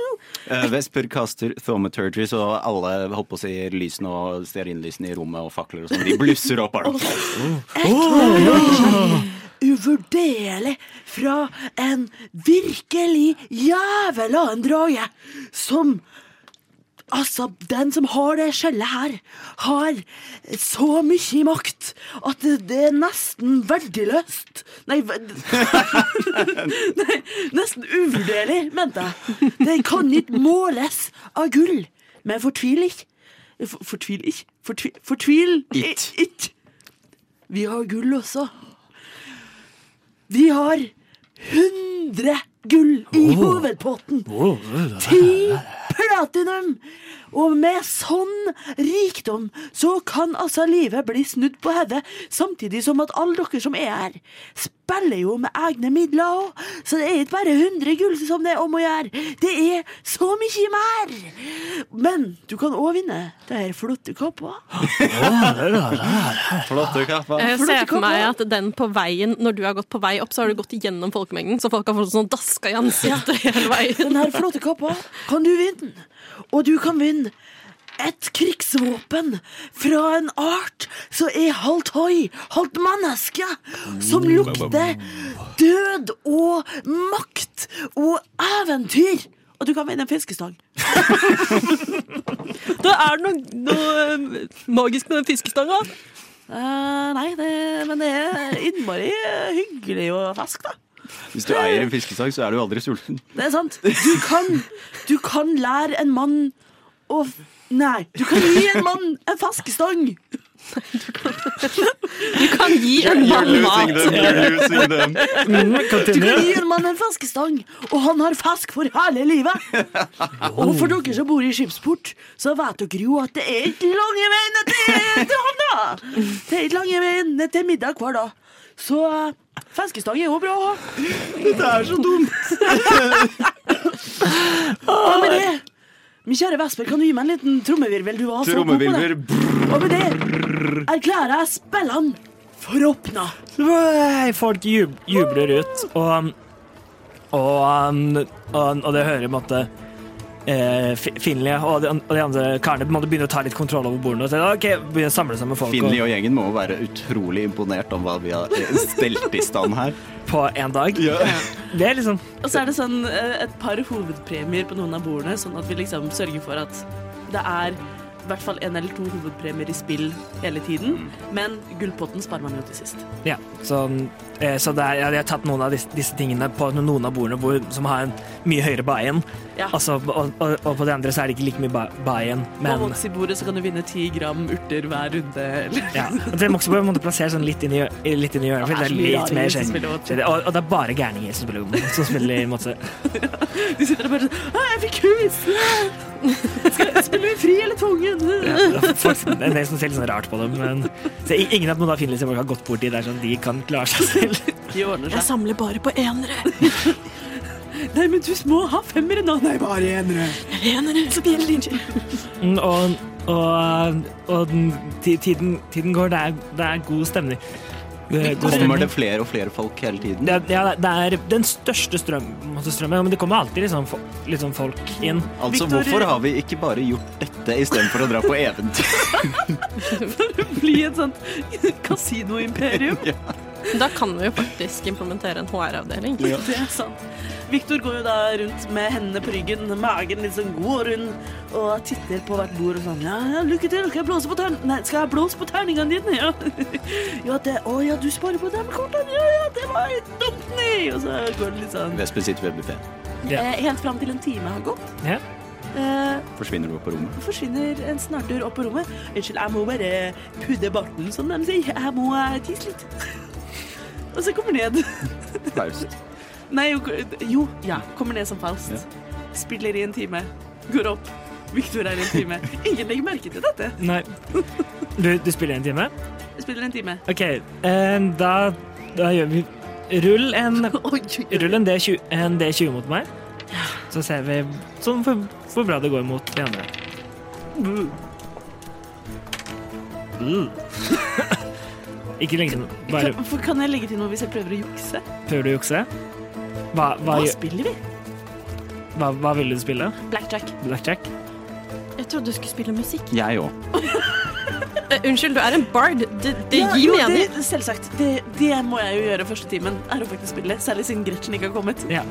Speaker 4: Eh, Vesper kaster thaumaturgy, så alle holdt på å si lysene og stearinlysene i rommet og fakler og sånn. De blusser opp. bare.
Speaker 5: uvurderlig fra en virkelig jævel av en drage som Altså, den som har det skjellet her, har så mye makt at det, det er nesten verdiløst. Nei, verd... Nei, nesten uvurderlig, mente jeg. Det kan ikke måles av gull. Men fortvil ikke. For- Fortvil ikke. Fortvil, fortvil i-
Speaker 4: Ikke.
Speaker 5: ikke. Vi har gull også. Vi har 100 gull i hovedpotten. Ti platinum! Og med sånn rikdom så kan altså livet bli snudd på hodet, samtidig som at alle dere som er her, spiller jo med egne midler òg. Så det er ikke bare 100 gull som det er om å gjøre, det er så mye mer! Men du kan òg vinne det her flotte kappa.
Speaker 4: Flotte kappa.
Speaker 7: Jeg
Speaker 5: For
Speaker 7: ser
Speaker 5: dette
Speaker 7: for
Speaker 5: kan
Speaker 7: meg
Speaker 5: være-
Speaker 7: at den på veien, når du har gått på vei opp, så har du gått igjennom folkemengden, så folk har fått sånn daska i ansiktet hele veien.
Speaker 5: Den her flotte kappa kan du vinne. Og du kan vinne et krigsvåpen fra en art som er halvt hoi, halvt menneske, som lukter død og makt og eventyr. Og du kan vinne en fiskestang.
Speaker 7: Da er det noe, noe eh, magisk med den fiskestanga.
Speaker 5: Eh, nei, det, men det er innmari eh, hyggelig å fiske, da.
Speaker 4: Hvis du eier en fiskestang, så er du aldri sulten.
Speaker 5: Det er sant. Du kan, du kan lære en mann å f- Nei, du kan gi en mann en fiskestang.
Speaker 7: Du kan gi en mann mat.
Speaker 5: Sånn
Speaker 3: Mm,
Speaker 5: Du kan
Speaker 3: continue.
Speaker 5: gi en mann en fiskestang, og han har fisk for hele livet. Og for dere som bor i skipsport, så vet dere jo at det er ikke lange veien ned til til han, da. Det er ikke lange veien ned til middag hver dag. Så eh, fiskestang er jo bra å ha.
Speaker 4: Det er så dumt.
Speaker 5: Og med det, min kjære Vesper, kan du gi meg en liten trommevirvel? Du var så god på det.
Speaker 4: Trommevirvler.
Speaker 5: Og med det erklærer jeg spillene for åpna.
Speaker 3: Nei, Folk jub, um, jubler ut, og, og, og, og det hører på en måte eh, Fi- Finley og de, an- og de andre karene på en måte begynner å ta litt kontroll over bordene. Og så, ok, begynner å samle sammen folk
Speaker 4: Finley og gjengen må jo være utrolig imponert om hva vi har eh, stelt i stand her.
Speaker 3: og, på én dag. Det er liksom
Speaker 5: Og så er det sånn eh, et par hovedpremier på noen av bordene, sånn at vi liksom sørger for at det er i hvert fall en eller to hovedpremier i spill hele tiden. Men gullpotten sparer man jo til sist.
Speaker 3: Ja, så, eh, så det er, ja, de har tatt noen av disse, disse tingene på noen av bordene hvor, som har en mye høyere buy-in.
Speaker 5: Ja.
Speaker 3: Altså, og, og, og på de andre så er det ikke like mye bu- buy-in,
Speaker 5: På
Speaker 3: men
Speaker 5: Voxy-bordet så kan du vinne ti gram urter hver runde. Eller.
Speaker 3: ja. Og Det må også på en måte plassere sånn litt inn i, hjør- litt inn i hjørnet, for det er
Speaker 5: Det er så mye
Speaker 3: litt
Speaker 5: rare
Speaker 3: mer
Speaker 5: som
Speaker 3: skjedd.
Speaker 5: spiller Voxy.
Speaker 3: Og, og det er bare gærninger som spiller, som spiller i måte.
Speaker 5: De sitter og bare sånn Å, jeg fikk hus! Skal jeg spille fri eller tvungen?
Speaker 3: Ja, det er folk som- det er en del som ser litt sånn rart på dem, men så i- ingen av noen av Finlands folk har gått borti der sånn de kan klare seg selv.
Speaker 5: De ordner
Speaker 7: Jeg
Speaker 5: seg.
Speaker 7: samler bare på enere.
Speaker 5: Nei, men du må ha femmere nå. Nei, bare enere.
Speaker 7: Enere som gjelder.
Speaker 3: Mm, Og, og, og den, ti- tiden, tiden går, det er, det er god stemning. Det er god
Speaker 4: Kommer
Speaker 3: stemning.
Speaker 4: det flere og flere folk hele tiden?
Speaker 3: Det, ja, det er den største strøm, masse strømmen, men det kommer alltid liksom, fo- litt sånn folk inn.
Speaker 4: Altså,
Speaker 5: Victor-
Speaker 4: hvorfor har vi ikke bare gjort dette istedenfor å dra på eventyr?
Speaker 5: Bli et sånt kasinoimperium.
Speaker 7: Da kan vi jo faktisk implementere en HR-avdeling.
Speaker 5: Det er sant. Victor går jo da rundt med hendene på ryggen, magen litt sånn god og rund, og titter på hvert bord og sånn Ja, ja, lykke til, skal jeg blåse på tern... Nei, skal jeg blåse på terningene dine? Ja. ja, det Å ja, du sparer på dem kortene? Ja, ja, det var et dumt, nei! Og så går det litt sånn.
Speaker 4: Vespen sitter ved buffeen.
Speaker 5: Eh, helt fram til en time har gått.
Speaker 3: Ja.
Speaker 5: Eh,
Speaker 4: Forsvinner du opp på rommet?
Speaker 5: forsvinner en snartur opp på rommet. Unnskyld, jeg må bare pudde barten, som de sier. Jeg må eh, tisse litt. og så kommer ned.
Speaker 4: Faust.
Speaker 5: Nei, jo, jo ja. kommer ned som falskt. Spiller i en time. Går opp. Victor er i en time. Ingen legger merke til dette.
Speaker 3: Nei. Du, du spiller en time?
Speaker 5: Spiller en time.
Speaker 3: OK, eh, da, da gjør vi Rull en,
Speaker 5: Oi, oi, oi.
Speaker 3: rull en, D20, en D20 mot meg, så ser vi sånn hvor, hvor bra det går mot de andre. Mm. Ikke lenge nå. Bare
Speaker 5: Kan, for kan jeg legge til noe hvis jeg prøver å jukse?
Speaker 3: prøver du å jukse. Hva, hva,
Speaker 5: Hva
Speaker 3: gjør-
Speaker 5: spiller vi?
Speaker 3: hva, hva ville du spille?
Speaker 5: Blackjack.
Speaker 3: Blackjack?
Speaker 7: Jeg trodde du skulle spille musikk.
Speaker 4: Jeg òg.
Speaker 7: Eh, unnskyld, du er en bard. Det, det
Speaker 5: Ja,
Speaker 7: gir
Speaker 5: jo,
Speaker 7: mening.
Speaker 5: det- Selvsagt. Det, det må jeg jo gjøre første timen. Er å faktisk spille. Særlig siden Gretchen ikke har kommet.
Speaker 3: Ja.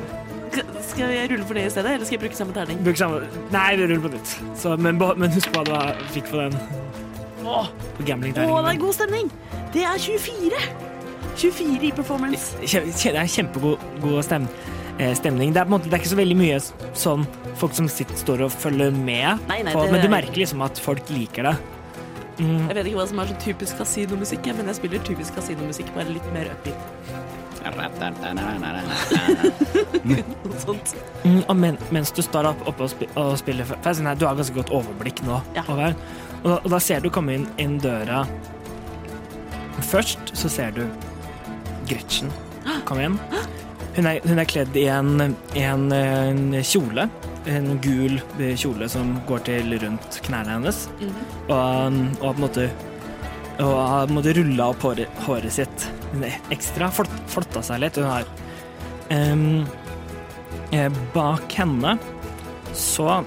Speaker 5: K- Skal jeg rulle for det i stedet, eller skal jeg bruke samme terning?
Speaker 3: Bruk samme Nei, vi ruller på nytt. Så, men, beh- men husk hva du har- fikk på den
Speaker 5: Åh,
Speaker 3: på gambling
Speaker 5: åh, det er god stemning! Det er 24! 24 i performance.
Speaker 3: Det er kjempegod god stem, eh, stemning. Det er, på en måte, det er ikke så veldig mye s- sånn folk som sitter, står og følger med,
Speaker 5: Nei, nei,
Speaker 3: på,
Speaker 5: det-
Speaker 3: men du merker liksom at folk liker det.
Speaker 5: Jeg vet ikke hva som er så typisk kasinomusikk, jeg, men jeg spiller typisk kasinomusikk, bare litt mer upbeat. Noe sånt.
Speaker 3: Mm, og men, mens du står opp, oppe og, spi, og spiller for- for jeg er sånn her, Du har ganske godt overblikk nå.
Speaker 5: Ja.
Speaker 3: Over, og, da, og da ser du komme inn, inn døra Først så ser du Gretchen komme inn. Hun er, hun er kledd i en, i en, eh, en kjole. En gul eh, kjole som går til rundt knærne hennes. Og, og på en måte og har på en måte rulla opp håret, håret sitt ekstra. Flott, flotta seg litt. Hun har em, Eh, Bak henne så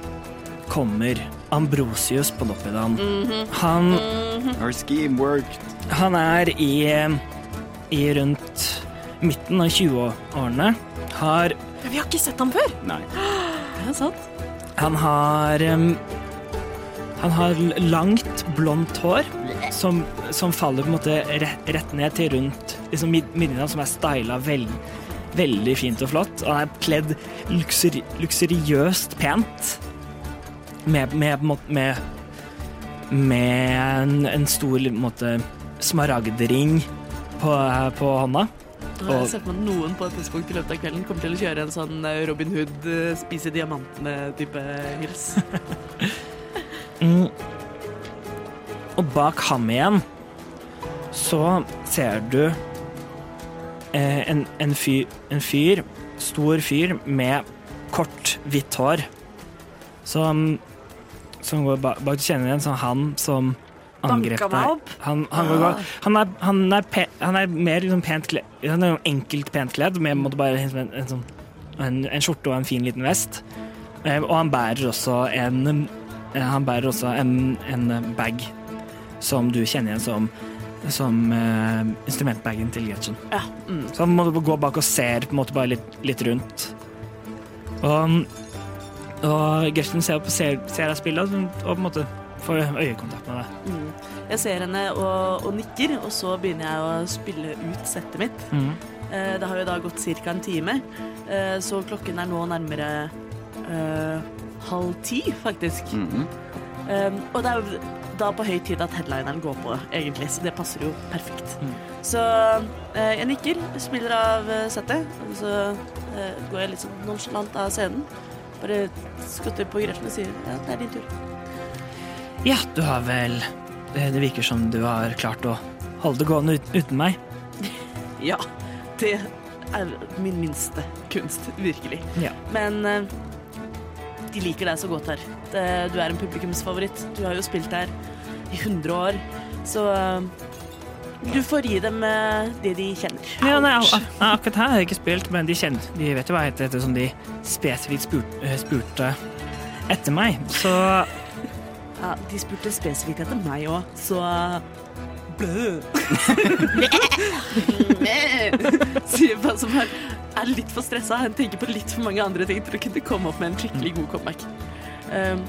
Speaker 3: kommer Ambrosius på Loppidan. han,
Speaker 4: Our scheme worked.
Speaker 3: han er i, i rundt midten av 20-årene. Har,
Speaker 7: Vi har ikke sett ham før.
Speaker 4: Nei.
Speaker 5: Det er sant.
Speaker 3: han har em, Han har l- langt, blondt hår som, som faller på en måte rett, rett ned til rundt liksom mid- midjen, som er styla veldig Veldig fint og flott. Og han er kledd luksuri, luksuriøst pent. Med, med, på en måte- med, med en, en stor på en måte, smaragdring på, på hånda.
Speaker 5: Og jeg ser for meg at noen på et tidspunkt i løpet av kvelden kommer til å kjøre en sånn eh, Robin Hood, eh, spise diamantene-type hils.
Speaker 3: Mm. Og bak ham igjen så ser du eh, en, en, fyr, en fyr, stor fyr med kort, hvitt hår, som, som går bak, bak Du kjenner igjen som han som angrep
Speaker 5: Banka meg
Speaker 3: deg.
Speaker 5: opp?
Speaker 3: Han, han, går bak.
Speaker 5: Ah.
Speaker 3: han, er, han, er pe, han er mer liksom pent kledd, han er jo enkelt pent kledd, med på en måte bare liksom en, en, sånn, en, en skjorte og en fin liten vest. Eh, Og han bærer også en eh, Han bærer også en, en bag som du kjenner igjen som som eh, instrumentbagen til Gretchen.
Speaker 5: Ja, mm.
Speaker 3: Så han må gå bak og ser på en måte bare litt, litt rundt. Og, og Gretchen ser, opp og ser, ser deg spille og på en måte får øyekontakt med deg.
Speaker 5: Mm. Jeg ser henne og, og nikker, og så begynner jeg å spille ut settet mitt. Eh, Det har jo da gått ca. en time, eh, så klokken er nå nærmere eh, halv ti, faktisk.
Speaker 4: Mhm.
Speaker 5: Um, og det er jo da på høy tid at headlineren går på, egentlig, så det passer jo perfekt.
Speaker 3: Mm.
Speaker 5: Så eh, jeg nikker, spiller av eh, settet, og så eh, går jeg litt sånn nonchalant av scenen. Bare skotter på Gretchen og sier ja, det er din tur.
Speaker 3: Ja, du har vel Det det virker som du har klart å holde det gående ut, uten meg.
Speaker 5: Ja, det er min minste kunst, virkelig.
Speaker 3: Ja.
Speaker 5: Men eh, de liker deg så godt her. Det, du er en publikumsfavoritt. Du har jo spilt her i 100 år, så eh, du får gi dem eh, det de kjenner.
Speaker 3: Ja, nei, ak ak nei, akkurat her har jeg ikke spilt, men de, kjenner, de vet jo hva jeg heter ettersom de spesifikt spurt, eh, spurte etter meg. Så
Speaker 5: Ja, de spurte spesifikt etter meg òg, så Blø! Sier bare som er, er litt for stressa. Han tenker på litt for mange andre ting til å kunne komme opp med en skikkelig god comeback. Um,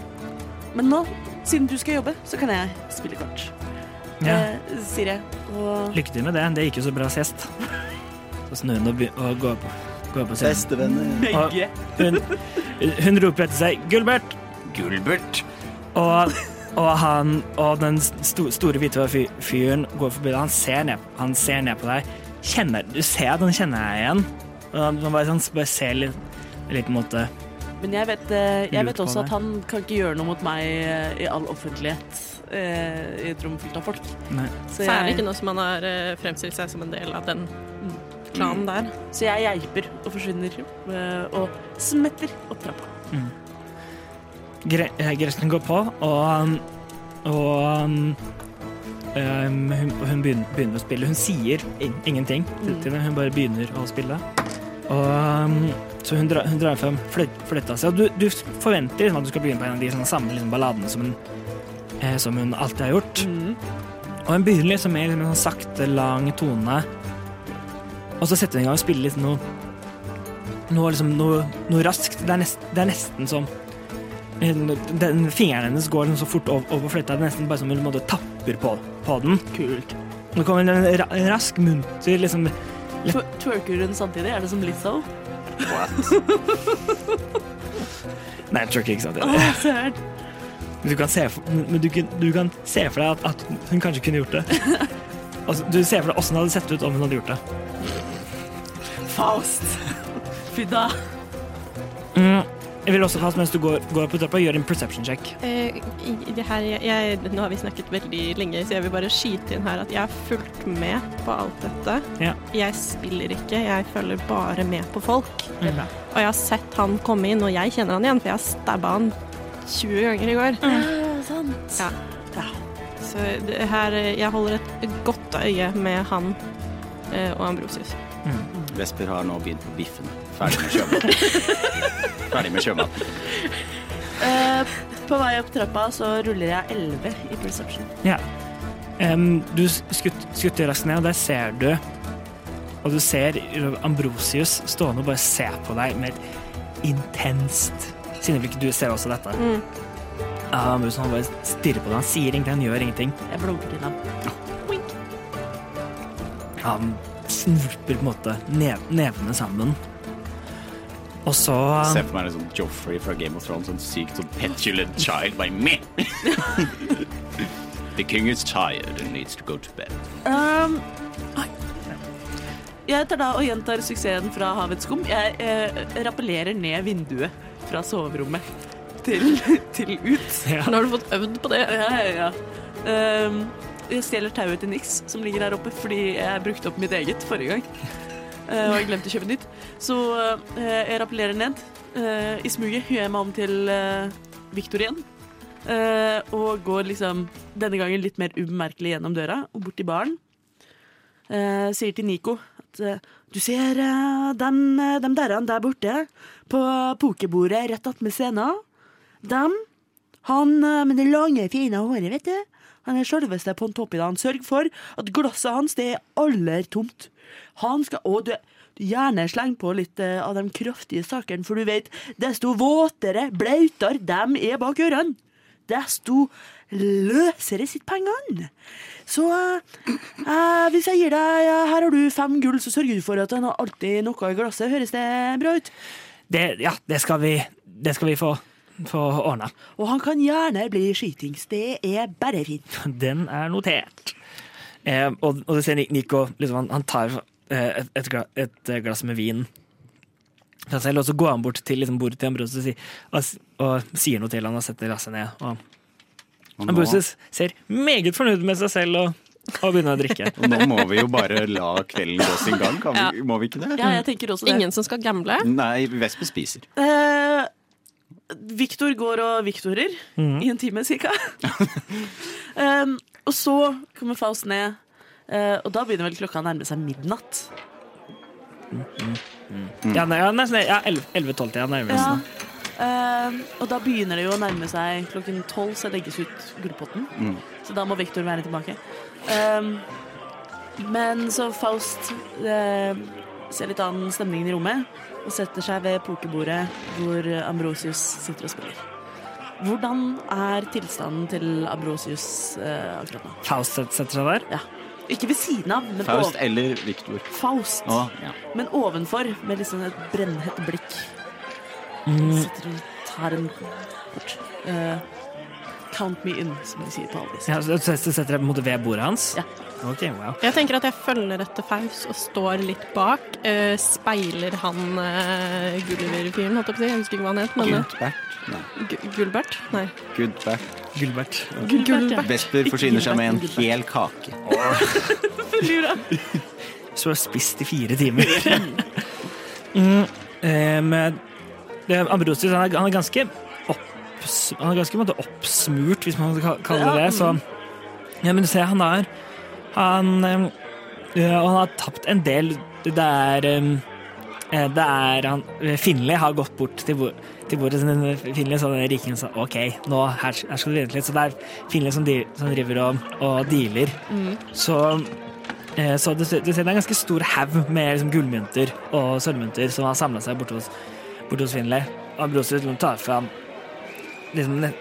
Speaker 5: men nå, siden du skal jobbe, så kan jeg spille kort.
Speaker 3: ja,
Speaker 5: Eh, sier jeg. Og
Speaker 3: lykke til med det. Det gikk jo så bra sist. Så snur hun og, be- og går på, går på scenen.
Speaker 4: Bestevenner.
Speaker 5: begge.
Speaker 3: Hun, hun roper etter seg 'Gulbert!'
Speaker 4: Gulbert.
Speaker 3: Og, og, han, og den sto, store, hvite fy- fyren går forbi deg. Han ser ned, han ser ned på deg. Kjenner, du ser at han kjenner deg igjen. Og han, han bare, han bare ser litt, litt mot det.
Speaker 5: Men jeg vet, eh, jeg
Speaker 3: Lurt
Speaker 5: vet
Speaker 3: på
Speaker 5: også
Speaker 3: deg.
Speaker 5: at han kan ikke gjøre noe mot meg eh, i all offentlighet eh, i et rom fylt av folk.
Speaker 3: Nei.
Speaker 5: Så
Speaker 7: Særlig
Speaker 5: jeg-
Speaker 7: ikke nå som han har eh, fremstilt seg som en del av den klanen der.
Speaker 5: Så jeg geiper og forsvinner eh, og smetter opp trappa.
Speaker 3: Gre eh, Gretchen går på, og, um, og um, um, hun, hun begynner, begynner å spille. Hun sier in ingenting til, til det, hun bare begynner å spille. Og, um, så hun, dra hun drar frem fløy- fløyta si. Og du, du forventer liksom, at du skal begynne på en av de sånne, samme liksom, balladene som hun, eh, som hun alltid har gjort. Og hun begynner liksom med en sånn sakte, lang tone. Og så setter hun i gang og spiller litt noe noe, liksom, noe, noe raskt. Det er, nest, det er nesten som den, den Fingeren hennes går liksom så fort over, over fløyta. Det er nesten bare som hun på en måte tapper på, på den.
Speaker 5: Kult.
Speaker 3: Og Det kommer en ra rask, munter liksom
Speaker 5: Twer- Twerker hun samtidig? Er det som Lizzo?
Speaker 3: Nei, jeg tror ikke, ikke sant?
Speaker 5: Å, søren.
Speaker 3: Men du kan se for, men du, kan- du kan se for deg at, at hun kanskje kunne gjort det. Altså, du ser for deg åssen det hadde sett ut om hun hadde gjort det.
Speaker 5: Faust. Fy da.
Speaker 3: Mm. Jeg vil også Faust, mens du går, går opp på trappa, gjøre en perception check.
Speaker 7: Eh, i- i det her, jeg, jeg, nå har vi snakket veldig lenge, så jeg vil bare skyte inn her at jeg har fulgt med på alt dette.
Speaker 3: Ja.
Speaker 7: Jeg spiller ikke, jeg følger bare med på folk. Og jeg har sett han komme inn, og jeg kjenner han igjen, for jeg stabba han 20 ganger i går. Ja. Så det her, eh, jeg holder et godt øye med han eh, og Ambrosius.
Speaker 4: Vesper har nå begynt på biffen. Ferdig med sjømaten. Ferdig med sjømaten.
Speaker 5: Eh, på vei opp trappa så ruller jeg 11 i perception.
Speaker 3: Ja. Em, du skutt, skutter raskt ned, og der ser du Og du ser Ambrosius stående og bare se på deg med et intenst sinneblikk. Du ser også dette.
Speaker 7: Mm.
Speaker 3: Ja, Ambrosius han bare stirrer på deg. Han sier ingenting, han gjør ingenting.
Speaker 5: Jeg blunker til ham.
Speaker 3: Han snurper på en måte nev nevene sammen. Og så
Speaker 4: Se for meg en sånn Joffrey fra Game of Thrones, sånn sykt sånn petulant child by me. The king is tired and needs to go to bed.
Speaker 5: Um, ai. jeg tar da og gjentar suksessen fra Havets skum. Jeg eh, rappellerer ned vinduet fra soverommet til, til ut.
Speaker 3: ja,
Speaker 7: Nå har du fått øvd på det.
Speaker 5: Ja, ja, ja. Um, jeg stjeler tauet til Nix, som ligger her oppe, fordi jeg brukte opp mitt eget forrige gang. Uh, og jeg glemte å kjøpe nytt. Så uh, jeg rappellerer ned. Uh, I smuget gjør jeg meg om til uh, Victor igjen. Uh, og går liksom denne gangen litt mer ubemerkelig gjennom døra og bort til baren. Uh, Eh, sier til Nico at at eh, du ser eh, dem, eh, dem derren der borte på pokerbordet rett attmed scenen. Dem. Han eh, med det lange, fine håret, vet du. Han er selveste på toppen. Han sørger for at glasset hans det er aller tomt. Han skal Og du, du gjerne sleng på litt eh, av de kraftige sakene, for du vet, desto våtere, blautere dem er bak ørene, desto løsere sitter pengene. Så eh, eh, hvis jeg gir deg eh, Her har du fem gull, så sørger du for at han har alltid noe i glasset. Høres det bra ut?
Speaker 3: Det, ja, det skal vi, det skal vi få, få ordna.
Speaker 5: Og han kan gjerne bli skitings. Det er bare fint.
Speaker 3: Den er notert. Eh, og, og du ser Ni- Nico liksom, han, han tar eh, et, et, gla- et eh, glass med vin fra selv, og så går han bort til liksom, bordet til Ambrosius og, sier- og, s- og sier noe til han og setter glasset ned. Og
Speaker 4: Og nå,
Speaker 3: Ambrosius ser meget fornøyd med seg selv og, og begynner å drikke.
Speaker 4: og nå må vi jo bare la kvelden gå sin gang, kan vi, må vi ikke det?
Speaker 5: Ja, jeg tenker også
Speaker 7: Ingen som skal gamble?
Speaker 4: Nei, Vesper spiser.
Speaker 5: Eh, Viktor går og Viktorer i en time cirka. Em, Eh, og så kommer Faust ned, eh, og da begynner vel klokka å nærme seg midnatt.
Speaker 3: Ja, nei, ja, nesten, ja, 11-12-tida nærmer
Speaker 5: Mm. Ja.
Speaker 3: seg.
Speaker 5: Em, Eh, og da begynner det jo å nærme seg klokken tolv, så legges ut gullpotten. Så da må Viktor være tilbake. Em, men så Faust eh, ser litt an stemningen i rommet og setter seg ved pokerbordet hvor Ambrosius sitter og spiller. Hvordan er tilstanden til Ambrosius eh, akkurat nå?
Speaker 3: Faust set- setter seg der.
Speaker 5: Ja. Ikke ved siden av, men
Speaker 4: Faust
Speaker 5: over-
Speaker 4: eller Viktor?
Speaker 5: Faust.
Speaker 4: Å, ja.
Speaker 5: Men ovenfor, med liksom et brennhett blikk,
Speaker 3: Mm.
Speaker 5: sitter hun og tar en kort. eh, count me in, som de sier på Alvis.
Speaker 3: Ja, så så setter jeg på en måte ved bordet hans.
Speaker 5: Ja.
Speaker 3: Ok, wow.
Speaker 7: Jeg tenker at jeg følger etter Faus og står litt bak. eh, speiler han uh, Gulliver-fyren, holdt jeg på å si. Jeg husker ikke hva han het, men eh,
Speaker 4: Gudbert? Nei,
Speaker 7: Gu- Gulbert? Nei.
Speaker 4: Gudbert.
Speaker 3: Gulbert.
Speaker 7: Gulbert.
Speaker 4: Vesper forsyner seg med en
Speaker 5: Gudbert.
Speaker 4: hel kake.
Speaker 3: Så du har spist i fire timer. mm, eh, men det, Ambrosius han er, han er ganske opps, Han er ganske på en måte oppsmurt, hvis man kan kalle det det. Så, ja, men du ser, han er Han, eh, ja, han har tapt en del. Det er eh, eh, det er han Finley har gått bort til, bord- til bordet til den Finley, så den rikingen sa OK, nå her, her skal du vente litt. Så det er Finley som, de, som driver og, og dealer. Så Eh, Så du ser, du ser det er en ganske stor haug med liksom gullmynter og sølvmynter som har samla seg borte hos, borte hos Finlay. Ambrosius liksom tar fram liksom, ne-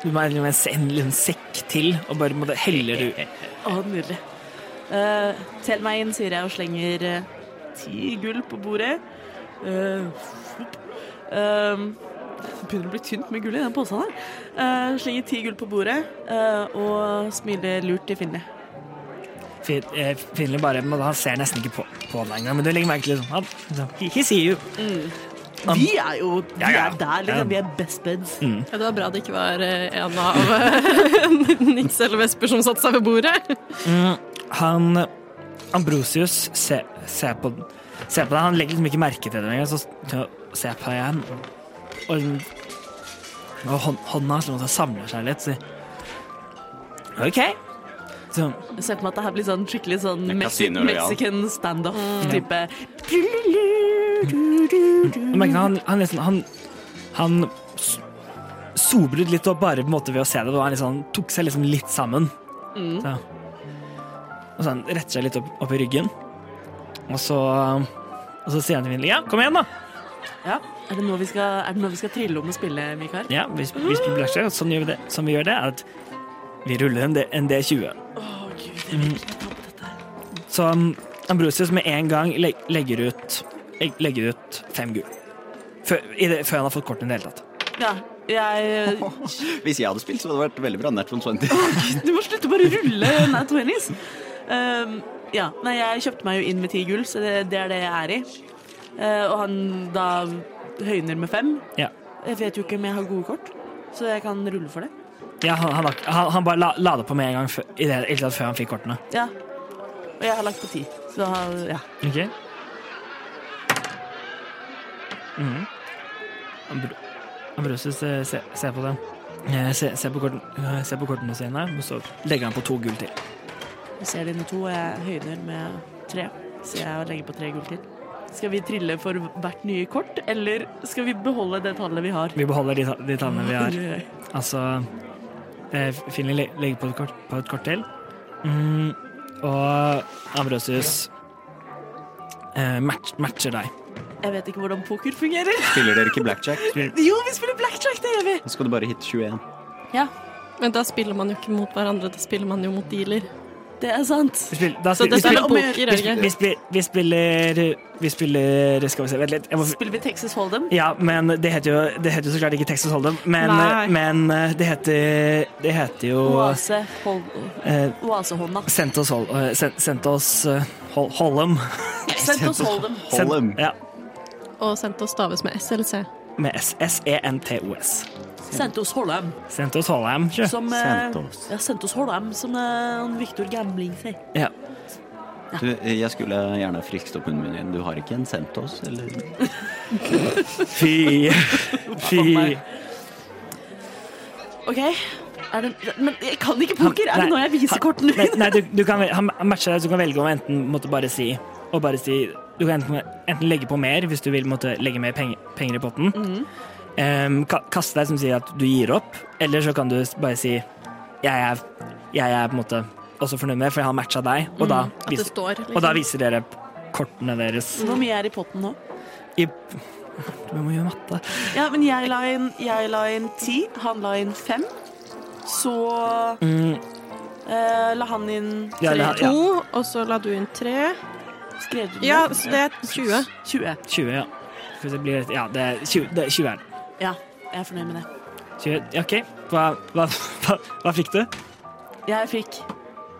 Speaker 3: du må- du må en, se- en liten sekk til og bare måtte heller du
Speaker 5: Å, nydelig. Eh, tell meg inn, sier jeg og slenger eh, ti gull på bordet. Eh, fopp. Ehm, det begynner å bli tynt med gull i den posen her. Eh, slenger ti gull på bordet eh, og smiler lurt til Finne.
Speaker 3: Fin- eh, Finlay bare men Han ser nesten ikke på, på deg engang, men du legger merke til liksom, han liksom, he, he see you. Am-
Speaker 5: Vi er jo vi
Speaker 3: Ja, ja.
Speaker 5: er der,
Speaker 3: Ja.
Speaker 5: liksom. Vi er best buds.
Speaker 7: Ja, det var bra det ikke var eh, en av eh, Nix eller Vesper som satte seg ved bordet.
Speaker 3: Han Ambrosius ser, ser, på, ser på deg. Han legger liksom ikke merke til det engang. Så s- ser jeg på deg igjen, og, liksom, og hånd, hånda hans liksom samler seg litt. Så, OK. Så,
Speaker 5: Jeg ser for meg at det her blir sånn skikkelig sånn
Speaker 4: Det er
Speaker 5: Mexi
Speaker 4: Casino Royale.
Speaker 5: Mexican standoff-type.
Speaker 3: du merker han, han liksom Han, han s- sobret litt opp bare på en måte ved å se det. Og han liksom, tok seg liksom litt sammen. Så, og så han retter seg litt opp, opp i ryggen. Og så, og så sier han til Vinli ja, kom igjen, da.
Speaker 5: Ja. Er det nå vi skal, er det nå vi skal trille om å spille, Mikael?
Speaker 3: Ja, hvis, hvis vi blir seg, sånn gjør vi det. Sånn vi gjør det, er at vi ruller en D- en D20.
Speaker 5: Å, gud, jeg vil ikke ta på dette her.
Speaker 3: Så um, Ambrosius med en gang leg legger ut leg legger ut fem gull. Før, i det, før han har fått kortene i det hele tatt.
Speaker 5: Ja, jeg
Speaker 4: Hvis jeg hadde spilt, så hadde det vært veldig bra. Nat von Swanty.
Speaker 5: Du må slutte å bare rulle Nat Wennies. Um, ja, nei, jeg kjøpte meg jo inn med ti gull, så det, det er det jeg er i. Eh, og han da høyner med fem.
Speaker 3: Ja.
Speaker 5: Jeg vet jo ikke om jeg har gode kort, så jeg kan rulle for det.
Speaker 3: Ja, han, han, har- han, han bare la, la det på med en gang før, i det hele tatt før han fikk kortene.
Speaker 5: Ja. Og jeg har lagt på ti, så har- ja.
Speaker 3: Ok. Mhm. Ambro Ambrosius eh, se- ser på det. Eh, Se, se, på korten, eh, se på kortene sine, og så legger han på to gull til.
Speaker 5: Jeg ser dine to, og jeg høyner med tre. Så jeg legger på tre gull til. Skal vi trille for hvert nye kort, eller skal vi beholde det tallet vi har?
Speaker 3: Vi beholder de, ta- de tallene vi har.
Speaker 5: Oi, oi.
Speaker 3: Altså eh, Finley le- legger på et kort, på et kort til. Mm, og Ambrosius eh, match, matcher deg.
Speaker 5: Jeg vet ikke hvordan poker fungerer.
Speaker 4: Spiller dere ikke blackjack?
Speaker 5: Jo, vi spiller blackjack, det gjør vi!
Speaker 4: Nå skal du bare hit 21.
Speaker 7: Men da spiller man jo ikke mot hverandre, da spiller man jo mot dealer.
Speaker 5: Det er sant.
Speaker 3: Vi spiller, da,
Speaker 7: Så
Speaker 3: vi,
Speaker 7: dette er
Speaker 3: spiller,
Speaker 5: spiller om å
Speaker 7: poker,
Speaker 3: vi,
Speaker 7: Jørgen.
Speaker 3: spiller, vi, spiller, vi spiller Vi spiller Skal vi se, vent litt. Jeg må,
Speaker 5: Spiller vi Texas Hold'em?
Speaker 3: ja, men det heter jo, det heter jo så klart ikke Texas Hold'em, men,
Speaker 7: Nei.
Speaker 3: men eh, det heter Det heter jo
Speaker 5: Oase hold,
Speaker 3: eh,
Speaker 5: Oasehånda.
Speaker 3: Sendt oss hold, eh, sendt, sendt oss eh, hol, Hold'em.
Speaker 5: Send oss Hold'em.
Speaker 3: Sendt-
Speaker 4: Hold'em.
Speaker 3: Ja,
Speaker 7: Og Sento staves med SLC.
Speaker 3: med S- E S-E-N-T-O-S.
Speaker 5: Sendt oss Hold'em.
Speaker 3: Sendt oss Hold'em, sjø.
Speaker 5: Som, eh,
Speaker 4: Sendt oss.
Speaker 5: ja, sendt oss Hold'em, som eh, han Victor Gambling sier.
Speaker 3: Ja.
Speaker 4: Du, jeg skulle gjerne ha friskt opp munnen din. Du har ikke en sendt oss, eller?
Speaker 3: Fy. Fy.
Speaker 5: meg. OK. Er det, men jeg kan ikke
Speaker 3: Han-
Speaker 5: poker! Er
Speaker 3: nei,
Speaker 5: det nå jeg viser
Speaker 3: han-
Speaker 5: kortene
Speaker 3: Nei,
Speaker 5: mine?
Speaker 3: nei du, du kan, vel- han han matcher deg, så du kan velge om enten måtte bare si og bare si, Du kan enten, enten legge på mer hvis du vil måtte legge mer penger, penger i potten.
Speaker 5: Mhm.
Speaker 3: Em, ka, kaste deg som sier at du gir opp, eller så kan du s- bare si jeg er, jeg er på en måte også fornøyd med det, for jeg har matcha deg, og
Speaker 5: Mhm.
Speaker 3: da,
Speaker 7: At det
Speaker 3: viser,
Speaker 7: står,
Speaker 3: og da
Speaker 7: liksom.
Speaker 3: viser dere kortene deres.
Speaker 5: Hvor mye er i potten nå?
Speaker 3: I, du må gjøre matte.
Speaker 5: Ja, men jeg la inn, jeg la inn ti, han la inn fem. Så eh, la han inn
Speaker 3: Ja,
Speaker 5: tre.
Speaker 3: eller han- ja.
Speaker 7: To, og så la du inn tre.
Speaker 5: Skrev du det?
Speaker 7: Ja, så det er 20.
Speaker 5: 20.
Speaker 3: 20, ja. Skal vi se, blir det, ja, det er 20, det er 20 er det.
Speaker 5: Ja, jeg er fornøyd med det.
Speaker 3: 20, ja, OK. Hva, hva, hva, hva fikk du?
Speaker 5: Jeg fikk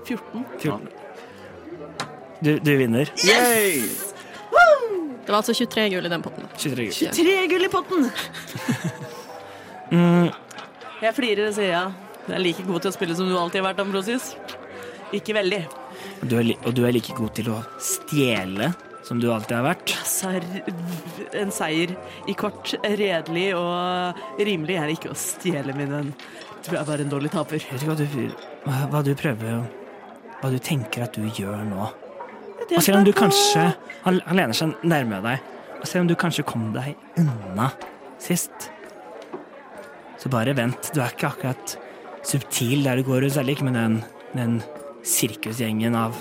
Speaker 5: 14.
Speaker 3: 14. Du, du vinner.
Speaker 7: Det var altså 23 gull i den potten.
Speaker 3: 23 gull.
Speaker 5: 23 gull i potten! Jeg flirer og sier ja. Du er like god til å spille som du alltid har vært, Ambrosius. Ikke veldig.
Speaker 3: Og Du er, li- og du er like god til å stjele som du alltid har vært.
Speaker 5: Sar Altså, en seier i kort, redelig og rimelig er ikke å stjele min venn. Tror jeg var en dårlig taper.
Speaker 3: Vet du hva du, hva, hva du prøver å- Hva du tenker at du gjør nå. Og selv om du kanskje Han, han lener seg nærme deg. Og selv om du kanskje kom deg unna sist, så bare vent. Du er ikke akkurat subtil der du går rundt, særlig ikke med den, den sirkusgjengen av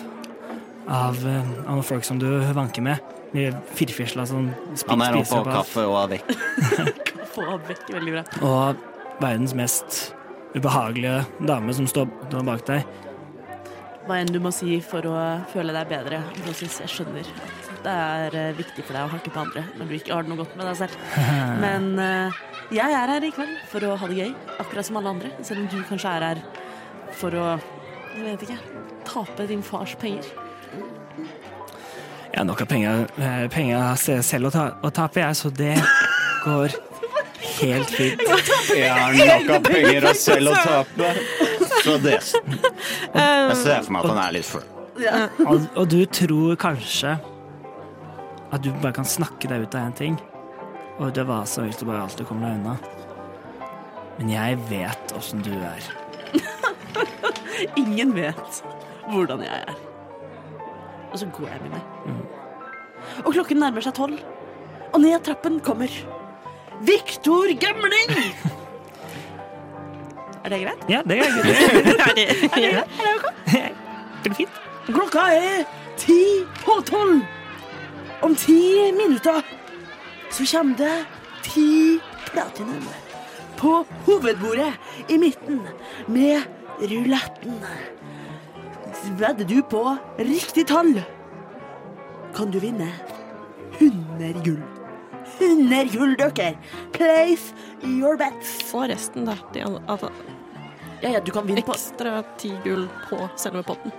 Speaker 3: av, eh, av folk som du vanker med. De firfisla som spi-
Speaker 4: Han er oppe
Speaker 3: spiser
Speaker 4: på kaffe og er vekk.
Speaker 5: Få han vekk veldig bra.
Speaker 3: Og verdens mest ubehagelige dame som står står bak deg.
Speaker 5: Hva enn du må si for å føle deg bedre, Ambrosius. Jeg skjønner at det er eh, viktig for deg å hakke på andre når du ikke har det noe godt med deg selv. Men eh, jeg er her i kveld for å ha det gøy, akkurat som alle andre. Selv om du kanskje er her for å jeg vet ikke tape din fars penger.
Speaker 3: Jeg har nok av penger, eh, penger se- selv å, ta, å tape, jeg, så det går helt fint.
Speaker 4: Jeg har nok av penger og selv å tape. Så det sånn. Jeg ser for meg at han er litt full.
Speaker 3: Og, og du tror kanskje at du bare kan snakke deg ut av en ting, og det var så hvis du bare alltid kommer deg unna. Men jeg vet åssen du er.
Speaker 5: Ingen vet hvordan jeg er. Og så går jeg med meg. Og klokken nærmer seg tolv, og ned trappen kommer Viktor Gamling! er det greit?
Speaker 3: Ja, det er greit.
Speaker 5: Er det ok?
Speaker 3: Det blir fint.
Speaker 5: Klokka er ti på tolv. Om ti minutter så kommer det ti platinum på hovedbordet i midten med ruletten. Vedder du på riktig tall, kan du vinne 100 gull. 100 gull, dere. Place your bets.
Speaker 7: Og resten, da. De an- altså,
Speaker 5: Ja, ja, du kan vinne på
Speaker 7: ekstra ti gull på selve potten.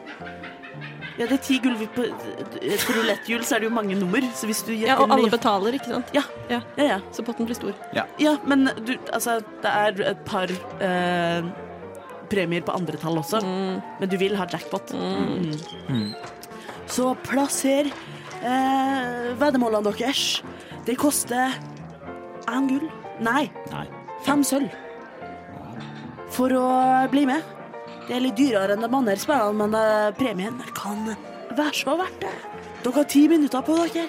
Speaker 5: Ja, det er ti gull vi på På roulettehjul så er det jo mange nummer, så hvis du
Speaker 7: Ja, Og alle betaler, ikke sant?
Speaker 5: Ja.
Speaker 7: ja.
Speaker 5: Ja, ja.
Speaker 7: Så potten blir stor.
Speaker 5: Ja, men du, altså, det er et par eh, premier på andre tall også,
Speaker 2: Mm.
Speaker 7: Mm,
Speaker 5: men du vil ha jackpot. Mm. Så plasser eh, veddemålene deres. Det koster én gull Nei,
Speaker 4: Nei.
Speaker 5: fem sølv. For å bli med. Det er litt dyrere enn de andre spillene, men eh, premien kan Vær så verdt det. Dere har ti minutter på dere.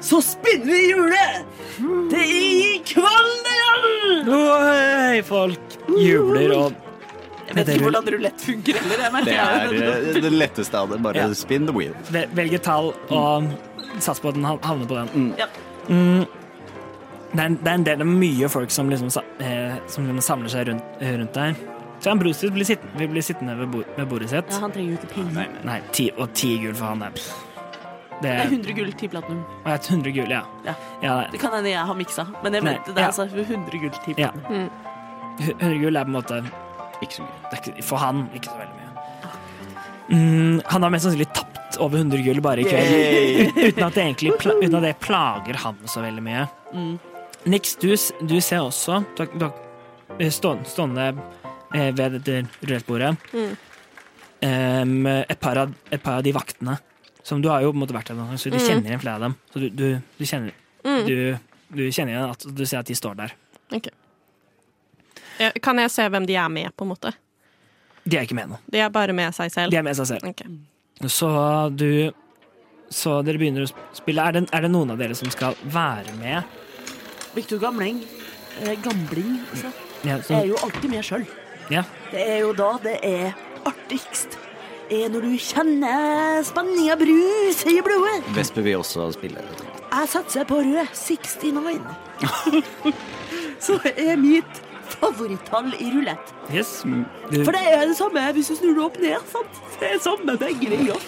Speaker 5: Så spinner vi hjulet! Det er i Kvaløya!
Speaker 3: Hei, folk jubler og
Speaker 5: Jeg vet ikke hvordan rulett funker heller. Jeg
Speaker 4: Det er
Speaker 5: merker det.
Speaker 4: eh, det letteste av det. Bare
Speaker 3: Ja.
Speaker 4: spin the wheel.
Speaker 3: Vel- velger tall og sats på at den hav- havner på den.
Speaker 5: Ja.
Speaker 3: Mm. Det, er en, det er en del det er mye folk som liksom, sa- eh, som liksom samler seg rundt, eh, rundt der. Så han Brustus blir sittende, vil bli sittende ved, bord, ved bordet sitt.
Speaker 5: Ja, han trenger jo ikke penger.
Speaker 3: Nei, ti, og ti gul for han der. Det
Speaker 5: Det er
Speaker 3: er
Speaker 5: 100 gull, 10 platinum.
Speaker 3: og jeg har 100 gul, ja.
Speaker 5: Ja.
Speaker 3: ja det-
Speaker 5: Det kan hende jeg har miksa, men jeg
Speaker 3: Nei,
Speaker 5: mente det.
Speaker 3: ja.
Speaker 5: er Altså 100 gull, 10
Speaker 3: Ja.
Speaker 5: platinum.
Speaker 3: 100 gul er på en måte
Speaker 4: Ikke så mye.
Speaker 3: det er ikke, For han ikke så veldig mye.
Speaker 5: Ah.
Speaker 3: Mm, han har mest sannsynlig tapt over 100 gull bare i kveld. Uten at det egentlig pla uten at det plager ham så veldig mye.
Speaker 5: Mm.
Speaker 3: Nix, du, s- du ser også du, har- du, har- eh, stå, Stående eh, ved dette rulettbordet
Speaker 7: Mm.
Speaker 3: em, et, par av, et par av de vaktene Som du har jo på en måte vært der noen ganger, så du
Speaker 7: Mm.
Speaker 3: kjenner igjen flere av dem. Så du, du, du, kjenner,
Speaker 7: Mm.
Speaker 3: du, du kjenner igjen at du ser at de står der.
Speaker 7: Eh, Kan jeg se hvem de er med, på en måte?
Speaker 3: De er ikke med nå.
Speaker 7: De er bare med seg selv.
Speaker 3: De er med seg selv.
Speaker 7: Ok.
Speaker 3: Så du Så dere begynner å sp- spille. Er det, er det noen av dere som skal være med?
Speaker 5: Victor Gamling. Eh, gambling, altså.
Speaker 3: Ja,
Speaker 5: Jeg er
Speaker 3: som,
Speaker 5: jo alltid med sjøl.
Speaker 3: ja.
Speaker 5: Det er jo da det er artigst. Er når du kjenner spenninga brus i blodet.
Speaker 4: Vesper vil også spille.
Speaker 5: Jeg satser på rød 69. Som er mitt favorittall i rulett.
Speaker 3: Yes. Du,
Speaker 5: For det er det samme hvis du snur det opp ned. sant? Det er samme begge veier.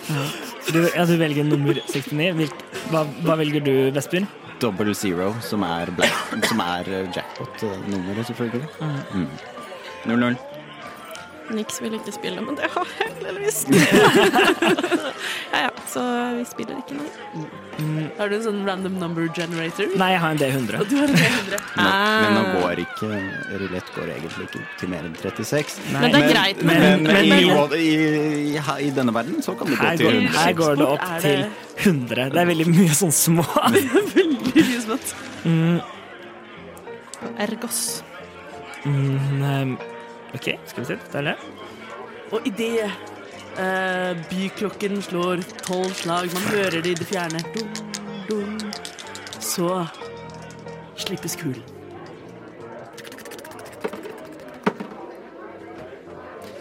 Speaker 3: du, ja, du velger nummer 69. Hvilk, hva, hva velger du, Vesper?
Speaker 4: Double zero, som er, black- som er eh, jackpot-nummeret, selvfølgelig. Mm. 0-0.
Speaker 7: Nix vil ikke spille, men det har jeg heldigvis. ja, ja, så vi spiller ikke, nei.
Speaker 5: Har du en sånn random number generator?
Speaker 3: Nei, jeg har en D100.
Speaker 5: Og du har en 300.
Speaker 4: Nå, men nå
Speaker 7: Ah.
Speaker 4: går ikke eh, rulett går egentlig ikke til mer enn 36.
Speaker 3: Nei,
Speaker 7: Men det er greit.
Speaker 3: men-
Speaker 4: Men,
Speaker 3: men-
Speaker 4: i, i, i, her- i denne verden så kan det gå
Speaker 3: Her
Speaker 4: til
Speaker 3: går, her
Speaker 4: 100.
Speaker 3: går det opp
Speaker 5: Er
Speaker 3: til
Speaker 5: det-
Speaker 3: 100. Det er veldig mye sånn små.
Speaker 5: Veldig mye smått.
Speaker 7: Ergos.
Speaker 3: Mm, ehm, OK, skal vi se. Det er det.
Speaker 5: Og idet uh, byklokken slår tolv slag, man hører det i det fjerne, dum, dum, så slippes kulen.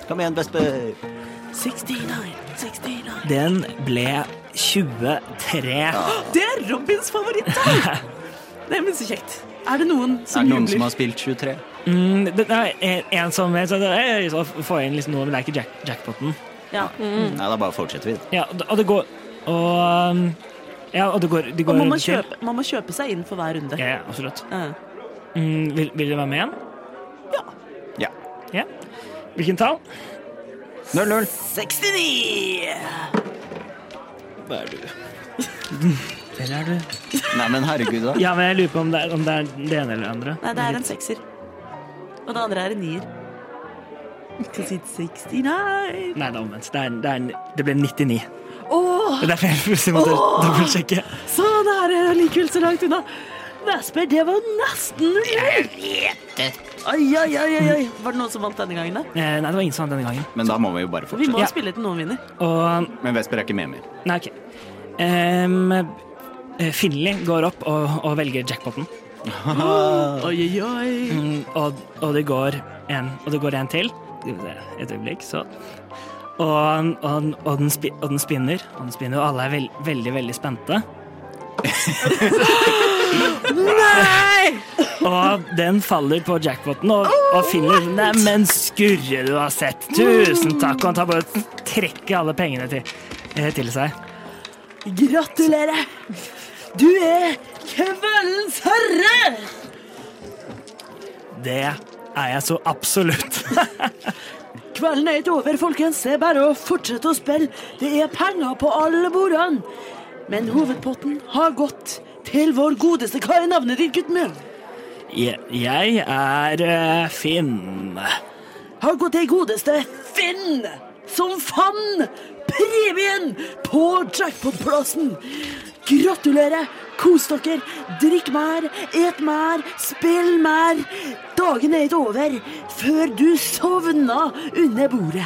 Speaker 4: Kom igjen, Vesper.
Speaker 5: 69, 69.
Speaker 3: Den ble 23.
Speaker 5: Det er Robins favorittdag! Nei, men så kjekt. Er det noen
Speaker 4: Er
Speaker 5: som
Speaker 4: det noen som
Speaker 5: jubler?
Speaker 4: har spilt 23?
Speaker 3: Mm, det det er en- en som så det er- så får jeg inn liksom noe, men det er ikke jack, jackpoten.
Speaker 5: Ja.
Speaker 4: Nei, da bare fortsetter vi.
Speaker 3: Ja, og det- og det går Og um, Ja, og det går, det går
Speaker 5: Og man må,
Speaker 3: rundt til.
Speaker 5: kjøpe, man må kjøpe seg inn for hver runde.
Speaker 3: Ja, ja, absolutt.
Speaker 5: Ja.
Speaker 3: Mm, vil, vil du være med igjen?
Speaker 4: Ja.
Speaker 3: Ja. Hvilken tall?
Speaker 4: 0-0.
Speaker 5: 69!
Speaker 4: Hva er du?
Speaker 3: Eller er du
Speaker 4: Nei, men herregud, da.
Speaker 3: Ja, men jeg lurer på om det er, om det, er det ene eller det andre.
Speaker 5: Nei, det er en sekser. Og det andre er en nier. 69
Speaker 3: Nei, det er omvendt. Det, er, det, er, en- det ble 99.
Speaker 5: Åh,
Speaker 3: Det er derfor jeg plutselig måtte
Speaker 5: Åh!
Speaker 3: dobbeltsjekke.
Speaker 5: så nære og likevel så langt unna. Vesper, det var nesten null. Oi, oi, oi, oi, oi. Var det noen som vant denne gangen, da?
Speaker 3: Eh, Nei, det var ingen som vant denne gangen.
Speaker 4: Men da må vi jo bare
Speaker 5: Vi må
Speaker 4: fortsette.
Speaker 3: Ja.
Speaker 5: spille til noen vinner.
Speaker 3: Og
Speaker 4: Men Vesper er ikke med mer.
Speaker 3: Nei, OK. Um, Finley går opp og, og velger jackpoten.
Speaker 5: Oi, oi, oi.
Speaker 3: Mm, og, og det går en Og det går en til. Skal vi se, Et øyeblikk, så. Og, og, og, den, spi, og den spinner, og den spinner, og alle er vel, veldig, veldig spente. Nei! Og den faller på jackpoten, og, og finner Neimen, skurre du har sett! Tusen takk! Og han tar bare og trekker alle pengene til, eh, til seg.
Speaker 5: Gratulerer. Du er kveldens herre.
Speaker 3: Det er jeg så absolutt.
Speaker 5: Kvelden er ikke over, folkens. Det er bare å fortsette å spille. Det er penger på alle bordene. Men hovedpotten har gått til vår godeste. Hva er navnet ditt, gutten min?
Speaker 3: Jeg, jeg er eh, Finn.
Speaker 5: har gått til godeste Finn, som fann premien på jackpot-plassen. Gratulerer! Kos dere, drikk mer, et mer, spill mer. Dagen er ikke over før du sovna under bordet.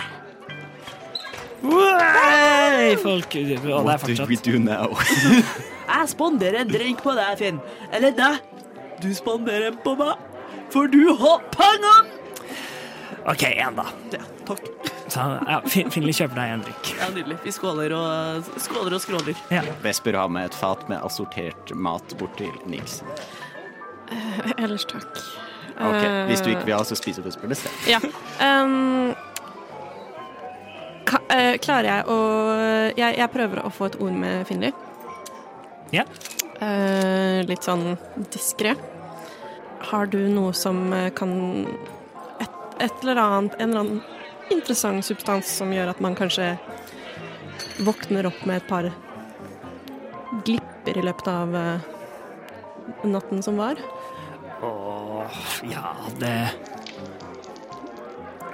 Speaker 3: Wey! Folk, og det er
Speaker 4: What do we
Speaker 3: fortsatt
Speaker 4: do now?
Speaker 5: Jeg spanderer en drink på deg, Finn. Eller nei, du spanderer en på meg, for du har pengene!
Speaker 3: OK, én, da.
Speaker 5: Ja, takk.
Speaker 3: Så ja, fin- Finli kjøper deg en drikk.
Speaker 5: Ja, Nydelig. Vi skåler og, skåler og skråler.
Speaker 3: Ja.
Speaker 4: Vesper har med et fat med assortert mat bort til Nix.
Speaker 2: Ellers takk.
Speaker 4: Ok, Hvis du ikke
Speaker 2: Eh,
Speaker 4: vil ha, så spiser Vesper det selv.
Speaker 2: Ja. Ehm, ka, eh, klarer jeg å jeg, jeg prøver å få et ord med Finli.
Speaker 3: Ja.
Speaker 2: Eh, litt sånn diskré. Har du noe som eh, kan et, et eller annet En eller annen interessant substans som gjør at man kanskje våkner opp med et par glipper i løpet av eh, natten som var?
Speaker 3: Åh, ja, det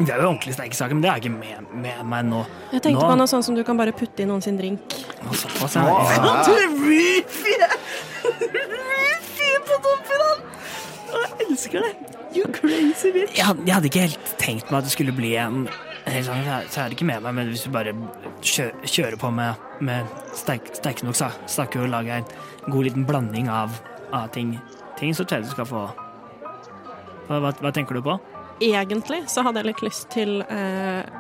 Speaker 3: Det er jo ordentlig sterke saker, men det er ikke med, med meg nå.
Speaker 2: Jeg tenkte
Speaker 3: Nå-
Speaker 2: på noe sånt som du kan bare putte i noen sin drink.
Speaker 3: nå såpass, ja.
Speaker 5: Du er Rufy! Rufy på toppen av Jeg elsker det. You crazy bitch.
Speaker 3: Jeg, had- jeg hadde ikke helt tenkt meg at det skulle bli en helt sånn, Så er det ikke med meg, men hvis du bare kjø, kjører på med, med sterk, sterke nok sa- saker og lager en god liten blanding av, av ting, ting, så tror jeg du skal få hva, hva, hva tenker du på?
Speaker 2: Egentlig så hadde jeg litt lyst til eh,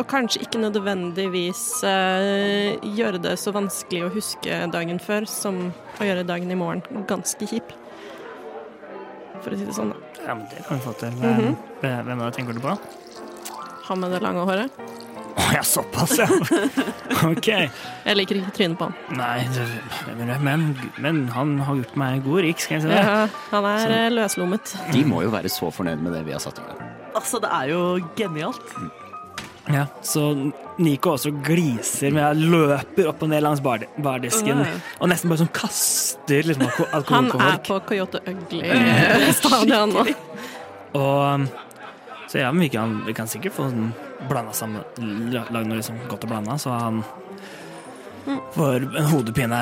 Speaker 2: å kanskje ikke nødvendigvis eh, gjøre det så vanskelig å huske dagen før som å gjøre dagen i morgen ganske kjip. For å si det sånn, da.
Speaker 3: Ja, men Det kan vi få til.
Speaker 2: Mhm.
Speaker 3: Hvem, hvem av det tenker du på?
Speaker 2: Han med det lange håret.
Speaker 3: Å ja, såpass, ja. OK.
Speaker 2: Jeg liker ikke trynet på han.
Speaker 3: Nei, det, hvem er det? men, men han har gjort meg god rik, skal jeg si det.
Speaker 2: Ja, han er eh, løslommet.
Speaker 4: De må jo være så fornøyd med det vi har satt i gang.
Speaker 5: Altså, det er jo genialt.
Speaker 3: Ja, så Nico også gliser, men jeg løper opp og ned langs bar bardisken
Speaker 5: Åh.
Speaker 3: og nesten bare sånn kaster liksom, alko
Speaker 2: Han er
Speaker 3: alkoholkohork.
Speaker 2: på Coyote Ugly-stadiet nå.
Speaker 3: Og så ja, men vi kan, vi kan sikkert få sånn blanda sammen la- Lage noe liksom godt å blande, så han
Speaker 2: Mm.
Speaker 3: får en hodepine.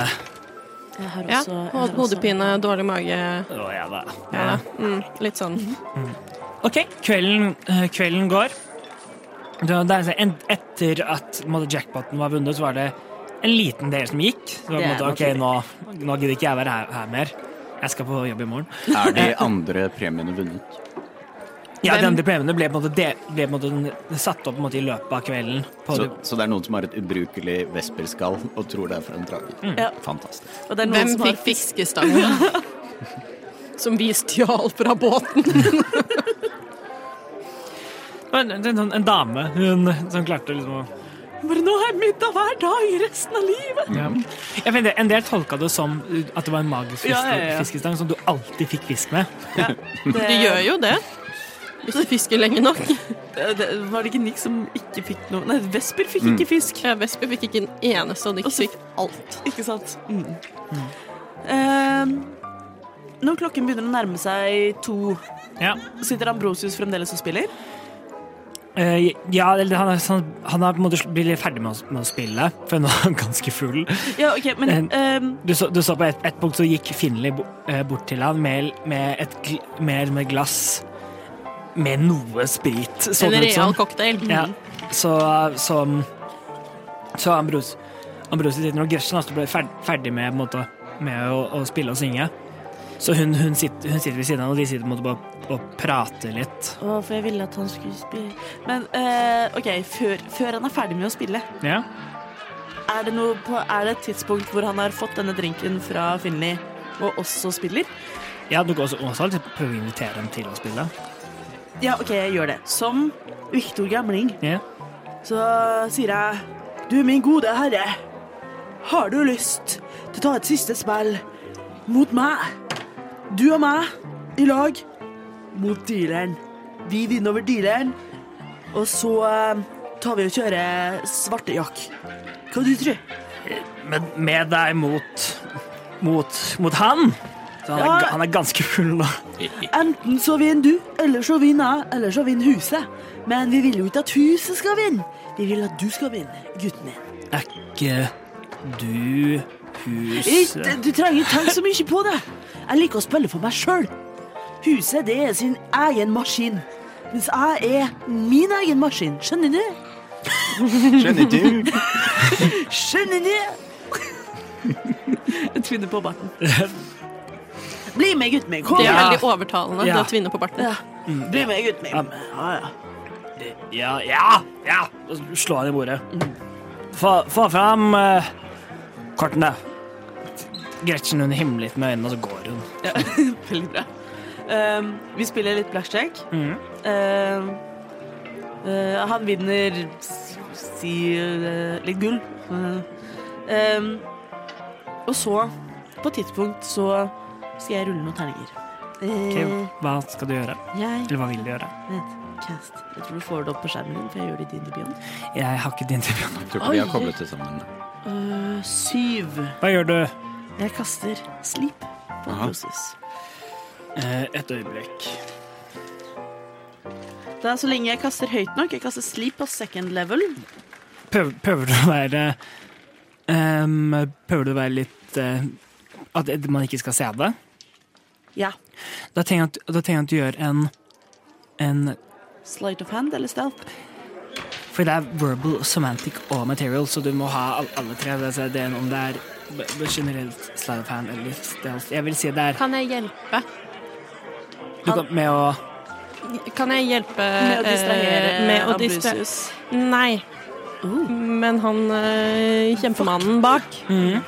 Speaker 5: Jeg har
Speaker 2: Ja, hod- hodepine, dårlig mage.
Speaker 3: Å ja da.
Speaker 2: Ja, mm, litt sånn.
Speaker 3: Ok, kvelden, eh, kvelden går. Det var- det er en- Etter at på en måte, jackpoten var vunnet, så var det en liten del som gikk. Så det var, på en
Speaker 5: Det er
Speaker 3: måte, ok, nå, nå gidder ikke jeg være her, her mer. Jeg skal på jobb i morgen.
Speaker 4: Er de andre premiene vunnet?
Speaker 3: Ja,
Speaker 2: Hvem-
Speaker 3: De andre premiene ble, på en måte, de, ble på en måte satt opp på en måte, i løpet av kvelden. På,
Speaker 4: Så, så det er noen som har et ubrukelig vesperskall og tror det er fra en drage.
Speaker 5: Ja.
Speaker 4: Fantastisk.
Speaker 5: Og det er noen
Speaker 1: Hvem
Speaker 5: som har
Speaker 1: fikk fiskestangen? Som vi stjal fra båten.
Speaker 3: en, en, sånn- en dame hun, som klarte liksom å
Speaker 5: Bare nå har jeg middag hver dag i resten av livet.
Speaker 3: ja. Jeg vet, En del tolka det som at det var en magisk fiske,
Speaker 5: Ja, ja, ja.
Speaker 3: fiskestang som du alltid fikk fisk med.
Speaker 5: Det,
Speaker 1: Du gjør jo det. Hvis du fisker lenge nok.
Speaker 5: det, det, var det ikke Nick som ikke fikk noe Nei, Vesper fikk ikke fisk.
Speaker 1: Ja, Vesper fikk ikke en eneste, og Nick
Speaker 5: Og så-
Speaker 1: fikk alt.
Speaker 5: Ikke sant? Mm. Ehm, når klokken begynner å nærme seg to,
Speaker 3: Ja.
Speaker 5: sitter Ambrosius fremdeles og spiller.
Speaker 3: Eh, ja, eller han, er, han, han er på en måte sl- blitt ferdig med å, med å spille, for nå er han ganske full.
Speaker 5: Ja, ok, men
Speaker 3: En-
Speaker 5: ehm,
Speaker 3: Du så, du så på et, et punkt så gikk Finley bo, eh, bort til han med, med et gl- med, med glass med noe sprit, så
Speaker 1: En
Speaker 3: det ut
Speaker 1: real
Speaker 3: som.
Speaker 1: cocktail.
Speaker 3: Ja, så, så, så Ambros, Ambrosius sitter og Gershon altså, ble fer- ferdig med, på en måte, med å, å spille og synge. Så hun, hun, sitter, hun sitter ved siden av, og de sitter på en måte bare og prater litt.
Speaker 5: Å, for jeg ville at han skulle spille Men eh, OK, før, før han er ferdig med å spille,
Speaker 3: Ja.
Speaker 5: er det, noe på, er det et tidspunkt hvor han har fått denne drinken fra Finley og også spiller?
Speaker 3: Ja, du kan også, også alltid prøve å invitere dem til å spille.
Speaker 5: Ja, OK, jeg gjør det. Som Viktor Gamling
Speaker 3: Ja.
Speaker 5: så sier jeg Du, min gode herre, har du lyst til å ta et siste spill mot meg? Du og meg i lag mot dealeren. Vi vinner over dealeren, og så eh, tar vi og kjører svartejakk. Hva du tror du?
Speaker 3: Men med deg mot mot, mot han. Så han,
Speaker 5: Ja.
Speaker 3: er, ga- han er ganske full nå.
Speaker 5: Enten så vinner du, eller så vinner jeg, eller så vinner huset. Men vi vil jo ikke at huset skal vinne. Vi vil at du skal vinne, gutten min.
Speaker 3: Er ikke du huset
Speaker 5: Ikke, du trenger ikke tenke så mye på det. Jeg liker å spille for meg sjøl. Huset det er sin egen maskin, mens jeg er min egen maskin. Skjønner du?
Speaker 4: Skjønner du?
Speaker 1: Skjønner du? Jeg tvinner på barten. Bli med, gutten min. Kom
Speaker 2: Det er
Speaker 3: Ja.
Speaker 2: veldig overtalende.
Speaker 3: Ja.
Speaker 2: Det å tvinne på barten.
Speaker 1: igjen. Bli med, gutten min. Ja, ja.
Speaker 3: Ja, ja, ja! Og så slår han i bordet. Få, få fram eh, kortene. Gretchen hun himlet med øynene, og så går hun.
Speaker 1: Ja, Veldig bra. Um, vi spiller litt blackjack. Um, uh, han vinner s- si uh, litt gull. Uh, um, og så, på et tidspunkt, så skal jeg rulle noen terninger.
Speaker 3: Ok,
Speaker 1: Uh,
Speaker 3: Hva skal du gjøre?
Speaker 1: jeg
Speaker 3: Eller hva vil du gjøre?
Speaker 1: cast. Jeg tror du får det opp på skjermen din, for jeg gjør det i din beyond.
Speaker 3: Jeg har ikke din tilbud.
Speaker 4: Jeg tror ikke vi har koblet det sammen.
Speaker 1: Uh, syv.
Speaker 3: Hva gjør du?
Speaker 1: Jeg kaster sleep på
Speaker 4: Aha.
Speaker 1: Moses.
Speaker 3: Eh, Et øyeblikk.
Speaker 1: Det er så lenge jeg kaster høyt nok. Jeg kaster sleep på second level.
Speaker 3: Prøver, prøver du å være ehm, Prøver du å være litt eh, At man ikke skal se det?
Speaker 1: Ja.
Speaker 3: Da tenker jeg at, da tenker jeg at du gjør en en
Speaker 1: Sleight of hand eller stealth?
Speaker 3: For det er verbal, semantic og material, så du må ha al- alle tre. Det er- det er om det er b- b- generelt slide of hand eller stealth. Jeg vil si det er
Speaker 2: Kan jeg hjelpe?
Speaker 3: du kan, med å
Speaker 2: Kan jeg hjelpe
Speaker 1: Med å distrahere
Speaker 2: eh, med å distra-
Speaker 1: Abrusius.
Speaker 2: Nei. Men han eh, kjempemannen bak,
Speaker 3: Mm.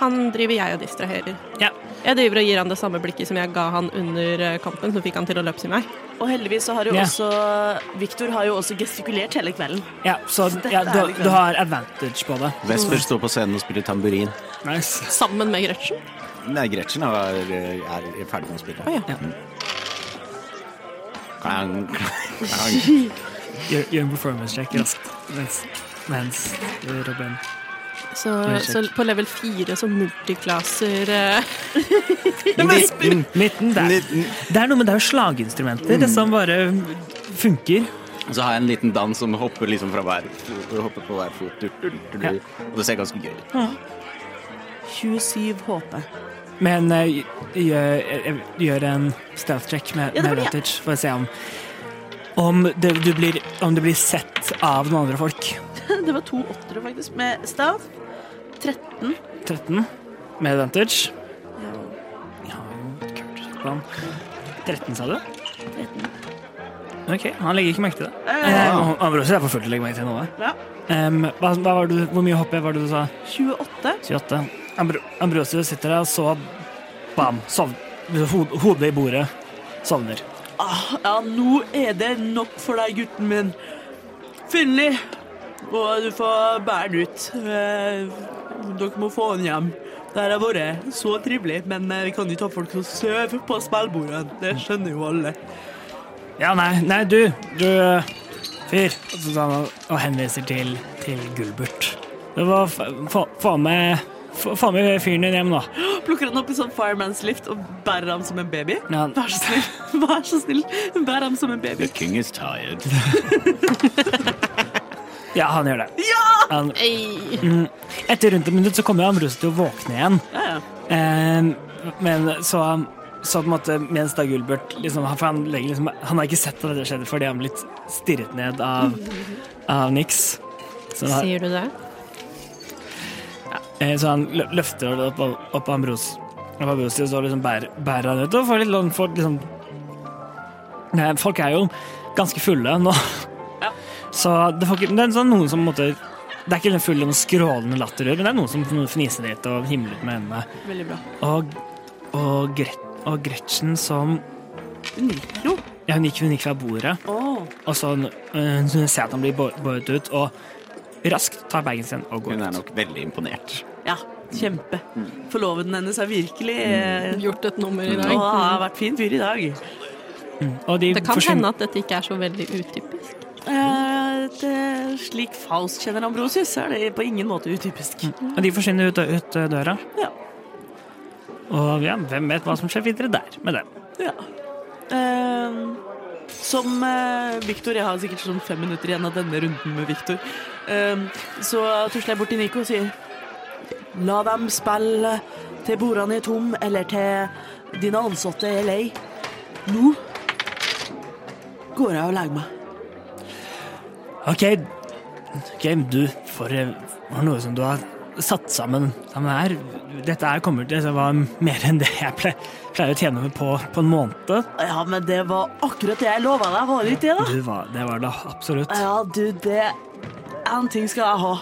Speaker 2: han driver jeg og distraherer.
Speaker 3: Ja.
Speaker 2: Jeg driver og gir han det samme blikket som jeg ga han under eh, kampen, som fikk han til å løpse i meg.
Speaker 1: Og heldigvis så har jo
Speaker 3: Ja.
Speaker 1: også Victor har jo også gestikulert hele kvelden.
Speaker 3: Ja, så
Speaker 1: Dette
Speaker 3: ja,
Speaker 1: er
Speaker 3: du,
Speaker 1: liksom-
Speaker 3: du har advantage på det.
Speaker 4: Vesper står på scenen og spiller tamburin.
Speaker 3: Nice.
Speaker 2: Sammen med Gretchen.
Speaker 4: Nei, Gretchen er, er ferdig med å spille.
Speaker 2: ja.
Speaker 4: Mm. Klang, klang.
Speaker 3: Gjør, gjør en performance check raskt mens, mens Robin
Speaker 2: Så,
Speaker 3: Det er
Speaker 2: så
Speaker 3: kjekt.
Speaker 2: på level fire så multiklaser eh,
Speaker 3: Midten, mm, midten der. Det er noe med det er jo slaginstrumenter som bare funker.
Speaker 4: Så har jeg en liten dans som hopper liksom fra hver Hopper på hver fot. Du, du, du, du.
Speaker 3: Ja.
Speaker 4: Og det ser ganske gøy ut.
Speaker 1: 27 HP.
Speaker 3: Men eh, gjør, eh, gjør en stealth check med, med
Speaker 1: Ja, det blir jeg.
Speaker 3: advantage for å se om om det, du blir, om det blir sett av noen andre folk.
Speaker 1: Det var to åttere, faktisk, med stav. 13.
Speaker 3: 13 med advantage. Ja, kult. Plan. 13, sa du?
Speaker 1: 13.
Speaker 3: OK, han legger ikke merke til det.
Speaker 1: Eh,
Speaker 3: Eh, og Ambrose er for full til å legge merke til noe.
Speaker 1: Ja.
Speaker 3: Em, hva, hva var du, hvor mye hoppe var det du sa?
Speaker 1: 28.
Speaker 3: 28. Ambro, Ambrose sitter der, og så bam, sov, hod, hodet i bordet. Sovner.
Speaker 1: Ah, ja, nå er det nok for deg, gutten min. Finli. Og du får bære den ut. Eh, dere må få den hjem. Det her har vært så trivelig, men eh, vi kan ikke ha folk som sover på spillbordene. Det skjønner jo alle.
Speaker 3: Ja, nei, nei, du, du fyr. Og så tar han og henviser til, til Gulbert. Det var f- få- Få med få- Få med fyren din hjem, da.
Speaker 1: Plukker han opp i sånn fireman's lift og bærer ham som en baby.
Speaker 3: Ja.
Speaker 1: Vær så snill, vær så snill, bær ham som en baby.
Speaker 4: The king is tired.
Speaker 3: Ja, han gjør det. Han, Mm.
Speaker 2: ei.
Speaker 3: etter rundt et minutt så kommer Ambrose til å våkne igjen.
Speaker 1: Ja, ja.
Speaker 3: Eh, men så så på en måte, mens da Gulbert liksom, han- for han, legger liksom, han har ikke sett at dette skjedde fordi han blitt stirret ned av, av Nix. Så, han-
Speaker 2: Sier du det?
Speaker 3: eh, så han lø- løfter det opp, opp Ambrose, opp Ambrosius og liksom bærer, bærer han ut. Og får litt lån for liksom Nei, Folk er jo ganske fulle nå.
Speaker 1: Ja.
Speaker 3: Så det, får ikke, det er sånn noen som på en måte Det er ikke den fulle skrålende latter, men det er noen som fniser litt og himler med øynene.
Speaker 1: Veldig bra.
Speaker 3: Og, og, Gret, og Gretchen som
Speaker 1: Unikro.
Speaker 3: ja, Hun gikk, hun gikk fra bordet,
Speaker 1: Åh.
Speaker 3: og så øh, så hun ser at han blir bå- båret ut, og raskt tar bagen sin og går
Speaker 4: Hun er
Speaker 3: ut.
Speaker 4: nok veldig imponert.
Speaker 1: Ja, kjempe. Forloveden hennes er virkelig eh,
Speaker 2: Gjort et nummer i
Speaker 1: Å,
Speaker 2: dag.
Speaker 1: har vært fin fyr i dag.
Speaker 3: Og de
Speaker 2: Det kan
Speaker 3: forsvinner-
Speaker 2: hende at dette ikke er så veldig utypisk.
Speaker 1: Eh, det, slik Faust kjenner Ambrosius, er det på ingen måte utypisk.
Speaker 3: Og de forsvinner ut, ut eh, døra.
Speaker 1: Ja.
Speaker 3: Og ja, hvem vet hva som skjer videre der med dem.
Speaker 1: ja. Ehm, som eh, Victor, jeg har sikkert sånn fem minutter igjen av denne runden med Victor, Ehm, så tusler jeg bort til Nico og sier La dem spille til bordene er tom, eller til dine ansatte er lei. Nå går jeg og legger meg.
Speaker 3: OK, Ok, du for, eh, for noe som du har satt sammen, sammen her. Dette her kommer til å være mer enn det jeg ple, pleier å tjene på på en måned.
Speaker 5: Ja, men det var akkurat det jeg lova deg, var det ikke det, da?
Speaker 3: Du var, det var det absolutt.
Speaker 5: Ja, du, det En ting skal jeg ha.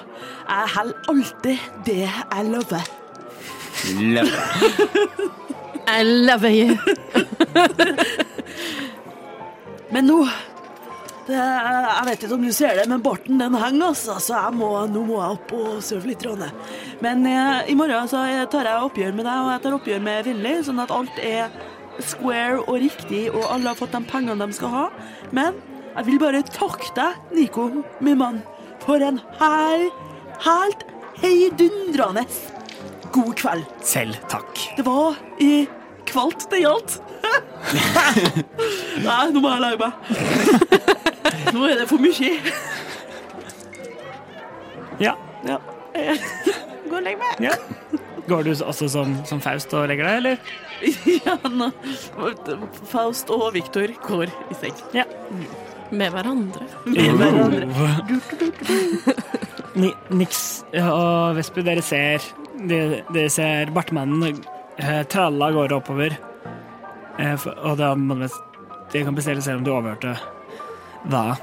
Speaker 5: Jeg holder alltid det jeg lover.
Speaker 7: I love you.
Speaker 5: Men nå det, Jeg vet ikke om du ser det, men barten den henger, altså. Så jeg må, nå må jeg opp og sove litt. Ronne. Men eh, i morgen så eh, tar jeg oppgjør med deg, og jeg tar oppgjør med Vinli, sånn at alt er square og riktig, og alle har fått de pengene de skal ha. Men jeg vil bare takke deg, Nico, min mann, for en hel, helt heidundrende god kveld.
Speaker 3: Selv takk.
Speaker 5: Det var i kvalt det gjaldt. Nei, nå må jeg lage meg. Nå er det for mye.
Speaker 3: Ja.
Speaker 5: Ja. Gå og legg meg.
Speaker 3: ja. Går du også som, som Faust og legger deg, eller?
Speaker 5: Ja, nå. Faust og Viktor går i seng.
Speaker 7: Med hverandre.
Speaker 5: Med hverandre.
Speaker 3: Ni- Nix og Vesper, dere ser Dere, dere ser bartemannen eh, tralla av gårde oppover. Eh, for- Og da må dere Dere kan bestille selv om du overhørte hva,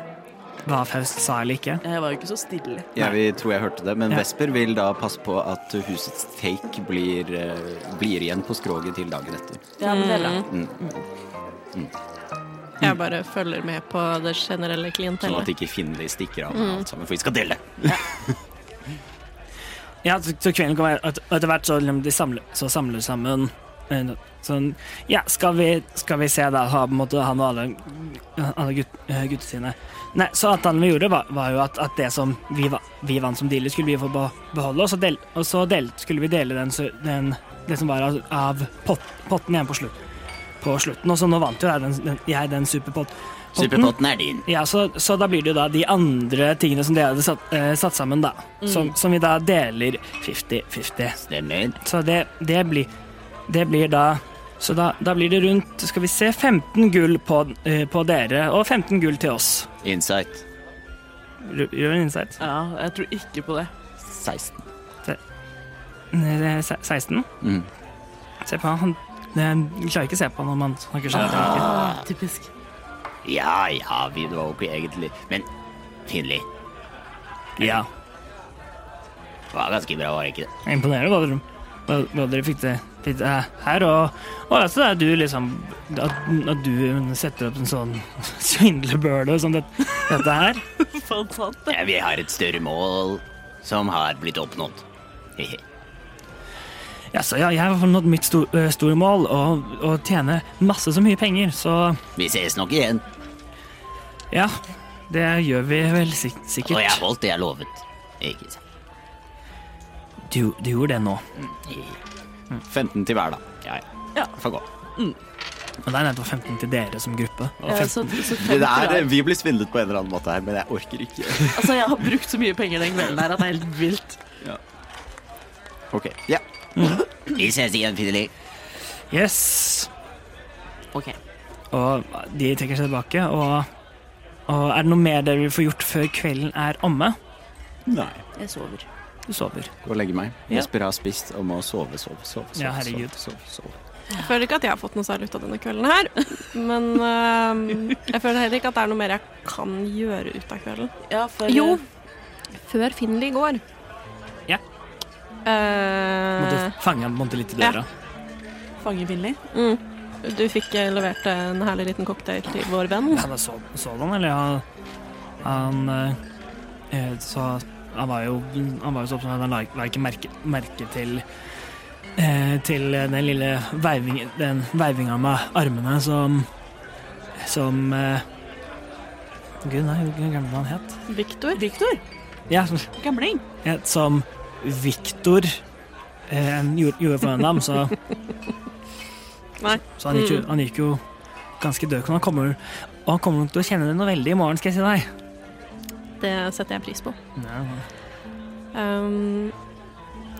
Speaker 3: hva Faust sa eller ikke.
Speaker 5: Jeg var jo ikke så stille.
Speaker 4: Jeg vil- tror jeg hørte det, men
Speaker 3: Ja.
Speaker 4: Vesper vil da passe på at husets take blir, eh, blir igjen på skroget til dagen etter.
Speaker 5: Ja, men vel, da.
Speaker 3: Mm.
Speaker 7: Jeg bare følger med på det generelle
Speaker 4: Sånn at
Speaker 7: klientellet.
Speaker 4: ikke Finli stikker av med alt sammen, for vi skal dele.
Speaker 3: Ja, så, så kvelden kommer og et- og etter hvert så, liksom, de samler, så samler de sammen eh, Sånn Ja, skal vi, skal vi se, da, ha, på en måte, han og alle, alle gutt, eh, gutta sine. Nei, så at han vi gjorde, var, var jo at, at det som vi, va- vi vant som dealer, skulle vi få be- beholde, og så, del, og så del, skulle vi dele den, sø- den, det som var av, av pott, potten igjen på, slutt, på slutten. Og så nå vant jo jeg den, den, jeg den superpott. potten.
Speaker 4: Superpotten er din.
Speaker 3: Ja, så, så da blir det jo da de andre tingene som dere hadde satt, eh, satt sammen, da. Som, som vi da deler 50-50.
Speaker 4: Stemmer.
Speaker 3: Så det, det blir Det blir da Så da, da blir det rundt, skal vi se, 15 gull på, eh, på dere og 15 gull til oss.
Speaker 4: Insight.
Speaker 3: Ru- Gjør en insight.
Speaker 5: Ja, jeg tror ikke på det.
Speaker 4: 16.
Speaker 3: Eh, se- 16.
Speaker 4: Mm.
Speaker 3: Se på han. Han eh, klarer ikke å se på han om han snakker sånn.
Speaker 5: typisk.
Speaker 4: Ja, ja, vi det var jo ikke egentlig Men Finli,
Speaker 3: Ja.
Speaker 4: det var ganske bra, var det ikke det?
Speaker 3: Imponerende hva dere, hva, hva dere fikk til fikk til her. Og, og altså, det er du liksom at, at du setter opp en sånn svindlebøle som det, dette her.
Speaker 5: Fantastisk.
Speaker 4: Ja, vi har et større mål som har blitt oppnådd. Hehe.
Speaker 3: Ja, så ja, jeg har i hvert fall nådd mitt sto, eh, store mål, og, og tjene masse så mye penger, så
Speaker 4: Vi ses nok igjen.
Speaker 3: ja. Det gjør vi vel sik
Speaker 4: Og jeg
Speaker 3: sikkert.
Speaker 4: holdt det jeg lovet. Ikke sant?
Speaker 3: Du, du gjorde det nå.
Speaker 4: Hehe. 15 til hver, da. Ja,
Speaker 5: Ja.
Speaker 4: Får gå.
Speaker 3: Og det er nettopp 15 til dere som gruppe. Og
Speaker 5: Ja,
Speaker 3: 15.
Speaker 5: så, så
Speaker 4: Det
Speaker 5: fem
Speaker 4: der,
Speaker 5: kroner.
Speaker 4: vi blir svindlet på en eller annen måte her, men jeg orker ikke.
Speaker 5: altså, jeg har brukt så mye penger den kvelden her at det er helt vilt.
Speaker 4: Ok, ja. Mm. Vi ses igjen, Finneli.
Speaker 3: Yes.
Speaker 5: Ok.
Speaker 3: Og de trekker seg tilbake, og, og er det noe mer dere vil få gjort før kvelden er omme?
Speaker 4: Nei.
Speaker 5: Jeg sover.
Speaker 3: Du sover.
Speaker 4: Gå og legge meg.
Speaker 3: Ja.
Speaker 4: Jesper har spist og må sove, sove, sove. sove
Speaker 3: Ja, herregud.
Speaker 4: Sove, sove, sove.
Speaker 7: Jeg føler ikke at jeg har fått noe særlig ut av denne kvelden her. Men eh, jeg føler heller ikke at det er noe mer jeg kan gjøre ut av kvelden.
Speaker 5: Ja, for
Speaker 7: Jo, før Finley går
Speaker 3: Ja. Måtte
Speaker 7: Eh,
Speaker 3: fange han på en måte litt i døra.
Speaker 5: Fange Vinli.
Speaker 7: mm, du fikk eh, levert en herlig liten cocktail til vår venn.
Speaker 3: Han var så, så han, eller han, han eh, så, han var jo Han var jo så opptatt av at han la la ikke merke, merke til eh, Til den lille veivingen Den veivinga med armene som Som eh, Gud, nei, jeg glemte hva han het.
Speaker 7: Victor.
Speaker 5: Viktor,
Speaker 3: Ja, som-
Speaker 5: gamling.
Speaker 3: ja, som Viktor eh, gjorde, gjorde for en dam, så
Speaker 7: Nei.
Speaker 3: Så han gikk, jo,
Speaker 7: Mm.
Speaker 3: han gikk jo ganske død. men Han kommer, og han kommer nok til å kjenne det noe veldig i morgen, skal jeg si deg.
Speaker 7: Det setter jeg pris på. Um,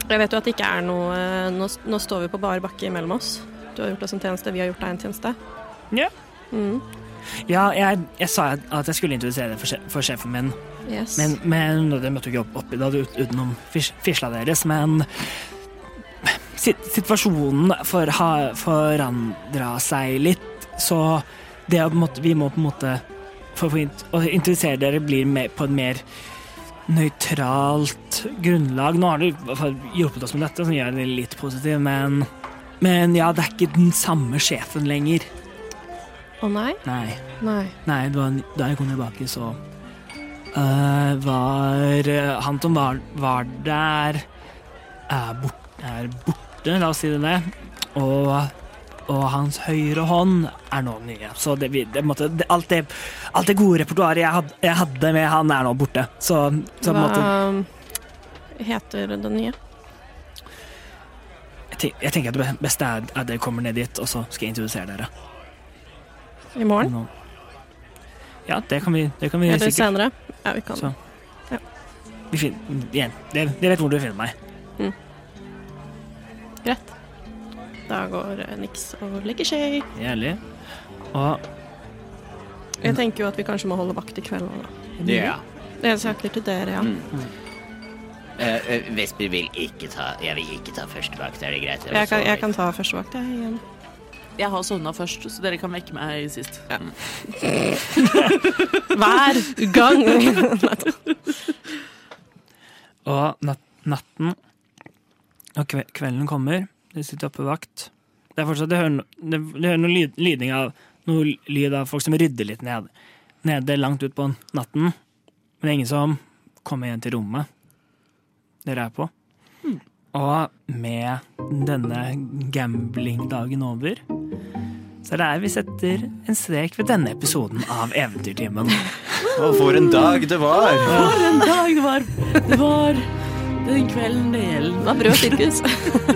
Speaker 7: jeg vet jo at det ikke er noe Nå, nå står vi på bar bakke imellom oss. Du har gjort oss en tjeneste, vi har gjort deg en tjeneste.
Speaker 3: Ja.
Speaker 7: Mm.
Speaker 3: Ja, jeg, jeg sa at jeg skulle introdusere det for, sje- for sjefen min,
Speaker 7: Yes.
Speaker 3: men, men det møtte jo ikke opp, opp i det ut- utenom fis- fisla deres. Men sit- situasjonen for, har forandra seg litt, så det å på en måte, vi må på en måte for å få int- å introdusere dere blir mer, på et mer nøytralt grunnlag. Nå har dere i hvert fall hjulpet oss med dette, som gjør det litt positiv, men, men ja, det er ikke den samme sjefen lenger.
Speaker 7: Å nei?
Speaker 3: Nei.
Speaker 7: Nei.
Speaker 3: Nei, da, da jeg kom tilbake, så eh, var eh, Han som var, var der, er, bort, er borte, la oss si det det. Og, og hans høyre hånd er nå den nye. Så det, vi- det, måtte, det, alt, det, alt det gode repertoaret jeg, had, jeg hadde med han, er nå borte. Så, så på en måte,
Speaker 7: Hva heter den nye?
Speaker 3: jeg, ten- jeg tenker at det beste er at dere kommer ned dit, og så skal jeg introdusere dere.
Speaker 7: I morgen?
Speaker 3: Nå. Ja, det kan vi, det kan vi
Speaker 7: Eller
Speaker 3: Mm. sikkert.
Speaker 7: senere? Ja, vi kan
Speaker 3: Så.
Speaker 7: Ja.
Speaker 3: Vi fin- igjen, dere, dere vet hvor dere finner meg.
Speaker 7: Da går eh, Nix og legger seg.
Speaker 3: Jævlig. Og Mm.
Speaker 7: Jeg tenker jo at vi kanskje må holde vakt i kveld òg, da.
Speaker 4: Ja.
Speaker 7: Det er saker til dere, ja.
Speaker 3: Mm.
Speaker 4: Eh, Vesper vil ikke ta Jeg vil ikke ta førstevakt, er det greit?
Speaker 7: Jeg kan, jeg kan ta førstevakt, jeg, igjen.
Speaker 5: Jeg har sovna først, så dere kan vekke meg sist.
Speaker 7: Hver gang!
Speaker 3: Og nat natten og kve kvelden kommer. De sitter oppe på vakt. Det er fortsatt, de hører, no de, de hører noe, lyd lydning av, noe lyd av folk som rydder litt ned, nede langt ut på natten. Men det er ingen som kommer igjen til rommet dere er på. Og med denne gamblingdagen over, så er det her vi setter en strek ved denne episoden av Eventyrtimen.
Speaker 4: Å, for en dag det var!
Speaker 5: For en dag det var! Det var den kvelden det gjelder.
Speaker 7: Det var brød og sirkus.